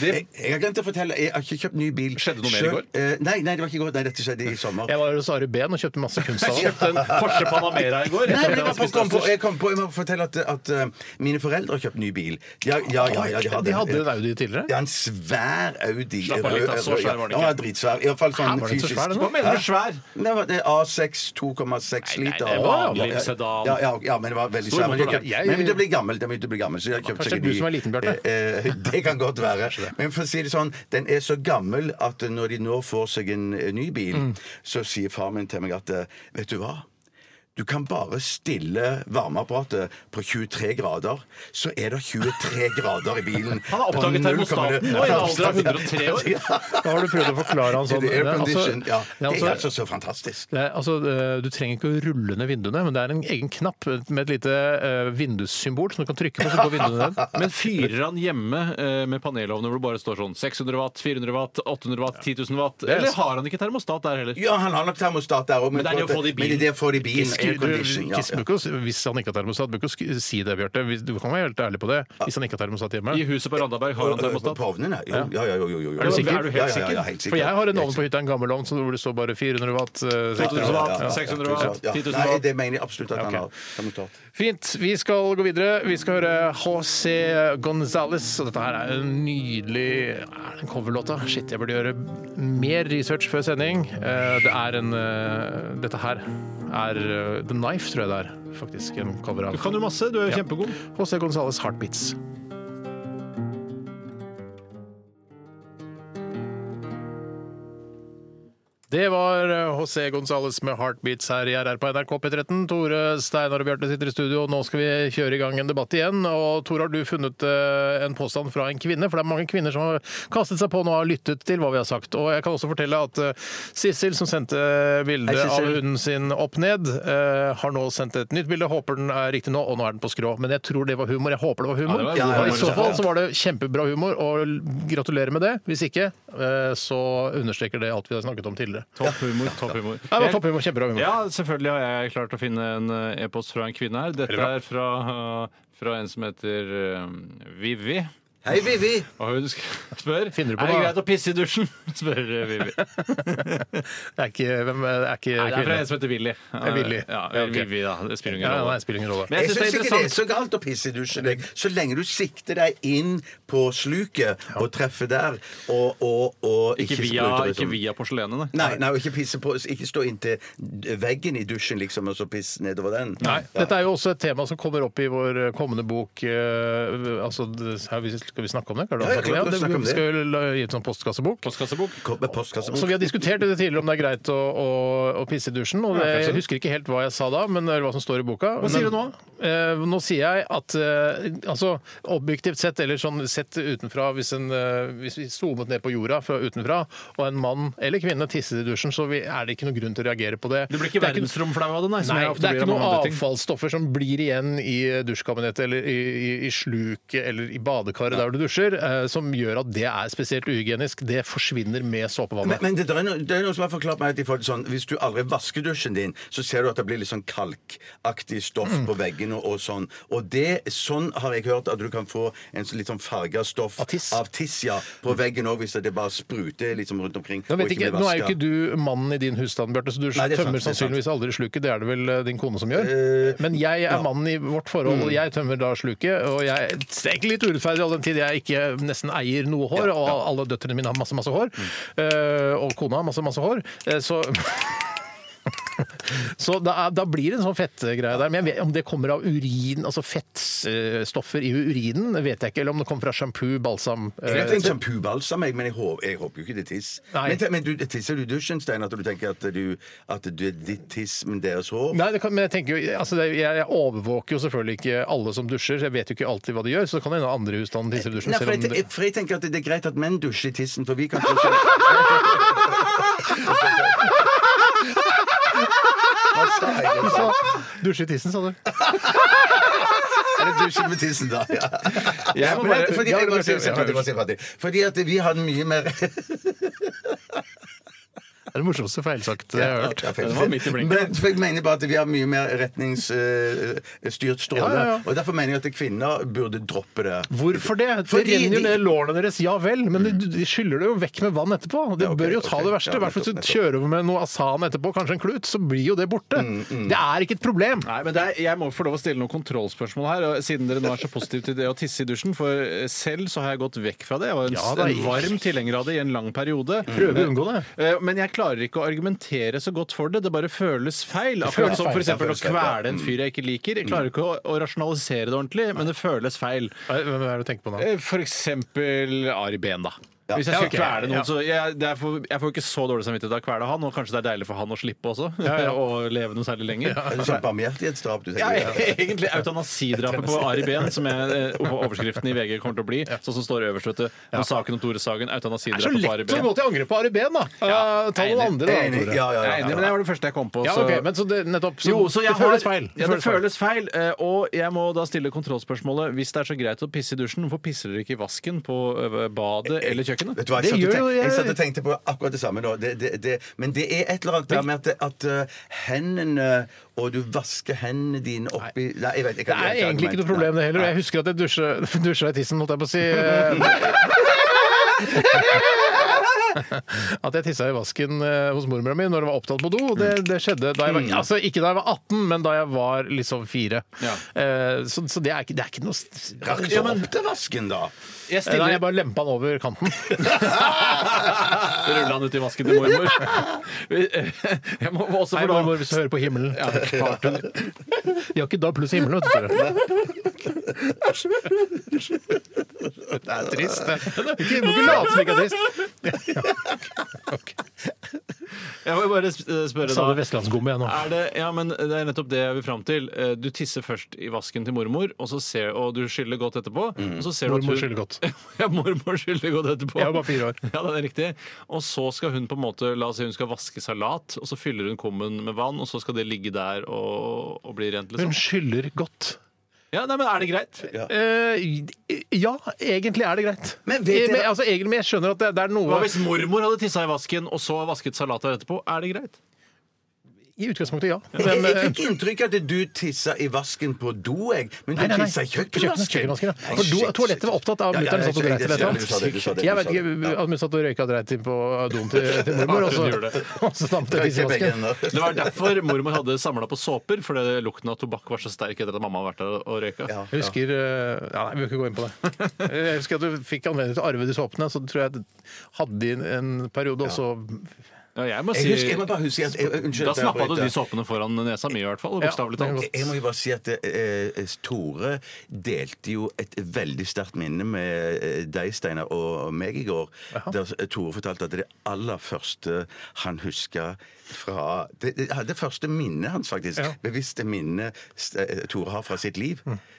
C: Jeg, jeg har glemt å fortelle, jeg har ikke kjøpt ny bil. Skjedde
A: noe mer i går?
C: nei, nei, det var ikke i går. Nei, dette skjedde i sommer.
B: Jeg var hos Ari Behn og kjøpte masse kunstsaler.
A: Jeg kjøpte en Porsche Panamera i går, etter
C: Nei,
A: at jeg
C: men
A: hadde
C: jeg, bare
A: spist
C: kom på,
A: østers.
C: jeg kom på, jeg må fortelle at, at eh, mine foreldre har kjøpt ny bil. Ja, ja, ja, ja,
B: De hadde en Audi tidligere?
C: Ja, en svær Audi.
A: Slapp av litt, da, så
C: Rød-
A: svær var den ikke.
C: Ja, den var dritsvær. I hvert fall sånn
A: Hæ, var den så
C: fysisk.
A: svær, den da? Hva mener du
C: Hæ?
A: svær?
C: Nei, det var A6 2,6
A: Nei, nei,
C: liter.
A: det er vanlig
C: Ja, ja,
A: sedan.
C: Ja, ja, ja, men det var veldig
A: Stor
C: svær. Men, jeg
A: motor, da.
C: kjøpt,
A: Jeg-
C: men det blir gammel, det begynte å bli gammel, så jeg har kjøpt
B: Kanskje det er du
C: sikkert ny.
B: som er liten, Bjarte?
C: Eh, eh, Det kan godt være. Men for å si det sånn, den er så gammel at når de nå får seg en eh, ny bil,
B: Mm.
C: så sier far min til meg at eh, vet du hva? Du kan bare stille varmeapparatet på 23 grader, så er det 23 grader i bilen.
A: Han har oppdaget
C: På null komma null.
A: termostaten nå, i en alder av 103 år.
B: Da har du prøvd å forklare han sånn.
C: Det er aircondition.
B: Det er
C: Ja,
B: altså-
C: det er
B: det er
C: altså så fantastisk.
B: Det er, altså, eh, du trenger ikke å rulle ned vinduene, men det er en egen knapp med et lite eh, vindussymbol som du kan trykke på, så går vinduene ned.
A: Men fyrer han hjemme eh, med panelovner hvor det bare står sånn 600 watt, 400 watt, 800 watt, 10 000 watt?
B: er-
A: Eller har han ikke termostat der heller?
C: Ja, han har nok termostat der òg,
A: Men det er det å få det i bilen.
C: Men det er det å få det i bilen.
B: Skru- du-
C: Aircondition. Ja,
B: ikke
C: ja.
B: smukk oss. Hvis han ikke har termostat, bør ikke sk- si det, Bjarte. Hvis- Du kan være helt ærlig på det. Hvis han ikke har termostat hjemme.
A: I huset på Randaberg har han
C: På
A: termostat?
C: ovnen, ja. Jo, ja, ja, jo, jo, jo, jo.
B: Er du sikker?
A: Er du helt
C: Ja, ja, ja, ja,
A: sikker?
C: helt
B: For jeg har en ovn på hytta, en gammel ovn, så hvor det står bare 400 watt. eh, watt.
A: 2000 watt, 600
C: Ja,
A: watt,
C: ja.
A: 10 000
C: Nei,
A: watt.
C: det mener jeg absolutt at han
B: Ok.
C: har. Termostat.
B: Fint. Vi skal gå videre. Vi skal høre HC Gonzales. Og dette her er en nydelig Er det en coverlåt, da? Shit, jeg burde gjøre mer research før sending. Eh, Det er en eh, Dette her er eh, The Knife, tror jeg det er. Faktisk en cover
A: Du
B: av
A: kan jo masse, du er jo kjempegod.
B: HC Gonzales Heartbeats. Det var HC Gonzales med Heartbeats her i RR på NRK P13. Tore, Steinar og Bjarte sitter i studio, og nå skal vi kjøre i gang en debatt igjen. Og Tore, har du funnet eh, en påstand fra en kvinne? For det er mange kvinner som har kastet seg på nå og har lyttet til hva vi har sagt. Og jeg kan også fortelle at eh, Sissel, som sendte bilde
C: Hei,
B: av
C: Sissel.
B: hunden sin opp ned, eh, har nå sendt et nytt bilde. Håper den er riktig nå, og nå er den på skrå. Men jeg tror det var humor. Jeg håper det var humor.
A: Ja, det var
B: Ja,
A: humor.
B: I så fall så var det kjempebra humor, og gratulerer med det. Hvis ikke, eh, så understreker det alt vi har snakket om tidligere.
A: Topp humor, topp humor.
B: Nei, det var topphumor. Kjempebra humor.
A: Ja, selvfølgelig har jeg klart å finne en eh, e-post fra en kvinne her. Dette er fra, eh, fra en som heter eh, Vivi.
C: Hei, Vivi!
A: Og hun sk- spør
B: Finner du på
A: Er det
B: noe?
A: greit å pisse i dusjen? spør eh, Vivi. Nei,
B: Det er ikke, hvem, det er ikke
A: det er fra
B: kvinne.
A: en som heter Willy.
B: er Willy.
A: Ja,
B: Ja, ok.
A: Vivi, da. Det spiller ingen
B: Ja, nei,
A: rolle.
B: det spiller ingen rolle.
A: Men
C: Jeg
A: jeg
C: syns
A: syns det er
C: ikke det er
A: interessant.
C: så galt å pisse i dusjen, jeg. så lenge du sikter deg inn på sluket og treffer der, og, og, og
A: Ikke via,
C: spruter
A: ikke
C: liksom.
A: via porselenet, nei.
C: Nei, nei, og ikke pisse på Ikke stå inntil veggen i dusjen, liksom, og så pisse nedover den.
B: Nei,
C: Ja.
B: Dette er jo også et tema som kommer opp i vår kommende bok. eh, altså, det- her, vi- skal vi snakke om det? Karl?
C: Ja, ja, klart,
B: det,
C: snakk om
B: vi
C: det.
B: skal jo la- gi ut sånn postkassebok.
A: Postkassebok.
C: Kom med postkasse.
B: Så vi har diskutert det tidligere om det er greit å, å, å pisse i dusjen. Og det, jeg husker ikke helt hva jeg sa da, men eller hva som står i boka. Hva
A: sier du nå?
B: Eh, nå sier jeg at eh, altså, objektivt sett, eller sånn sett utenfra, hvis, en, eh, hvis vi zoomet ned på jorda fra utenfra, og en mann eller kvinne tisset i dusjen, så vi, er det ikke noen grunn til å reagere på det.
A: Du blir ikke
B: Det er ikke-
A: verdensromflau av det, nei. som
B: Nei,
A: jeg ofte
B: det er
A: blir
B: ikke
A: av
B: noen
A: mange andre ting.
B: avfallsstoffer som blir igjen i dusjkabinettet eller i, i, i sluket eller i badekaret der du dusjer, eh, som gjør at det er spesielt uhygienisk, det forsvinner med såpevannet.
C: Men, men det, det, er noe, det er noe som har forklart meg at de får det sånn, hvis du aldri vasker dusjen din, så ser du at det blir litt sånn kalkaktig stoff
B: Mm.
C: på veggene og, og sånn. Og det, sånn har jeg hørt at du kan få en sånn litt sånn farga stoff av tiss, ja, på veggen òg, hvis det bare spruter liksom rundt omkring.
B: Nå, vet
C: og
B: ikke,
C: blir
B: nå er jo
C: vasket.
B: ikke du mannen i din husstand, Bjarte, så du
C: Nei, det er sant,
B: tømmer
C: det er sant. Eh,
B: sannsynligvis aldri sluket. Det er det vel eh, din kone som gjør. Men jeg er mannen i vårt forhold,
C: Mm.
B: og jeg tømmer da sluket. Og jeg det er egentlig litt urettferdig all den tid jeg ikke nesten eier noe hår, og alle døtrene mine har masse, masse hår.
C: Mm.
B: Eh, Og kona har masse, masse hår. Eh, Så Så da, da blir det en sånn fettgreie der. Men jeg vet, om det kommer av urin, altså fettstoffer i urinen, vet jeg ikke. Eller om det kommer fra sjampo, balsam
C: Jeg
B: eh,
C: tenkte en sjampobalsam, jeg, men jeg håper, jeg håper jo ikke det er tiss.
B: Nei.
C: Men, te- men du, tisser du i dusjen, Stein, at du tenker at, du, at du, ditt tiss, men deres hår?
B: Nei, det kan, men jeg tenker jo, altså det, jeg, jeg overvåker jo selvfølgelig ikke alle som dusjer, så jeg vet jo ikke alltid hva de gjør, så det kan hende andre i husstanden tisser i dusjen.
C: Nei, for,
B: selv om
C: jeg,
B: det,
C: jeg, for jeg tenker at det er greit at menn dusjer i tissen, for vi kan ikke Hva sa jeg?
B: du sa dusje i tissen, sa du.
C: Eller dusjer med tissen, da. Ja.
B: Jeg må
C: Men
B: bare-
C: at- fordi,
B: Ja,
C: jeg
B: du
C: må
B: må
C: si-
B: si-
C: si-
B: ja,
C: si- si- si- si- fordi at vi hadde mye mer
B: Det er det morsomste feilsagt jeg har hørt.
C: Ja, feil.
B: Det var midt i blinken.
C: Men for jeg mener bare at vi har mye mer retningsstyrt stråle.
B: Ja, ja, ja.
C: Og derfor mener jeg at kvinner burde droppe det.
B: Hvorfor det? Det
C: Fordi
B: renner jo
C: de-
B: ned lårene deres, ja vel, men de, de skyller det jo vekk med vann etterpå. Det
C: ok,
B: bør jo ta
C: ok.
B: det verste.
C: Ja,
B: I hvert fall hvis
C: nettopp,
B: du kjører over med noe asan etterpå, kanskje en klut, så blir jo det borte. Det er ikke et problem.
A: Nei, men det er, Jeg må få lov å stille noen kontrollspørsmål her, og siden dere nå er så positive til det å tisse i dusjen. For eh, selv så har jeg gått vekk fra det. Jeg var en,
B: Ja, da,
A: en varm tilhenger av det i en lang periode.
B: Prøver å unngå det.
A: Eh, Men jeg klarer ikke å argumentere så godt for det. Det bare føles feil.
B: føles
A: Akkurat som
B: feil,
A: f.eks.
B: det
A: å
B: føles feil, ja.
A: kvele en fyr jeg ikke liker. Jeg klarer ikke å, å rasjonalisere det ordentlig, men det føles feil.
B: Hvem er det du tenker på nå?
A: Eh, For eksempel Ari Behn, da.
B: Ja.
A: Hvis jeg skal
B: Ja, ok.
A: kvele noen,
B: Ja.
A: så jeg, det er for, jeg får ikke så dårlig samvittighet av å kvele han, og kanskje det er deilig for han å slippe også,
B: Ja, ja.
A: og leve noe særlig lenger.
C: Er det sånn barmhjertighetsdrap du
A: Ja,
C: tenker?
A: egentlig eutanasidrapet på Ari Behn, som jeg, eh, overskriften i VG kommer til å bli. Sånn som står øverst, vet du. Om saken om Tore
B: Det er
A: Sagen.
B: så
A: Eutanasidrapet på Ari
B: lett å
A: Behn.
B: gå til angrep på Ari Behn, da. Eh, Ta noen andre, da.
A: Enig.
B: Tore.
A: Ja, ja, ja. Jeg er enig, men det var det første jeg kom på.
B: Ja,
A: så-
B: ok, men så det, nettopp, så
A: Jo, så jeg
B: det føles
A: har-
B: feil.
A: Ja, det føles feil. eh, Og jeg må da stille kontrollspørsmålet. Hvis det er så greit å pisse i dusjen, hvorfor pisser dere ikke i vasken på ø, badet eller kjøkkenet?
C: Vet du hva,
A: Det
C: jeg, satt og
A: gjør jo
C: tenk, jeg
A: jeg.
C: satt og tenkte på akkurat det samme nå. Det, det, det, men det er et eller annet der med at, at uh, hendene Og du vasker hendene dine oppi Nei, jeg vet
B: Det er egentlig ikke noe problem, det heller. Jeg husker at jeg dusja- dusja i tissen, holdt jeg på å si. Eh, At jeg tissa i vasken eh, hos mormora mi når jeg var opptatt på do. Det, det skjedde da jeg
A: Mm.
B: var, altså, ikke da jeg var 18, men da jeg var liksom fire.
A: Ja.
B: Eh, Så, så det, er ikke, det er ikke noe s-
C: Rakk du
B: Ja, men-
C: opp til vasken, da?
A: Jeg
B: Nei,
A: stiller
B: jeg bare lempa den over kanten.
A: Rulla han ut i vasken til mormor.
B: eh,
A: Jeg må også
B: Nei,
A: få lov
B: mormor, hvis du hører på himmelen.
A: Ja, klart hun-
B: De har ikke da pluss himmelen, vet du. Tore. Det er trist, det. Ikke- Du må ikke late som ikke er trist.
A: Jeg må bare sp- eh, spørre
B: Sa du
A: da.
B: vestlandsgomme, jeg nå.
A: Er det, ja, men det er nettopp det jeg vil fram til. Eh, Du tisser først i vasken til mormor, og, så ser, og du skyller godt etterpå. Og så ser du at
B: Mormor
A: hun-
B: skylder godt.
A: ja, mormor skyller godt etterpå.
B: Jeg var bare fire år.
A: Ja, det er riktig. Og så skal hun på en måte, la oss si hun skal vaske salat, og så fyller hun kummen med vann, og så skal det ligge der og, og bli rent, liksom.
B: Hun skyller godt.
A: Ja, nei, men er det greit?
B: Eh, ja, egentlig er det greit.
C: Men vet
B: Eh, men,
C: dere-
B: altså, egentlig, men jeg skjønner at det, det er
A: Hva
B: noe
A: hvis mormor hadde tissa i vasken, og så vasket salatet etterpå? Er det greit?
B: I utgangspunktet, ja.
C: Jeg,
B: Men,
C: jeg
B: eh,
C: fikk inntrykk av at du tissa i vasken på do, jeg. Men du
B: Nei, nei, nei.
C: tissa i
B: Kjøkken-
C: kjøkkenvasken.
B: kjøkkenvasken, ja. For do- toalettet var opptatt av mutter'n satt og dreit i et eller annet. Jeg vet ikke, at Hun satt og røyka dreit inn på doen til, til mormor, og så,
A: Hun gjorde det.
B: og så dampte det i vasken.
A: Det var derfor mormor hadde samla på såper, fordi lukten av tobakk var så sterk etter at mamma hadde vært der og røyka.
C: Ja.
B: Jeg husker eh, ja, Nei, vi vil ikke gå inn på det. Jeg husker at du fikk anledning til å arve de såpene, så tror jeg at hadde de en, en periode, og så
A: Ja, jeg må
B: eh,
C: Jeg,
A: si
C: husker, jeg må bare huske at jeg, Unnskyld.
A: Da
C: at jeg
A: snappa du
C: avbryter.
A: de såpene foran nesa mi, i hvert fall.
B: Ja,
A: Bokstavelig
B: det er
A: talt.
B: godt.
C: Jeg må jo bare si at eh, Tore delte jo et veldig sterkt minne med eh, deg, Steinar, og meg i går. Der Tore fortalte at det aller første han huska fra Det, det, det første minnet hans, faktisk.
B: Ja.
C: Bevisste minnet Ste- eh, Tore har fra sitt liv.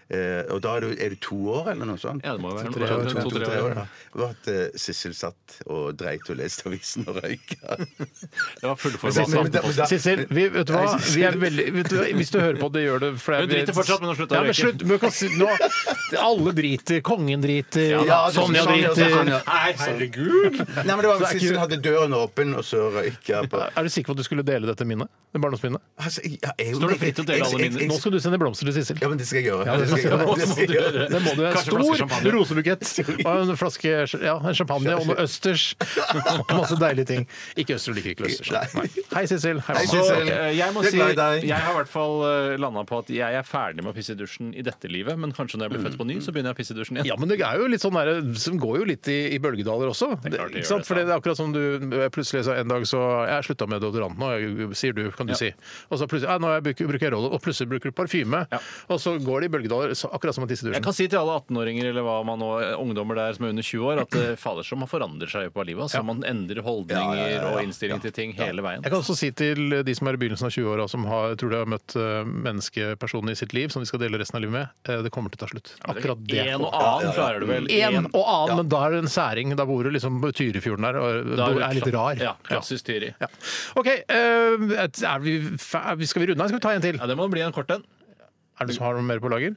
C: Eh, og da er du, er du to år, eller noe sånt?
A: Ja, det må jo være
B: To-tre år,
A: noe- to-tre år.
C: ja. Og at eh, Sissel satt og dreit og leste avisen og røyka.
A: Det
B: Sissel,
A: var fullforberedt.
B: Sissel, vi, vet du hva? Vi er veldig, vet du, hva? hvis du hører på, det gjør det. For
A: Hun driter fortsatt, men nå
B: ja,
A: slutter hun å
B: men
A: røyke.
B: slutt, men du kan si- nå, Alle driter. Kongen driter.
C: Ja, da,
B: Sonja
C: Sonja,
B: driter.
C: Sonja.
B: Nei, herregud!
C: Nei, men det var
B: Så er
C: Sissel
B: ikke-
C: hadde døren åpen, og så røyka jeg på
B: Er du sikker på at du skulle dele dette minnet? Det barndomsminnet?
C: altså, ja, jeg,
A: Står det fritt til å dele alle minner?
B: Nå skal du sende blomster til Sissel.
C: Ja, men det skal jeg gjøre.
B: Ja,
C: det skal jeg
B: det
C: gjøre.
B: må-
C: Det skal jeg gjøre.
B: Det må du. En
A: Kanskje flaske
B: stor
A: champagne.
B: rosebukett og en flaske ja, en champagne og noe østers. Og Masse deilige ting. Ikke østers, du liker ikke østers. Nei. Hei, Sissel. Hei, mamma.
A: Så
C: Sissel.
A: eh, jeg må
C: Jeg er
A: si
C: glad i deg.
A: Jeg har i hvert fall landa på at jeg er ferdig med å pisse i dusjen i dette livet, men kanskje når jeg blir født på ny, så begynner jeg å pisse i dusjen igjen.
B: Ja, men det er jo litt sånn der, som går jo litt i, i bølgedaler også. Det,
A: klart det
B: ikke
A: gjør
B: sant?
A: det,
B: For det er akkurat som du eh, plutselig sa en dag så Jeg slutta med deodorant nå, jeg, sier du, kan du si. Og så plutselig ja, nå har jeg, bruk- bruker jeg roller, og plutselig bruker du parfyme.
A: Ja.
B: Og så går det i bølgedaler, så, akkurat som å tisse i
A: Jeg
B: dusjen.
A: kan si til alle 18-åringer eller hva man nå, ungdommer der som er under 20 år, at eh, fader så man forandrer seg på livet. Altså,
B: Ja.
A: Man endrer
C: Ja,
A: holdninger
C: ja, ja, ja.
A: og innstilling til ting hele veien.
B: Jeg kan også si til de som er i begynnelsen av 20-åra som har, tror de har møtt eh, menneskepersoner i sitt liv som de skal dele resten av livet med, eh, det kommer til å ta slutt. Akkurat det.
A: En og annen klarer du vel.
B: En
A: En-
B: og annen, men da er du en særing. Da bor du liksom på Tyrifjorden der og
A: Da
B: bor,
A: du
B: er litt
A: kla-
B: rar.
A: Ja, klassisk tyri.
B: Ja. OK, eh, er vi, fer- er vi- skal vi runde her? Skal vi ta en til?
A: Ja, det må bli en kort en.
B: Er det noen som har noe mer på lager?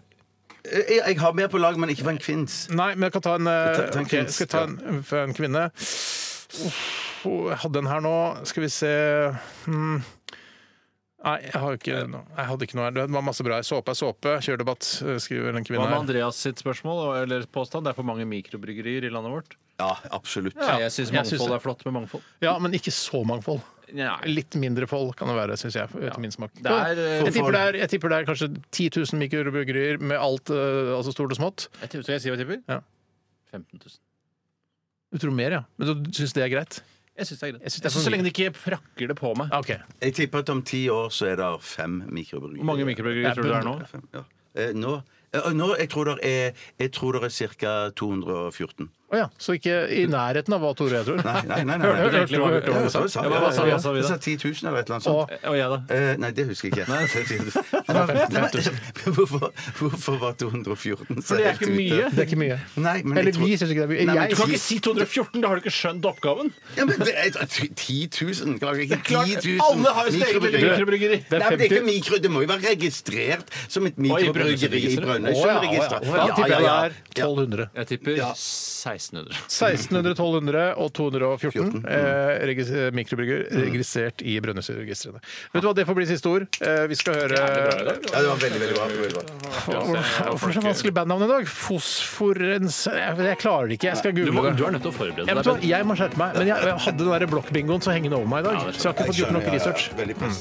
C: Jeg, jeg har mer på lag, men ikke fra en kvinns.
B: Nei, men jeg kan ta en, eh,
C: Ta- ta en
B: ok,
C: kvinne.
B: skal jeg ta en, for en kvinne. Uff, oh, jeg hadde den her nå. Skal vi se hmm. Nei, jeg, har
A: Eh.
B: ikke, noe- jeg hadde ikke noe her. Det var masse bra her. Såpe er såpe. Kjør debatt, skriver en kvinne
A: Hva med
B: her.
A: Andreas sitt spørsmål eller påstand? Det er for mange mikrobryggerier i landet vårt.
C: Ja, absolutt.
A: Ja, jeg
B: jeg
A: syns
B: synes
A: mangfold
B: det.
A: er flott med mangfold.
B: Ja, men ikke så mangfold.
A: Nei.
B: Litt mindre fold kan det være, syns jeg, etter min smak.
A: Det er, eh,
B: jeg, tipper det er, jeg tipper det er kanskje 10 000 mikrobryggerier med alt, eh, altså stort og smått.
A: Jeg tipper, skal jeg si hva jeg tipper?
B: Ja.
A: 15 000.
B: Du tror mer, ja. Men du syns det er greit?
A: Jeg syns det er greit.
B: Jeg synes det er
A: Jeg synes
B: for
A: så lenge de ikke prakker det på meg.
B: Ja, OK.
C: Jeg tipper at om ti år så er det fem mikrobryggerier.
A: Hvor mange mikrobryggerier tror du det er nå?
C: Fem, ja. eh, nå, eh, nå jeg tror det er, jeg tror det er ca. 214.
B: Å ja, så ikke i nærheten av hva Tore jeg tror.
C: Nei, nei, nei. nei,
B: Hørte-
C: nei.
B: hørte- hørte- hørte-
C: Ja,
B: hørte-
C: hva sa vi?
A: Ja, hva sa vi?
C: Ja,
A: Hva sa vi
C: Jeg
A: da?
C: sa 10 000 eller et eller annet sånt.
A: Og jeg, da?
C: Eh, nei, det husker jeg ikke. Nei, men hvorfor, hvorfor var 214 så
A: For det er
C: helt
A: ikke
C: ute?
A: mye.
B: Det er ikke mye.
C: Nei, men
B: Eller
C: jeg tror-
B: vi syns ikke det er mye.
C: Nei, men
B: Jeg
A: Du kan ikke si 214! Da har du ikke skjønt oppgaven.
C: Ja, men det er 10 000! Klarer ikke 10
A: klart,
C: 000
A: alle har jo sitt eget lille
C: mikrobryggeri.
A: mikrobryggeri.
C: Nei, men det er ikke mikro, det må jo være registrert som et mikrobryggeri i
A: Brønnøysundregisteret.
C: Brønnøysundregisteret.
B: Da tipper jeg det er 1200.
A: Jeg tipper
C: Ja.
A: 1600.
B: 1600, 1200 og 214
C: mm.
B: eh, regis- eh, mikrobryggerier registrert i Brønnøysundregistrene. Vet du hva, det får bli siste ord. Eh, vi skal høre
C: Ja, det var veldig, veldig bra. Veldig bra.
B: Hvorfor er det så vanskelig bandnavn i dag? Fosforens Jeg, jeg klarer det ikke. Jeg skal
A: Du, må,
B: google
A: du
B: det.
A: er nødt til å
B: Jeg,
A: forberede deg.
B: vet du hva, jeg må skjerpe meg, men jeg, jeg hadde den der blokkbingoen så hengende over meg i dag.
A: Ja, det skjønner
B: Så
A: jeg.
B: jeg har ikke fått gjort nok
C: Ja, ja, ja.
B: research.
C: Veldig press.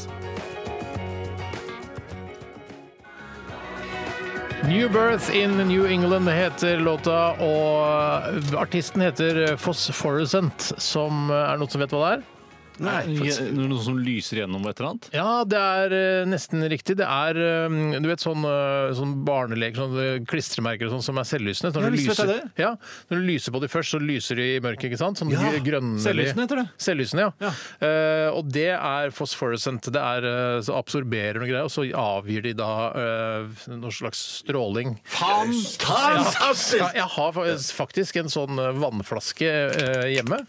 B: New Birth in New England heter låta, og artisten heter Phosphorescent, som er det noen som vet hva det er?
A: Bedre. Noe som lyser gjennom et eller annet?
B: Ja, det er eh, nesten riktig. Det er eh, du vet, sånn, eh, sånn barneleker, sånn klistremerker og sånn som er selvlysende. Når
A: Ja,
B: du
A: visst vet jeg
B: lyser- Ja, når du lyser på de først, så lyser de i mørket, ikke sant? Sånn
A: Ja,
B: gr- grønnlig-
A: selvlysende heter det.
B: Selvlysende, ja. Eh, og det er phosphorescent. Det er, eh, så absorberer noe greier, og så avgir de da eh, noe slags stråling.
C: Fantastisk!
B: Ja, jeg har fa- faktisk en sånn eh, vannflaske eh, hjemme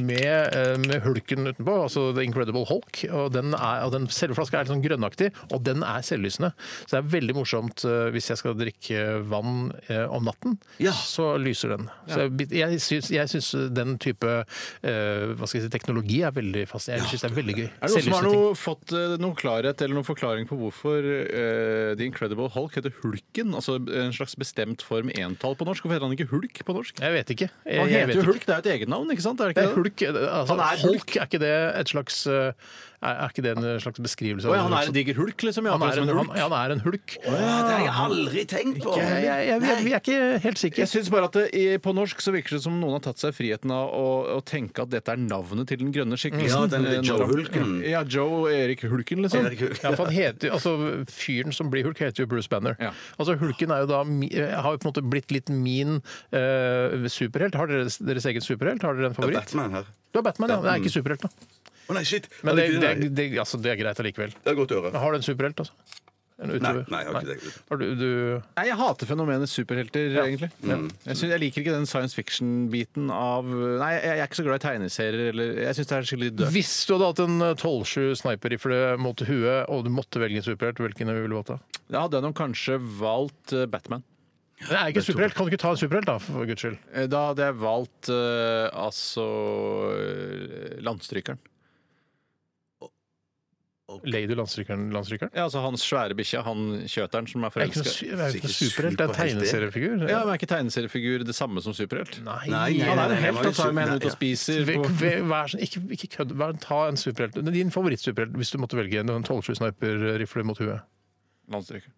B: med, eh, med hulken utenpå, altså The Incredible Hulk. Og den, er, og den selve flaska er litt sånn grønnaktig, og den er selvlysende. Så det er veldig morsomt eh, hvis jeg skal drikke vann eh, om natten,
C: Ja.
B: så lyser den. Så jeg, bit- jeg, syns, jeg syns den type eh, hva skal jeg si, teknologi er veldig fast. Jeg syns det er veldig gøy.
A: Er det noen som har
B: Selvlysende ting.
A: noe, fått eh, noen klarhet eller noen forklaring på hvorfor eh, The Incredible Hulk heter Hulken? Altså en slags bestemt form entall på norsk. Hvorfor heter han ikke Hulk på norsk?
B: Jeg vet ikke. Jeg,
A: Han
B: jeg
A: heter
B: vet
A: jo
B: ikke.
A: Hulk, det er jo et eget navn, ikke sant? Er det
B: Det
A: ikke
B: er
A: det?
B: hulk. Altså,
A: Han er
B: hulk. er ikke det et slags eh, Er er ikke det en slags beskrivelse? av
A: Å ja, han
B: noe
A: er en diger hulk, liksom. Ja,
B: Han er en,
A: hulk.
B: han, ja, han er en hulk.
C: Ja, det har jeg aldri tenkt på!
B: Jeg, jeg, jeg, vi er ikke helt sikre.
A: Jeg synes bare at det, i- På norsk så virker det som noen har tatt seg friheten av å, å tenke at dette er navnet til den grønne
C: Ja,
A: skikkelsen.
C: den er
A: Eh,
C: Joe
A: når-
C: Hulken.
A: Ja, Joe og Erik Hulken, liksom.
C: Erik Hulken.
B: Ja, for han heter, jo- altså, fyren som blir hulk, heter jo Bruce Banner.
A: Ja.
B: Altså, hulken er jo da, mi- eh, har jo på en måte blitt litt min eh, superhelt. Har dere deres egen superhelt? Har dere en
C: Det er
B: favoritt?
C: Batman her.
B: Du har Batman, ja. Men jeg er ikke superhelt, da.
C: Å nei, shit!
B: Men det,
C: Herregud,
B: det,
C: nei.
B: det, altså, det er greit allikevel.
C: det er godt å høre.
B: Har du en superhelt, altså? En utøver?
C: Nei, nei, jeg har ikke det.
B: Har du, du
A: Nei, Jeg hater fenomenet superhelter, egentlig. Jeg, synes, jeg liker ikke den science fiction-biten av eh, Nei, jeg, jeg er ikke så glad i tegneserier. Eller, jeg syns det er skikkelig dødt.
B: Hvis du hadde hatt en eh, 12-7 sniperrifle mot huet, og du måtte velge en superhelt, hvilken ville du valgt da?
A: Da hadde jeg nok kanskje valgt eh, Batman.
B: Det er ikke en superhelt. Kan du ikke ta en superhelt, da, for guds skyld?
A: Eh, Da hadde jeg valgt eh, altså eh, Landstrykeren.
B: Lady landstrykeren? landstrykeren?
A: Ja, altså hans svære bikkja, han kjøteren som er
B: Det er ikke
A: forelska.
B: noe su- det er jo ikke noe
C: Sikkert
B: superhelt, det er en
C: superhelt, det.
B: tegneseriefigur.
A: Ja, men er ikke tegneseriefigur det samme som superhelt?
B: Nei,
C: Nei, nei,
A: Han er
C: nei,
A: en helt,
C: nei,
A: han tar jo med henne
C: nei,
A: ut og
C: ja.
A: spiser.
B: Ve-
A: på-
B: ve- Vær sånn, ikke, ikke kødd. Vær, ta en superhelt. Det er Din favorittsuperhelt, hvis du måtte velge en en 12-7 sniperrifle mot huet.
A: Landstrykeren.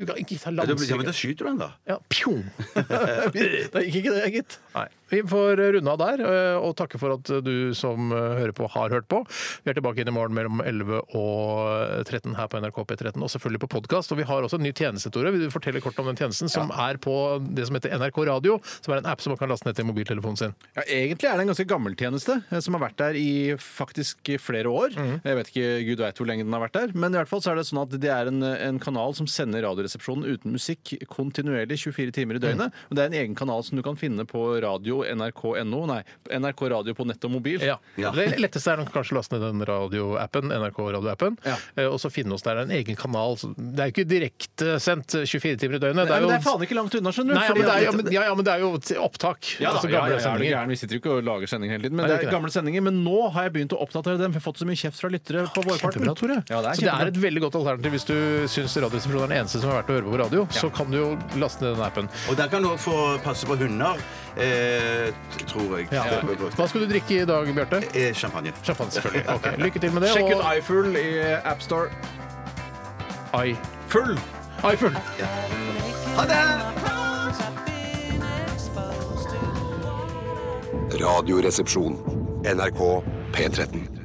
B: Du kan ikke ta
C: Ja, da blir- ja, men da
B: landstrykeren.
C: skyter du den, da.
B: Ja, pjong!
A: Det gikk ikke det, gitt.
B: Nei. Vi får runde av der, eh, og takke for at du som eh, hører på, har hørt på. Vi er tilbake inn i morgen mellom 11 og 13 her på NRK P13, og selvfølgelig på podkast. Og vi har også en ny tjeneste, Tore. Vil du fortelle kort om den tjenesten som er på det som heter NRK Radio, som er en app som man kan laste ned til mobiltelefonen sin?
A: Ja, Egentlig er det en ganske gammel tjeneste, eh, som har vært der i faktisk flere år. Jeg vet ikke, Gud veit hvor lenge den har vært der. Men i hvert fall så er det sånn at det er en, en kanal som sender Radioresepsjonen uten musikk kontinuerlig 24 timer i døgnet. Og det er en egen kanal som du kan finne på radio nrk.no, nei, NRK Radio på nett og mobil.
B: Ja.
C: Ja.
B: Det letteste er nok kanskje å laste ned den radioappen, NRK radioappen,
A: Ja.
B: eh, og så finne oss der. Det er en egen kanal. så Det er jo ikke direktesendt 24 timer i døgnet.
A: Nei, men det er faen ikke langt unna, skjønner du.
B: Nei, ja, men
A: fordi
B: det er,
A: at-
B: ja, men, ja, ja, men det er jo til opptak.
A: Ja, da,
B: altså
A: ja, ja,
B: gamle
A: ja, er du
B: sendinger.
A: gæren? Vi sitter jo ikke og lager sending hele tiden. Men
B: Nei,
A: det
B: det er
A: er
B: ikke
A: gamle sendinger, men nå har jeg begynt å oppdatere dem. for Jeg har fått så mye kjeft fra lyttere på vårparten.
B: Kjempebra, Tore.
A: Ja, det er
B: så det er
A: kjempebra.
B: et veldig godt alternativ hvis du syns Radioresepsjonen er den eneste som er verdt å høre på på radio. Så kan du jo laste ned den appen.
C: Og der kan du òg få passe på hunder, eh, t- tror jeg.
B: Ja.
C: Det blir godt.
B: Eh, Hva skal du drikke i dag, Bjarte?
C: Eh, Champagne.
B: Champagne, selvfølgelig. Ok, Lykke til med det.
A: Sjekk ut
B: og-
A: iFool i AppStore.
B: Ai.
A: Full!
B: Eiffel.
E: Radioresepsjon. NRK P13.